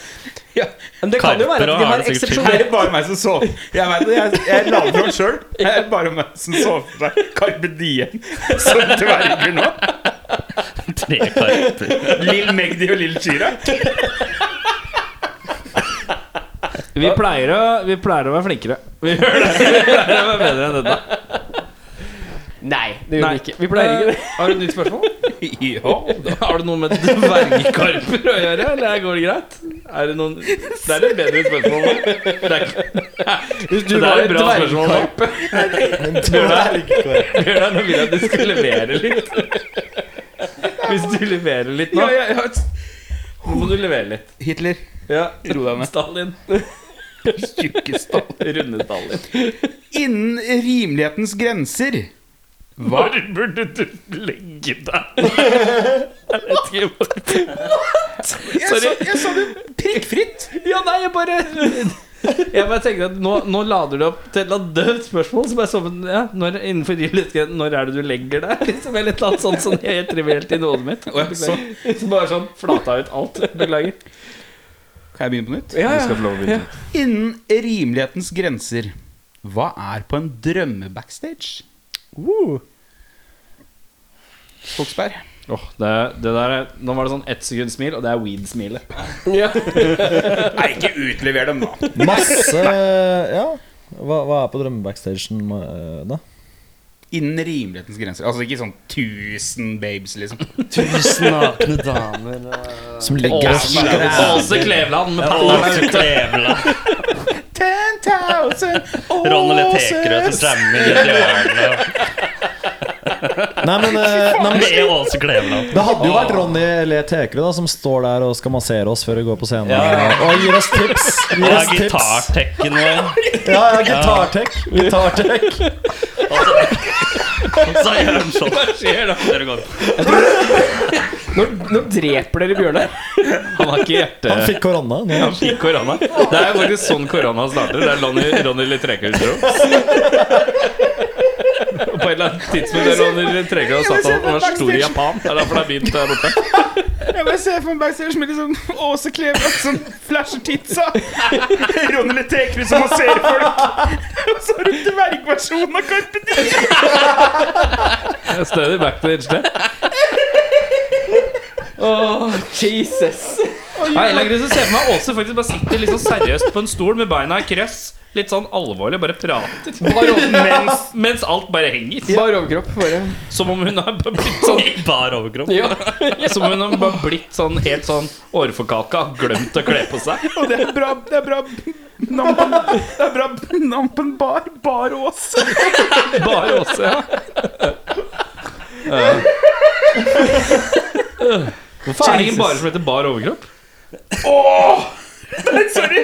[SPEAKER 3] Ja.
[SPEAKER 1] Men det kan jo være at
[SPEAKER 2] Karper
[SPEAKER 1] de
[SPEAKER 2] og
[SPEAKER 1] har
[SPEAKER 2] er det sikkert
[SPEAKER 3] Er
[SPEAKER 1] eksepsjonelle
[SPEAKER 3] det bare meg som så Jeg vet det, jeg, jeg la det fram sjøl. Det er bare meg som så for meg Carpe Diem som dverger nå.
[SPEAKER 9] Tre karper.
[SPEAKER 3] Lill Magdi og Lill Chira.
[SPEAKER 2] Vi pleier, å, vi pleier å være flinkere. Vi gjør det. Vi pleier å være bedre enn dette.
[SPEAKER 1] Nei, det gjør vi ikke. Vi pleier ikke det.
[SPEAKER 2] Eh, Har du et nytt spørsmål? Ja. Har du noe med dvergkarper å gjøre, eller går det greit? Er det noen Det er et bedre spørsmål. nå. Det er, ikke- det er et bra spørsmål. nå. Bjørnar, nå vil jeg at du skal levere litt. Hvis du leverer litt nå
[SPEAKER 3] Ja, jeg, jeg,
[SPEAKER 2] Nå må du levere litt.
[SPEAKER 3] Hitler.
[SPEAKER 2] Ja.
[SPEAKER 3] Ro deg ned.
[SPEAKER 2] Stalin.
[SPEAKER 3] Tjukke Stalin.
[SPEAKER 2] Runde Stalin.
[SPEAKER 3] Innen rimelighetens grenser hva,
[SPEAKER 2] Hvor burde du legge deg? Jeg vet ikke hvor
[SPEAKER 3] jeg, sa, jeg sa det prikkfritt!
[SPEAKER 2] Ja, nei, jeg bare Jeg bare tenkte at nå, nå lader du opp til et eller annet døvt spørsmål. Som er sånn, ja, når, innenfor rimelighetsgrensen, når er det du legger deg? Liksom, eller et eller annet sånt sånn helt trivielt i hodet mitt. Så bare sånn flata ut alt. Beklager.
[SPEAKER 3] Kan jeg begynne på nytt?
[SPEAKER 2] Ja, ja.
[SPEAKER 3] Innen rimelighetens grenser hva er på en drømme-backstage? Uh. Koksberg.
[SPEAKER 2] Åh, det, det der er, nå var det sånn ett sekunds smil, og det er weed-smilet.
[SPEAKER 3] Nei, ikke utlever dem, da.
[SPEAKER 6] Masse eh, Ja. Hva, hva er på drømmebackstagen eh, da?
[SPEAKER 3] Innen rimelighetens grenser. Altså ikke sånn 1000 babes, liksom.
[SPEAKER 5] Tusen nakne damer
[SPEAKER 6] Som ligger og
[SPEAKER 2] Åse Kleveland med panna ute.
[SPEAKER 5] Klevla.
[SPEAKER 3] 10,000
[SPEAKER 5] Ronny litt Tekerød som stemmer i et hjørne.
[SPEAKER 6] Nei, men, eh, nei, men
[SPEAKER 5] Det er Åse Kleveland.
[SPEAKER 6] det hadde jo vært Ronny Le Tekerud da, som står der og skal massere oss før vi går på scenen. Og gir oss tips. Gir
[SPEAKER 5] Ja,
[SPEAKER 6] oss tips.
[SPEAKER 5] gitartekken vår.
[SPEAKER 6] Ja, ja, gitartek. Gitartek.
[SPEAKER 5] Så gjør de sånn. Hva skjer da? Dere går.
[SPEAKER 1] Nå, nå dreper dere Bjørnar.
[SPEAKER 2] Han har ikke hjerte...
[SPEAKER 6] Han fikk korona. Nå.
[SPEAKER 2] Han fikk korona. Det er jo faktisk sånn korona starter. Det er Ronny, Ronny litt Trekhus, tror jeg. Og På et eller annet tidspunkt er Ronny Trekhus satt han og var stor i Japan. Det er derfor det er begynt der borte.
[SPEAKER 3] Jeg bare ser for meg backstage med liksom Åse Kleveland som flasher titsa. Ronny Letekrud som masserer folk. Og så har du dvergversjonen av Carpe Diem.
[SPEAKER 2] Stødig backstage, det.
[SPEAKER 1] Jesus.
[SPEAKER 2] Nei, eller så ser jeg for meg Åse faktisk bare sitter litt sånn seriøst på en stol med beina i krøss. Litt sånn alvorlig, bare prater. Mens, mens alt bare henger.
[SPEAKER 1] Bare overkropp. Bare.
[SPEAKER 2] Som om hun har bare blitt sånn
[SPEAKER 5] Bar overkropp.
[SPEAKER 1] Ja.
[SPEAKER 2] Som om hun har bare blitt sånn helt sånn åreforkalka. Glemt å kle på seg.
[SPEAKER 3] Og det er bra Det er bra navn på en- Det er bra navn på en bar. Bar Åse.
[SPEAKER 2] Bare Åse, ja. Hvorfor er det ingen bare som heter bar overkropp?
[SPEAKER 3] Sorry.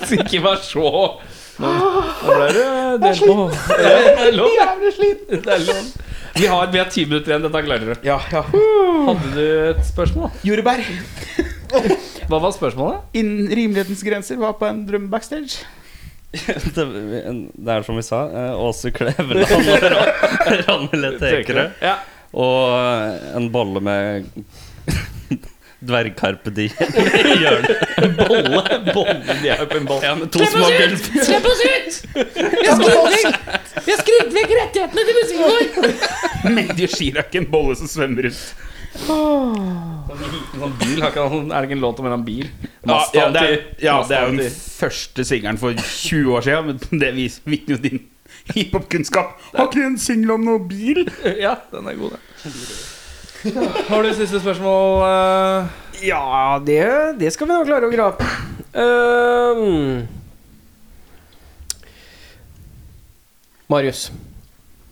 [SPEAKER 2] Så Ikke vær så Nå, nå ble det delt på Ja, det er lov. Det er lov. Vi har, vi har ti minutter igjen. Dette klarer du.
[SPEAKER 3] Ja, ja.
[SPEAKER 2] Hadde du et spørsmål?
[SPEAKER 3] Jordbær.
[SPEAKER 2] Hva var spørsmålet?
[SPEAKER 3] Innen rimelighetens grenser var på en drømme backstage.
[SPEAKER 5] Det, det er som vi sa, eh, Åse Kleveland og Ron- Ronny Le Tekerød.
[SPEAKER 2] Ja.
[SPEAKER 5] Og eh, en bolle med dvergkarpe di i hjørnet.
[SPEAKER 2] Bolle. Bolle de er på en boll.
[SPEAKER 5] Ja, med to små gulv.
[SPEAKER 10] Slipp oss ut! Vi har skrevet vekk, vi har skrevet vekk rettighetene til musikken vår!
[SPEAKER 3] Medie Chirac, en bolle som svømmer rundt.
[SPEAKER 2] Sånn bil, har ikke han- er det ikke en låt om en eller annen bil?
[SPEAKER 3] Ja,
[SPEAKER 2] Masta
[SPEAKER 3] ja, det er,
[SPEAKER 2] alltid-
[SPEAKER 3] ja,
[SPEAKER 2] Masta
[SPEAKER 3] det er jo den
[SPEAKER 2] alltid.
[SPEAKER 3] første singelen for 20 år siden, men det vis- vitner jo din hiphop-kunnskap. Har ikke du en singel om noe bil?
[SPEAKER 2] Ja, den er god, den. Har du siste spørsmål? eh?
[SPEAKER 1] Ja, det, det skal vi nå klare å grape. Ehm. Marius,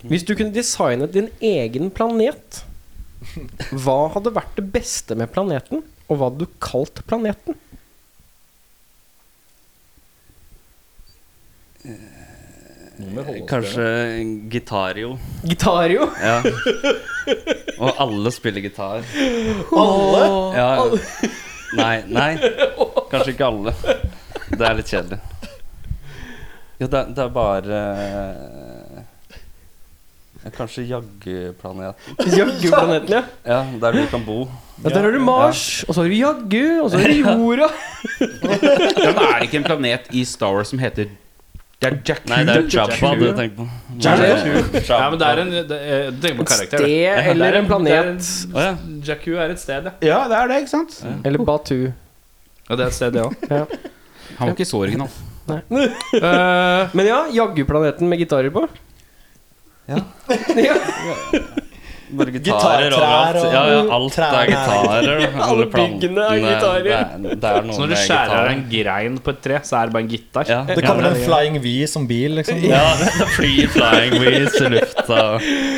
[SPEAKER 1] hvis du kunne designet din egen planet, hva hadde vært det beste med planeten? Og hva hadde du kalt planeten?
[SPEAKER 5] Kanskje gitario.
[SPEAKER 1] Gitario.
[SPEAKER 5] Ja. Og alle spiller gitar.
[SPEAKER 6] Alle.
[SPEAKER 5] Ja. Nei, nei. Kanskje ikke alle. Det er litt kjedelig. Jo, det, er- det er bare eh, Kanskje jaggeplaneten.
[SPEAKER 1] Jaggu-planeten, ja.
[SPEAKER 5] Ja, der vi kan bo.
[SPEAKER 1] ja. Der har du Mars, og så har du Jaggu, og så har du jorda.
[SPEAKER 3] Ja, men er det ikke en planet i Star Wars som heter Det er Jack
[SPEAKER 5] Nei, det er Jabba du tenker på.
[SPEAKER 2] Ja, men det er en det er, Du tenker på karakter,
[SPEAKER 1] Sted
[SPEAKER 2] du. Det
[SPEAKER 1] eller
[SPEAKER 2] er
[SPEAKER 1] en
[SPEAKER 2] det
[SPEAKER 1] planet.
[SPEAKER 2] er- Jakku er et sted, ja.
[SPEAKER 3] Ja, det er det, ikke sant?
[SPEAKER 1] Eller Batu.
[SPEAKER 2] ja det er et sted, det òg.
[SPEAKER 3] Han var ikke så original.
[SPEAKER 2] Eh,
[SPEAKER 1] Men ja, Jaggu-planeten med gitarer på.
[SPEAKER 5] Bare gitarer
[SPEAKER 6] Gitartrær
[SPEAKER 5] overalt.
[SPEAKER 6] og-
[SPEAKER 5] Ja, ja, alt
[SPEAKER 6] trær
[SPEAKER 5] er gitarer. og
[SPEAKER 1] Alle
[SPEAKER 5] plantene,
[SPEAKER 1] byggene er gitarer.
[SPEAKER 5] Det er, det er noe
[SPEAKER 2] Så når du
[SPEAKER 5] med
[SPEAKER 2] skjærer av
[SPEAKER 5] gitarer.
[SPEAKER 2] en grein på et tre, så er det bare en gitar?
[SPEAKER 5] Ja.
[SPEAKER 6] Det kommer en flying V som bil, liksom.
[SPEAKER 5] Ja, det flyr flying wheels i lufta.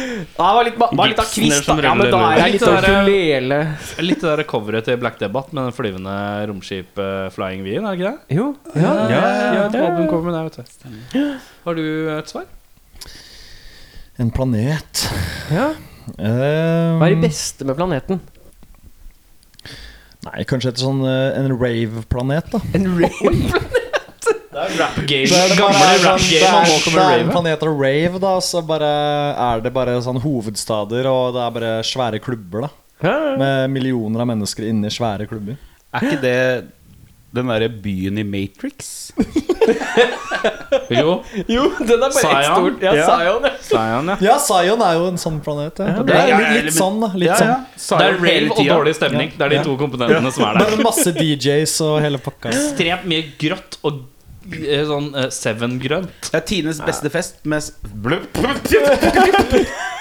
[SPEAKER 1] Ja, det var litt, var litt av
[SPEAKER 5] Gipsen er
[SPEAKER 1] kvist, da.
[SPEAKER 5] som
[SPEAKER 1] Ja, men da er eh,
[SPEAKER 5] ruller
[SPEAKER 1] jeg litt
[SPEAKER 2] rundt.
[SPEAKER 1] ukulele.
[SPEAKER 2] Litt det der coveret til Black Debate med den flyvende romskip-flying V-en, er det ikke det?
[SPEAKER 1] Jo.
[SPEAKER 2] Ja, albumcover med det, vet du. Har du et svar?
[SPEAKER 6] En planet.
[SPEAKER 1] Ja.
[SPEAKER 6] Eh,
[SPEAKER 1] Hva er det beste med planeten?
[SPEAKER 6] Nei, kanskje et sånn eh, en rave-planet, da.
[SPEAKER 1] En rave?
[SPEAKER 2] Game, gamle rap
[SPEAKER 6] sånn- det
[SPEAKER 2] game,
[SPEAKER 6] er,
[SPEAKER 2] og nå
[SPEAKER 6] det
[SPEAKER 2] kommer
[SPEAKER 6] er en
[SPEAKER 2] Raven.
[SPEAKER 6] planet av rave, da, og så bare er det bare sånn hovedstader, og det er bare svære klubber, da. Med millioner av mennesker inni svære klubber.
[SPEAKER 3] Er ikke det den derre byen i Matrix?
[SPEAKER 2] Jo,
[SPEAKER 1] Jo, den er bare ett
[SPEAKER 2] Sion?
[SPEAKER 1] stort. Ja,
[SPEAKER 2] Ja.
[SPEAKER 1] Sion. ja.
[SPEAKER 2] Sion, ja.
[SPEAKER 6] Ja, Zion er jo en sånn planet. Ja. Det er litt, litt sånn, da. Litt sånn.
[SPEAKER 2] Det er rave og dårlig stemning. Det er de to komponentene som er der.
[SPEAKER 6] Bare masse DJs og hele pakka.
[SPEAKER 2] Ekstremt mye grått og eh, sånn eh, seven-grønt.
[SPEAKER 3] Det er tidenes beste fest med s-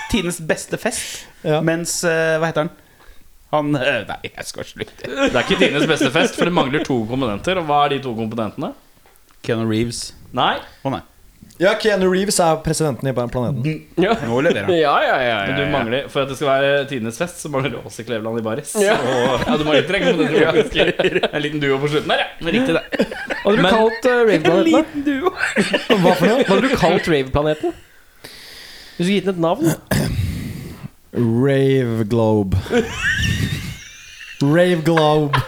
[SPEAKER 3] Tidenes beste fest
[SPEAKER 6] Ja.
[SPEAKER 3] Mens, eh, hva heter han? Han, eh, nei, jeg skal slutte
[SPEAKER 2] Det er ikke tidenes beste fest, for det mangler to komponenter. Og hva er de to komponentene?
[SPEAKER 3] Keanu Reeves
[SPEAKER 2] Nei,
[SPEAKER 3] Å nei,
[SPEAKER 6] Ja, Keanu Reeves er presidenten i planeten.
[SPEAKER 3] nå leverer han
[SPEAKER 1] Ja, ja, ja, ja.
[SPEAKER 2] men du mangler For at det skal være tidenes fest, så mangler du også Kleveland i baris. Og, ja, du må litt trekke på den tropiske. En liten duo på slutten der, ja. Men Riktig, det.
[SPEAKER 1] Hadde du
[SPEAKER 2] Men-
[SPEAKER 1] kalt uh, Rave-planeten? Hva for noe? Hadde du kalt Rave-planeten? Hvis du skulle gitt den et navn?
[SPEAKER 6] Rave Globe. Rave Globe.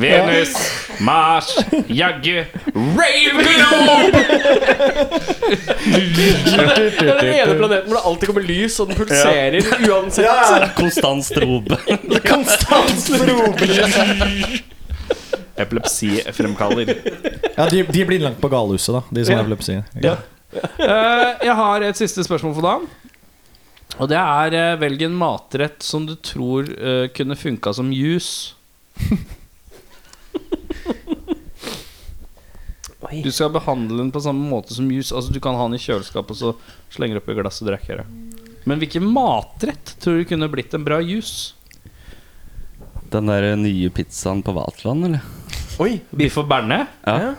[SPEAKER 2] Venus, Mars, jaggu Rave Globe!
[SPEAKER 1] Det er den ene planeten hvor det alltid kommer lys, og den pulserer uansett.
[SPEAKER 5] Konstant strobe.
[SPEAKER 2] Epilepsifremkaller.
[SPEAKER 6] Ja, de, de blir innlagt på galehuset, da. De som har epilepsi. Ja.
[SPEAKER 2] Eh, jeg har et siste spørsmål for dagen. Og det er eh, velg en matrett som du tror eh, kunne funka som juice.
[SPEAKER 1] Oi.
[SPEAKER 2] Du skal behandle den på samme måte som juice. Altså Du kan ha den i kjøleskapet og så slenger du oppi glass og drikker det. Men hvilken matrett tror du kunne blitt en bra juice?
[SPEAKER 5] Den der eh, nye pizzaen på Vatland, eller?
[SPEAKER 1] Oi,
[SPEAKER 2] Biff og berne?
[SPEAKER 5] Ja.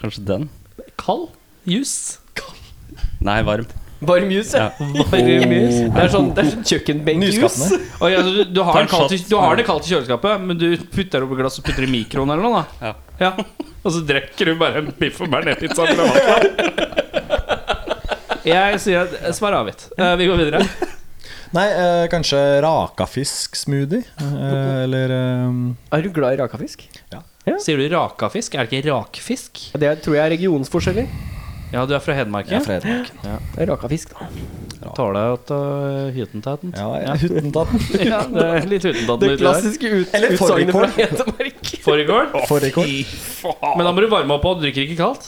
[SPEAKER 5] Kanskje den?
[SPEAKER 2] Kald juice?
[SPEAKER 5] Nei, varm.
[SPEAKER 1] varm jus, ja. Varm jus. Det er sånn, det er sånn kjøkkenbenkjus.
[SPEAKER 6] Nyskapende.
[SPEAKER 2] Oi, altså, du, du, har
[SPEAKER 5] Ta en
[SPEAKER 2] den kaldt, i-
[SPEAKER 5] shot.
[SPEAKER 2] du har det kaldt i kjøleskapet, men du putter det oppi glass og putter det i mikroen eller noe. da
[SPEAKER 5] Ja.
[SPEAKER 2] Og så drikker du bare en biff og bearnéspizza fra vannet. Jeg sier at Svar avgitt. Eh, vi går videre.
[SPEAKER 6] Nei, eh, kanskje rakafisk-smoothie? Eh, eller eh,
[SPEAKER 1] Er du glad i rakafisk?
[SPEAKER 2] Sier du rakafisk? Er det ikke rakfisk?
[SPEAKER 1] Det tror jeg er regionsforskjeller.
[SPEAKER 2] Ja, du er fra Hedmark?
[SPEAKER 6] ja,
[SPEAKER 2] Ja.
[SPEAKER 6] Fredrik.
[SPEAKER 1] Det er rakafisk, da.
[SPEAKER 2] Tar deg ut av hyttentaten.
[SPEAKER 6] Ja, Huttentaten.
[SPEAKER 2] Ja, det er litt hyttentaten
[SPEAKER 1] Det
[SPEAKER 2] uti der.
[SPEAKER 1] klassiske ut
[SPEAKER 6] Eller
[SPEAKER 1] utsagnet fra
[SPEAKER 6] fårikål.
[SPEAKER 1] Hedmark.
[SPEAKER 2] Fårikål?
[SPEAKER 6] Fårikål.
[SPEAKER 2] Men da må du varme opp, og du drikker ikke kaldt.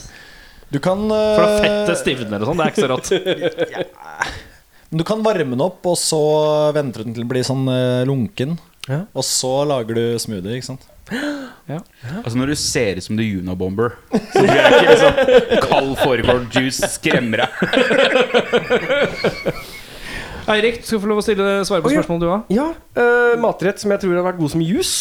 [SPEAKER 6] Du kan
[SPEAKER 2] For da
[SPEAKER 6] eh,
[SPEAKER 2] fettet stivner og sånn. Det er ikke så rått.
[SPEAKER 6] Du kan varme den opp, og så venter du den til den blir sånn eh, lunken.
[SPEAKER 1] Ja.
[SPEAKER 6] Og så lager du smoothie, ikke sant?
[SPEAKER 3] Altså når du ser ut som The Unabomber Så blir jeg ikke liksom Kald foregår-juice skremmer deg
[SPEAKER 2] Eirik, du skal få lov å stille eh, svare på
[SPEAKER 1] Oi, ja.
[SPEAKER 2] spørsmålet du òg.
[SPEAKER 1] Ja, eh, matrett som jeg tror har vært god som jus.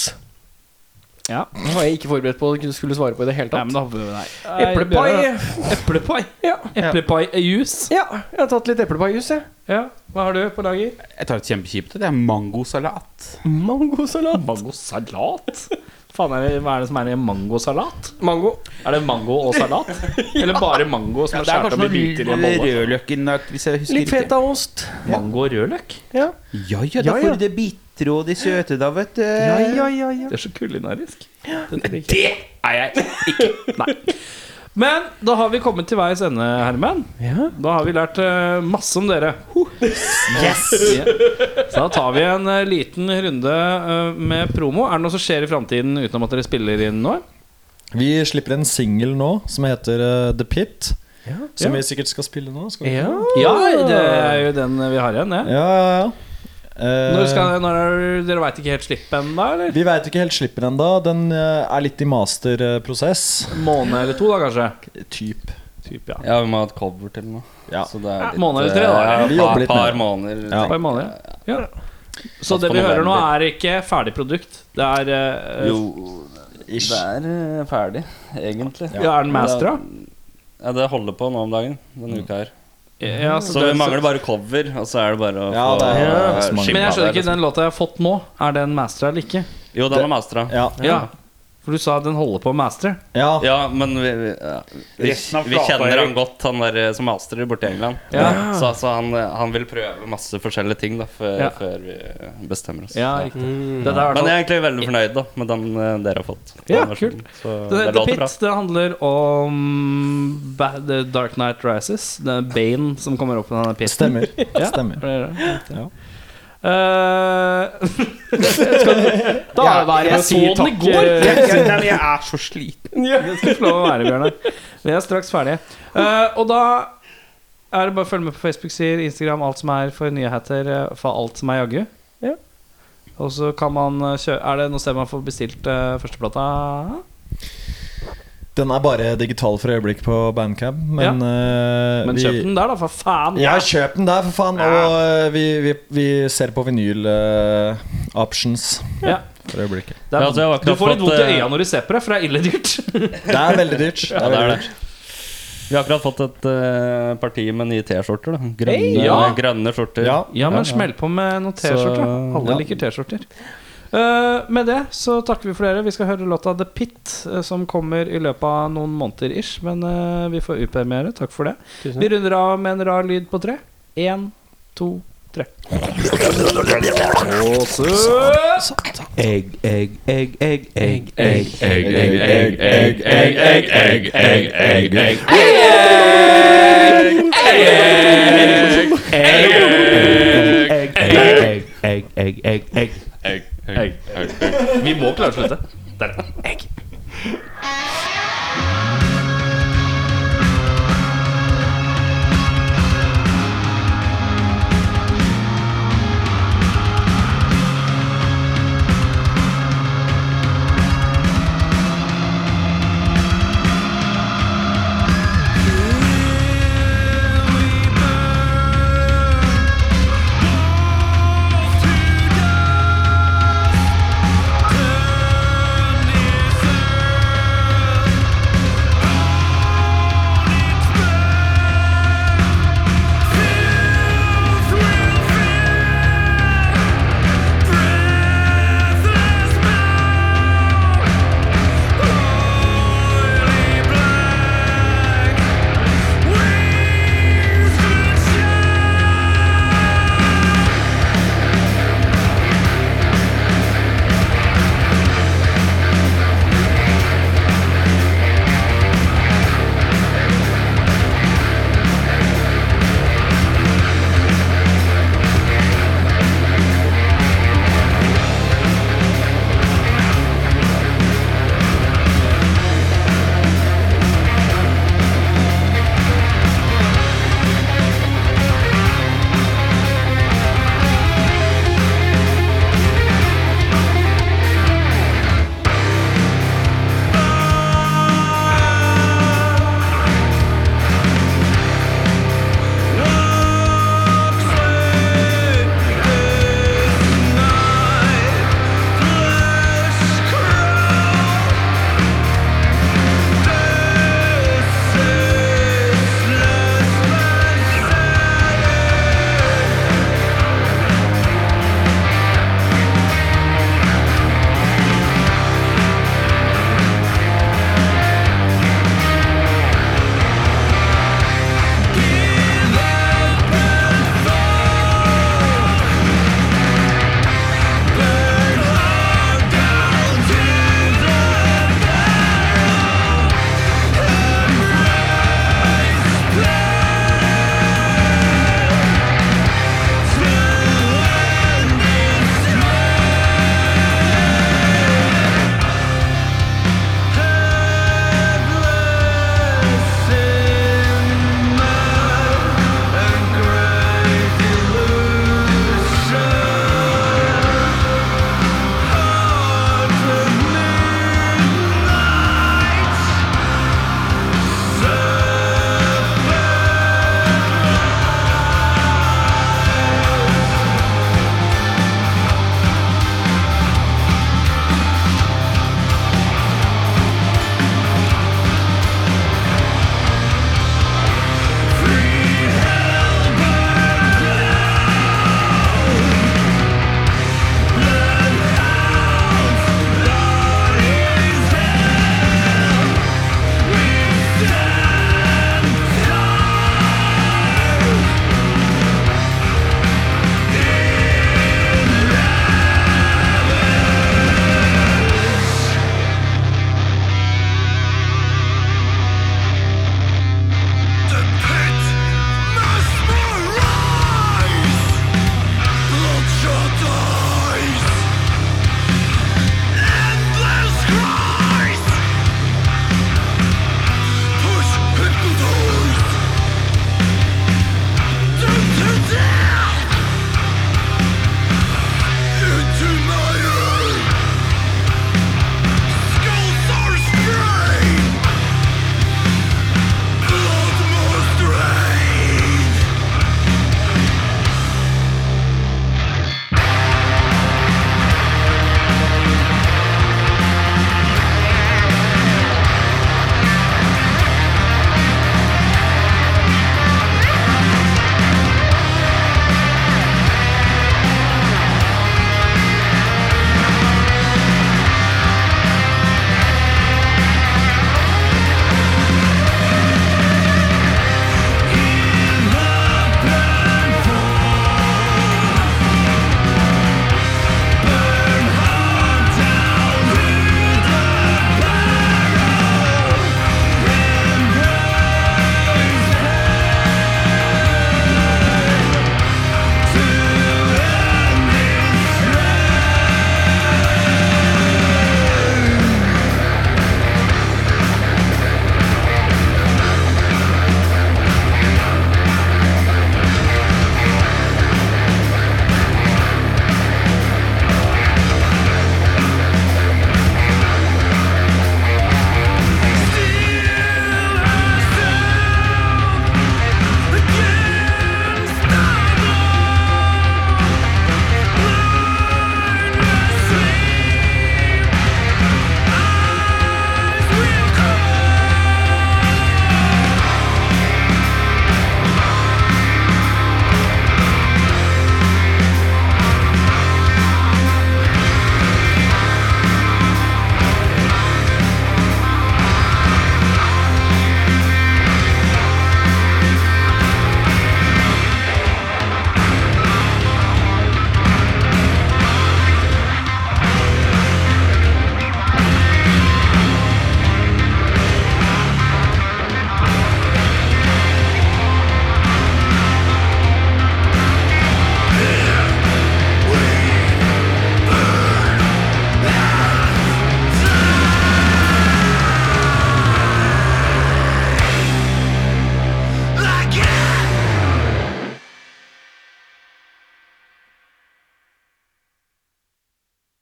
[SPEAKER 2] Ja.
[SPEAKER 1] Den var jeg ikke forberedt på å skulle svare på i det hele
[SPEAKER 2] Nei,
[SPEAKER 1] tatt.
[SPEAKER 2] men da hopper vi Nei.
[SPEAKER 1] Eplepai.
[SPEAKER 2] Eplepai.
[SPEAKER 1] Ja.
[SPEAKER 2] Eplepai-juice.
[SPEAKER 1] ja, jeg har tatt litt eplepaijus, jeg.
[SPEAKER 2] Ja. Hva har du på lager?
[SPEAKER 3] Jeg tar et kjempekjipt Det er mangosalat
[SPEAKER 1] Mangosalat.
[SPEAKER 2] Mangosalat? Faen, er det, hva er det som er i mangosalat?
[SPEAKER 1] Mango.
[SPEAKER 2] Er det mango og salat? Eller bare mango som er
[SPEAKER 3] Det er
[SPEAKER 2] skåret
[SPEAKER 3] kanskje
[SPEAKER 2] opp i biter i en
[SPEAKER 3] noe
[SPEAKER 2] bolle? altså.
[SPEAKER 3] rødløkken Hvis jeg husker
[SPEAKER 1] Litt
[SPEAKER 3] riktig
[SPEAKER 1] fetaost.
[SPEAKER 2] Mango og rødløk?
[SPEAKER 1] Ja.
[SPEAKER 3] Ja, ja, da
[SPEAKER 1] Ja, ja.
[SPEAKER 3] får du det bitre og de søte da, vet du
[SPEAKER 1] Ja, ja, ja, ja.
[SPEAKER 2] Det er så kulinarisk.
[SPEAKER 3] Det er jeg
[SPEAKER 2] Men da har vi kommet til veis ende, Herman. Da har vi lært eh, masse om dere. Ja. Så da tar vi en eh, liten runde eh, med promo. Er det noe som skjer i framtiden utenom at dere spiller inn nå?
[SPEAKER 6] Vi slipper en singel nå som heter eh, The Pit. Som vi sikkert skal spille nå. Skal vi?
[SPEAKER 1] Ja.
[SPEAKER 2] Ja, det er jo den vi har igjen, det.
[SPEAKER 6] Ja, ja, ja. Eh,
[SPEAKER 2] Når skal, når er, dere veit ikke helt slipp ennå, eller?
[SPEAKER 6] Vi veit ikke helt slipper ennå. Den eh, er litt i masterprosess.
[SPEAKER 2] Måned eller to, da, kanskje?
[SPEAKER 6] Typ.
[SPEAKER 2] Typ, ja.
[SPEAKER 5] Ja, vi må ha et cover til nå.
[SPEAKER 6] Ja.
[SPEAKER 5] Så det er
[SPEAKER 2] Ja,
[SPEAKER 5] litt,
[SPEAKER 2] måneder
[SPEAKER 5] eh,
[SPEAKER 2] til, da.
[SPEAKER 6] Vi jobber
[SPEAKER 5] ja, par,
[SPEAKER 6] litt med
[SPEAKER 5] par
[SPEAKER 6] det.
[SPEAKER 5] måneder.
[SPEAKER 6] Ja.
[SPEAKER 5] tenker
[SPEAKER 2] På
[SPEAKER 5] jeg.
[SPEAKER 2] en måned. Ja. Så det vi hører nå, er ikke ferdig produkt. Det er eh,
[SPEAKER 5] Jo, det er eh, ferdig, egentlig.
[SPEAKER 2] Ja, er den mastera?
[SPEAKER 5] Ja, det holder på nå om dagen.
[SPEAKER 6] Mm.
[SPEAKER 5] Denne uka her.
[SPEAKER 2] Ja,
[SPEAKER 5] Så vi mangler bare cover, og så er det bare å
[SPEAKER 6] Ja, det er-
[SPEAKER 5] eh,
[SPEAKER 6] Ja.
[SPEAKER 5] skimma
[SPEAKER 2] Men jeg skjønner
[SPEAKER 5] der,
[SPEAKER 2] ikke, den låta jeg har fått nå, er den mastera eller ikke?
[SPEAKER 5] liksom. Jo, den er mastra. Ja.
[SPEAKER 6] Ja.
[SPEAKER 2] Ja. For du sa den holder på å mastre.
[SPEAKER 6] ja.
[SPEAKER 5] men vi, vi, ja. vi,
[SPEAKER 3] Resten av
[SPEAKER 5] vi
[SPEAKER 3] plata,
[SPEAKER 5] kjenner han
[SPEAKER 3] Erik.
[SPEAKER 5] godt, han der eh, som masterer borte i England.
[SPEAKER 2] Ja.
[SPEAKER 5] Så, så han, eh, han vil prøve masse forskjellige ting da, før,
[SPEAKER 2] Ja.
[SPEAKER 5] før vi eh, bestemmer oss.
[SPEAKER 2] Ja, riktig. Det der,
[SPEAKER 5] Men jeg er egentlig veldig fornøyd da med den eh, dere har fått.
[SPEAKER 2] Ja,
[SPEAKER 5] Den versjonen. Så
[SPEAKER 2] Det,
[SPEAKER 5] det
[SPEAKER 2] The
[SPEAKER 5] låter
[SPEAKER 2] Pit
[SPEAKER 5] bra.
[SPEAKER 2] det handler om ba The Dark Knight Rises. Det er Bane som kommer opp i denne piten.
[SPEAKER 6] Stemmer.
[SPEAKER 2] Ja.
[SPEAKER 6] Stemmer.
[SPEAKER 2] Ja.
[SPEAKER 6] Ja.
[SPEAKER 2] Eh,
[SPEAKER 1] Da er det bare
[SPEAKER 2] jeg
[SPEAKER 1] å si
[SPEAKER 2] så den i
[SPEAKER 1] takk.
[SPEAKER 2] går.
[SPEAKER 1] eh,
[SPEAKER 3] Jeg, jeg, nei, men jeg er så sliten.
[SPEAKER 2] det skal få lov å være, Bjørnar. Vi er straks ferdige. Eh, og da er det bare å følge med på Facebook, sier Instagram, alt som er for nyheter, eh, for alt som er jaggu.
[SPEAKER 1] Ja.
[SPEAKER 2] Og så kan man eh, kjø- Er det noe sted man får bestilt eh, førsteplata?
[SPEAKER 6] Den er bare digital for øyeblikk på Bandcab, men, eh,
[SPEAKER 2] Men
[SPEAKER 6] vi-
[SPEAKER 2] kjøp den der, da, for faen!
[SPEAKER 6] Ja, kjøp den der, for faen. Og eh, vi, vi, vi ser på vinyl eh, options
[SPEAKER 2] Ja.
[SPEAKER 6] for øyeblikket.
[SPEAKER 2] Det er,
[SPEAKER 5] Ja, altså, jeg
[SPEAKER 2] du
[SPEAKER 5] har akkurat
[SPEAKER 2] får litt
[SPEAKER 5] fått,
[SPEAKER 2] vondt i
[SPEAKER 5] eh,
[SPEAKER 2] øya når du ser på det, for det er ille dyrt.
[SPEAKER 6] Det er veldig dyrt. Det
[SPEAKER 5] Ja,
[SPEAKER 6] er
[SPEAKER 5] det er
[SPEAKER 6] veldig
[SPEAKER 5] det. Vi har akkurat fått et eh, parti med nye T-skjorter. da Grønne,
[SPEAKER 2] Hey, ja.
[SPEAKER 5] grønne skjorter.
[SPEAKER 6] dyrt. Ja.
[SPEAKER 2] Ja, men smell på med noen T-skjorter. da. Alle
[SPEAKER 6] ja.
[SPEAKER 2] liker T-skjorter. Eh, med det så takker vi for dere. Vi skal høre låta The Pit, eh, som kommer i løpet av noen måneder ish. Men eh, vi får upermere. Takk for det. Vi runder av med en rar lyd på tre. Én, to, tre.
[SPEAKER 5] Egg, egg, egg.
[SPEAKER 2] Vi må klare å slutte. Der.